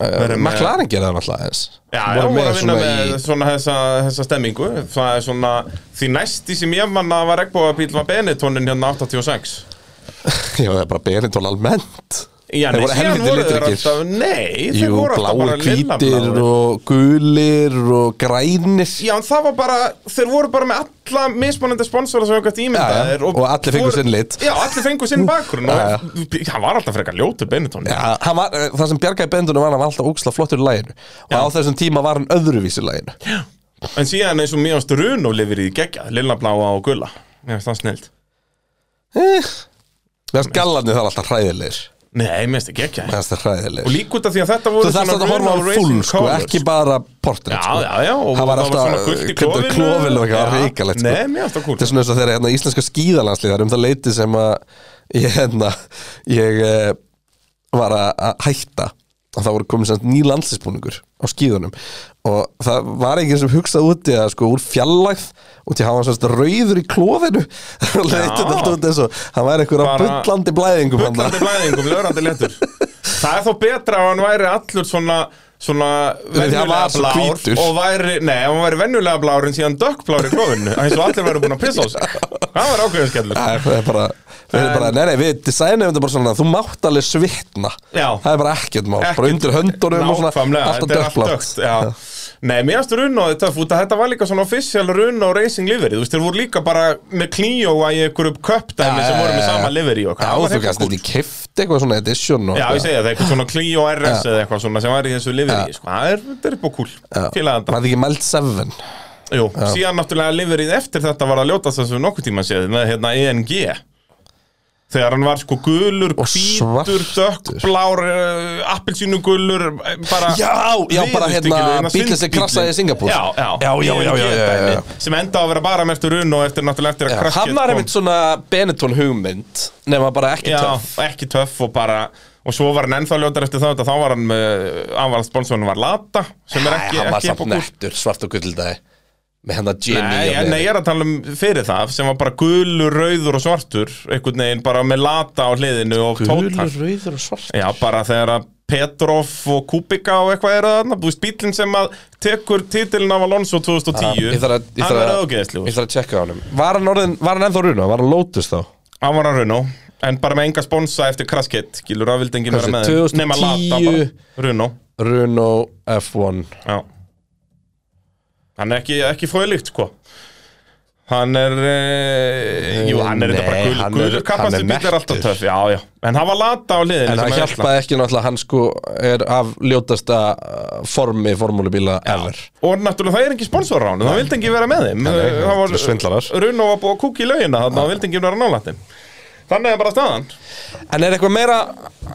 Verið með- Eh, McLaren gerði hann alltaf eins Já, Voru já, hún var að vinna svona með í- svona þessa, þessa stemmingu Það er svona, því næsti sem ég manna var regnbóðabíl var Benettonin hérna 86 Já, það er bara Benetton almennt Já, Þeir nei, voru síðan helviti voru þeir litríkir. alltaf, nei, þeir Jú, voru alltaf bláir, bara hvítir lillabláir. og gulir og grænir Já, en það var bara, þeir voru bara með alla mismunandi sponsora sem einhvert Já, ímyndaðir já, og allir fengu voru- sinn lit. Já, allir fengu sinn bakgrunn Já, já. og hann var alltaf frekar ljótu Benettonin Já, hann var, eh, það sem bjargaði bendunum var að hann var alltaf óksla flottur í læginu og á þessum tíma var hann öðruvísi í læginu En síðan eins og mjög ástu run og lifir í gegja Lilla bláa og gulla Mér finnst það snild Eh, Mér finnst gallarnir þar alltaf hræðilegir Nei, mér finnst það gegja Mér finnst það Og hræðilegir líka út af því að þetta voru Þú þarfst svona að horfa á Rune og full Racing sko, Colours. ekki bara portrétt Já, sko. já, já og Það var svona alltaf gult í klipptur klofinu. klófil og eitthvað, það var Já. ríkalegt sko. Nei, mér finnst það Þetta kúl er svona eins og þegar hérna, íslenska skíðalanslið er um það leiti sem að ég, hérna, ég eh, var að að hætta og það voru komin sem sagt ný landslisbúningur á skíðunum og það var ekki sem hugsað úti að sko úr fjallægð út í hafa sem sagt rauður í klófinu og leitið alltaf út eins og það væri einhver á Bara- bullandi blæðingum þarna. Bullandi blæðingum, lörandi letur Það er þó betra að hann væri allur svona svona því hann venjulega var svo blár hvítur. og væri, nei, ef hann væri venjulega blár en síðan dökkblár í klófinu eins og allir væri búin að pissa á sig Það var ákveðin skellur Nei, það er bara, við erum bara, nei, nei, við designum þetta bara svona, þú mátt alveg svitna Já. Það er bara ekkert mál, bara Ekkert- undir höndunum og svona, Nákvæmlega, alltaf þetta er allt dökkblátt dökkt, já. Nei, mér finnst runa og þetta fúta, þetta var líka svona official runa og racing livery, þú veist, þeir voru líka bara með Clio að í einhverju köpdæmi Já, sem voru með já, já. sama livery og Já, Það var þú hreint gæst kúl. þetta í kift eitthvað svona edition og Já, ég segja það, eitthvað svona Clio RS eða eitthvað svona sem var í þessu livery, sko, það er, þetta er upp á kúl, Var félaganda. þetta ekki mælt 7? Jú, síðan náttúrulega liverið eftir þetta var að ljóta þessu nokkuð tíma séð með hérna ENG þegar hann var sko gulur, Og hvítur, svartur. dökkblár uh, appelsínu gulur bara Já, já, bara hérna, bíllinn sem krassaði í Singapúr. já, já, E Já, já, já, já, já, já, já. sem enda á að vera bara með eftir unn og eftir náttúrulega eftir að krakkið Hann var einmitt svona Benetton hugmynd, nema bara ekki já, töff ekki töff og bara og svo var hann ennþá ljótar eftir það þá var hann með, anvarað sponsorinn var Lata sem er Nei, ekki, hann var ekki samt nettur, svart og gulldaði Með hérna. hennar Jenny Nei, en ég er að tala um fyrir það sem var bara gulur, rauður og svartur einhvern veginn bara með lata á hliðinu og Gulur, tóttar rauður og svart Já, bara þegar að Petrov og Kubika og eitthvað eru þarna búist bílinn sem að tekur titilin af Alonso 2010 Ég þarf að, ég Hann þarf verði að, ógeðislegur ég þarf að checka á honum Var hann orðin, var hann ennþá runa, var hann Lotus þá? Hann var að Runo En bara með enga sponsa eftir kraskett Skilur að vildi enginn Hversu, vera með þeim. Nema lata 2010? bara Runo Runo F1 Já Hann er ekki, ekki fróðlíkt, sko Hann er eh, Jú, hann er Nei, þetta bara gul, hann er- gulur hann er kapasitbíl er alltaf nettur. töff Já, já, en hann var lata á En liðinu sem það er illa. hjálpaði ekki náttúrulega að hann sko er af ljótasta uh, formi formúlubíla ever Og náttúrulega það er engin sponsor á hann Það vildi engin vera með þeim Nei, nei, Það þetta er svindlarar. Runo var búið að kúka í laugina Þannig að það vildi engin vera nálætt þeim Þannig er bara staðan En er eitthvað meira,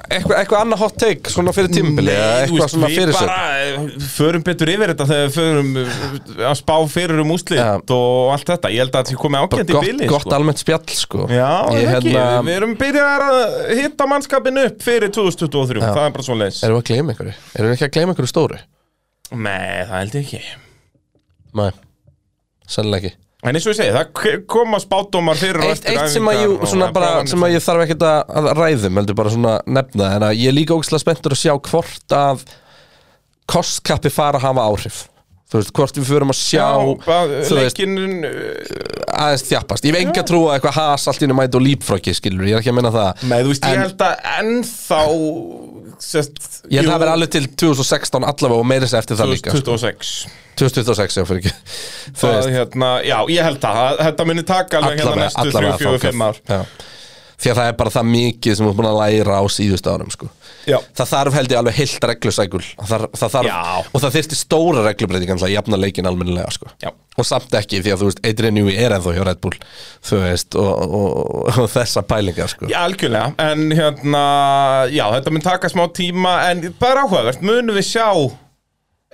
eitthvað, eitthvað annað hot take svona fyrir tímbili eða þú eitthvað svona við fyrir sig bara eh, förum betur yfir þetta þegar við förum eh, að spá fyrir um úslit og allt þetta Ég held að þetta komið ágætt í Gott, bili gott almennt spjall sko Já, Ég, ég, ekki, hérna- við erum byrjað að hitta mannskapin upp fyrir 2023, það er bara svo leis Erum við að gleyma einhverju? Erum við ekki að gleyma einhverju stóru? Nei, það held ég ekki Nei, sennilega ekki En eins og ég segi, það k- koma spátdómar fyrir og Eitt, eftir eitt sem, að æfingar ég, og svona það er bara, vanir sem að ég þarf ekkert að að ræðum heldur bara svona nefna en að ég er líka ógislega spenntur að sjá hvort að kostkappi fara að hafa áhrif Þú veist, hvort við förum að sjá Já, uh, þú veist, leikin aðeins þjappast Ég hef enga trú að eitthvað has allt í henni mæti og lípfröki skilur, ég er ekki að menna það Nei, þú veist, En- ég held að ennþá sest, Ég held að jú, það verið alveg til 2016 allavega og meira sér eftir það líka sko. 2026 2026, já fyrir ekki Þú það, veist, hérna, Já, ég held að það- þetta muni taka alveg hérna allavega, næstu 3, allavega 4, 5 ár þangað. Já. Því að það er bara það mikið sem við erum búin að læra á síðustu árum sko. Já. Það þarf held ég alveg heilt reglusækul það, þarf- það þarf, Já. Og það þyrfti stóra reglubreitingan að jafna leikin almennilega sko. Já. Og samt ekki því að þú veist, Adrian Newey er ennþá hjá Red Bull Þú veist, og, og, og, og þessa pælingar sko. Já, algjörlega, en hérna, já, þetta mun taka smá tíma, en bara áhugavert, munum við sjá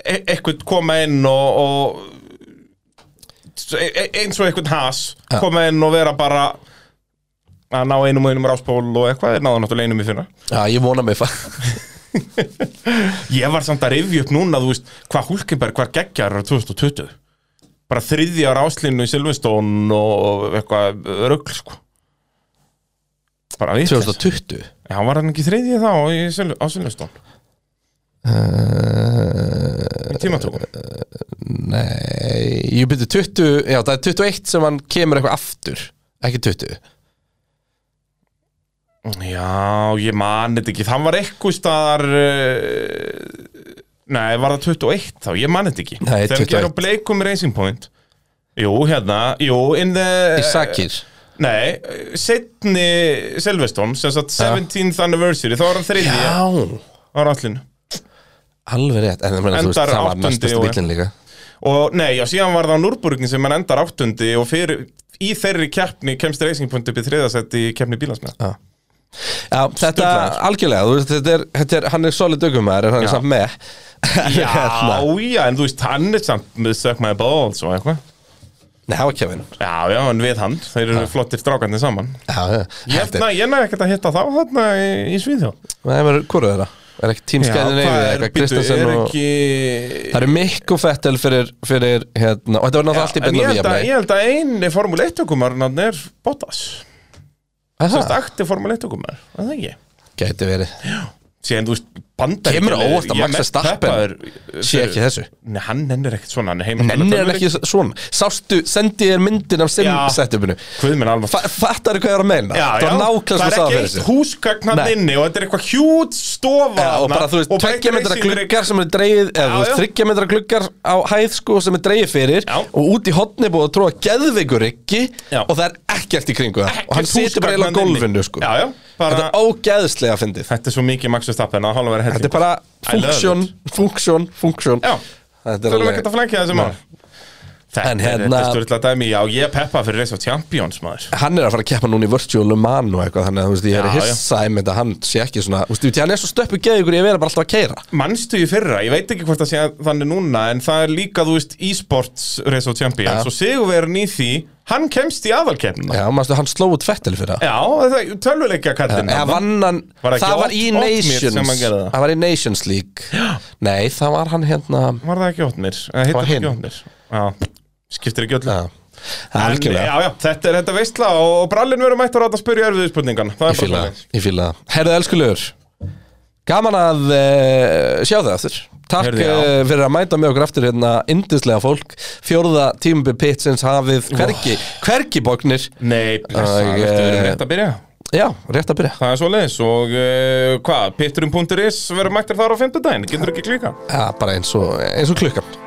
e eitthvað koma inn og, og e e- eins og eitthvað has, koma inn og vera bara að ná einum og einum ráspól og eitthvað, þeir náðu náttúrulega einum í fyrra. Já, ég vona mig fa- Ég var samt að rifja upp núna, þú veist, hvað Hulkenberg var geggjar 2020, bara þriðja ráslinu í Silveston og eitthvað rögl, sko. Bara við 2020 Já, hann var hann ekki þriðið þá í Sölu- á Silvestón Í tímatökum Nei, Eh, ég byrju 20 Já, það er 21 sem hann kemur eitthvað aftur Ekki 20 Já, ég man þetta ekki Hann var eitthvað staðar uh, Nei, var það 21 þá? Ég man þetta ekki Nei, Þegar 21. ekki er á bleikum Racing Point Jú, hérna, jú, in the Í Eh, sakir Nei, setni Silvestón, sem sagt 17th anniversary Þá var hann þriðið á Já rallinu Alveg rétt En, en, en Endar það var áttundi næstast og- bílinn líka og nei, já, síðan var það á Núrburgni sem hann endar áttundi og fyrir, í þeirri keppni kemst Racing Point upp í þriðasett í keppni bílasmið Já, já þetta Sturlaður. algjörlega, þú veist, þetta er, þetta er, hann er solid augumæður en hann Já. er samt með Já, Hérna. já, en þú veist, hann er samt með Suck My Balls og eitthvað Nei, það var Kevin Já, já, en við hann, þeir eru flottir strákarnir saman Já, Ég þetta er- næ, ég næ ekkert að hitta þá þarna í, í Svíðjó Nei, maður- Hvor er það? Er ekki tímskæðin neyfið er, eitthvað, býttu, Kristensen er og ekki Það eru Mikk og Fettel fyrir, fyrir hérna, og þetta var náttúrulega allt í En byrnu ég við held, að, jafnveg. ég held að eini Formule 1-tökumarinn er Bottas Sérst akti Formule 1-tökumar, að það ekki Gæti verið, Síðan, þú veist, bandar Kemur á óvart að Max Verstappen eh, sé ekki þessu Nei, hann nennir ekkert svona, hann er heima Nenni hann ekki svona Sástu, sendi ég þér myndin af Já. sim-setupinu Hvað minn alveg Fattar þú hvað ég er að meina? Já, það já. var nákvæmst að það er það ekki fyrir eitt sig húsgagn hann Nei. inni og þetta er eitthvað hjút stofa Já, og bara þú veist, tveggja metra gluggar sem er dreigð eða Já, þú veist, já. þryggja metra gluggar á hæð sko sem er dreigð fyrir Já. og út í hotni búið að tróða geðveikur ekki Já. og það er ekkert í kringu það og hann situr bara eiginlega á gólfinu sko já, já, bara, Þetta er ógeðslega fyndið þetta er svo mikið Max Verstappen að hálfa verið Þetta er hellingur bara I love funksjón, funksjón, funksjón Já. Þetta er Þurfum ekkert að alveg flækja þessi mál Þetta En er- hérna- þetta er styrla dæmi, já, ég peppa fyrir Race of Champions, maður Hann er að fara að keppa núna í Virtual Le Mans og eitthvað Þannig að þú veist, ég er Já, að hissa einmitt að hann sé ekki svona Þú veist, því hann er svo stöppu geðugur ég verið bara alltaf að keira Manstu í fyrra, ég veit ekki hvort það sé þannig núna En það er líka, þú veist, e-sports Race of Champions Já. Og Sigurverðin í því, hann kemst í aðalkeppnina Já, mannstu, hann sló út fettil fyrir það Já, það- tölvuleikja kallinn Eða vann hann, Var það ekki það var Ott- í Oddmýr sem Nations hann gerði það? var í Nations League Nei, það var hann hérna Var það ekki Otnir? Eða Það var heitir það hinn. ekki Otnir? Já, skiptir ekki öllu Já, það er En, algjörlega Já, já, þetta er þetta veistla og brallin verður mættur að spyrja erfiðu spurningan Það Ég er bara fíla það það, ég fíla það Herðu elskulegur Gaman að uh, sjá þau aftur Takk Heyrðu, Herðu, já. fyrir að mæta með okkur aftur hérna Indislega fólk, fjórða tímubi pitsins hafið Hvergi, hvergi bóknir Nei, blessa, Og, þetta verður eh, rétt að byrja Já, rétt að byrja Það er svoleiðis og eh, uh, hvað, pitturum.is verður mættir þar á fimmtudaginn, getur ekki klíka Já, bara eins og, eins og klukkan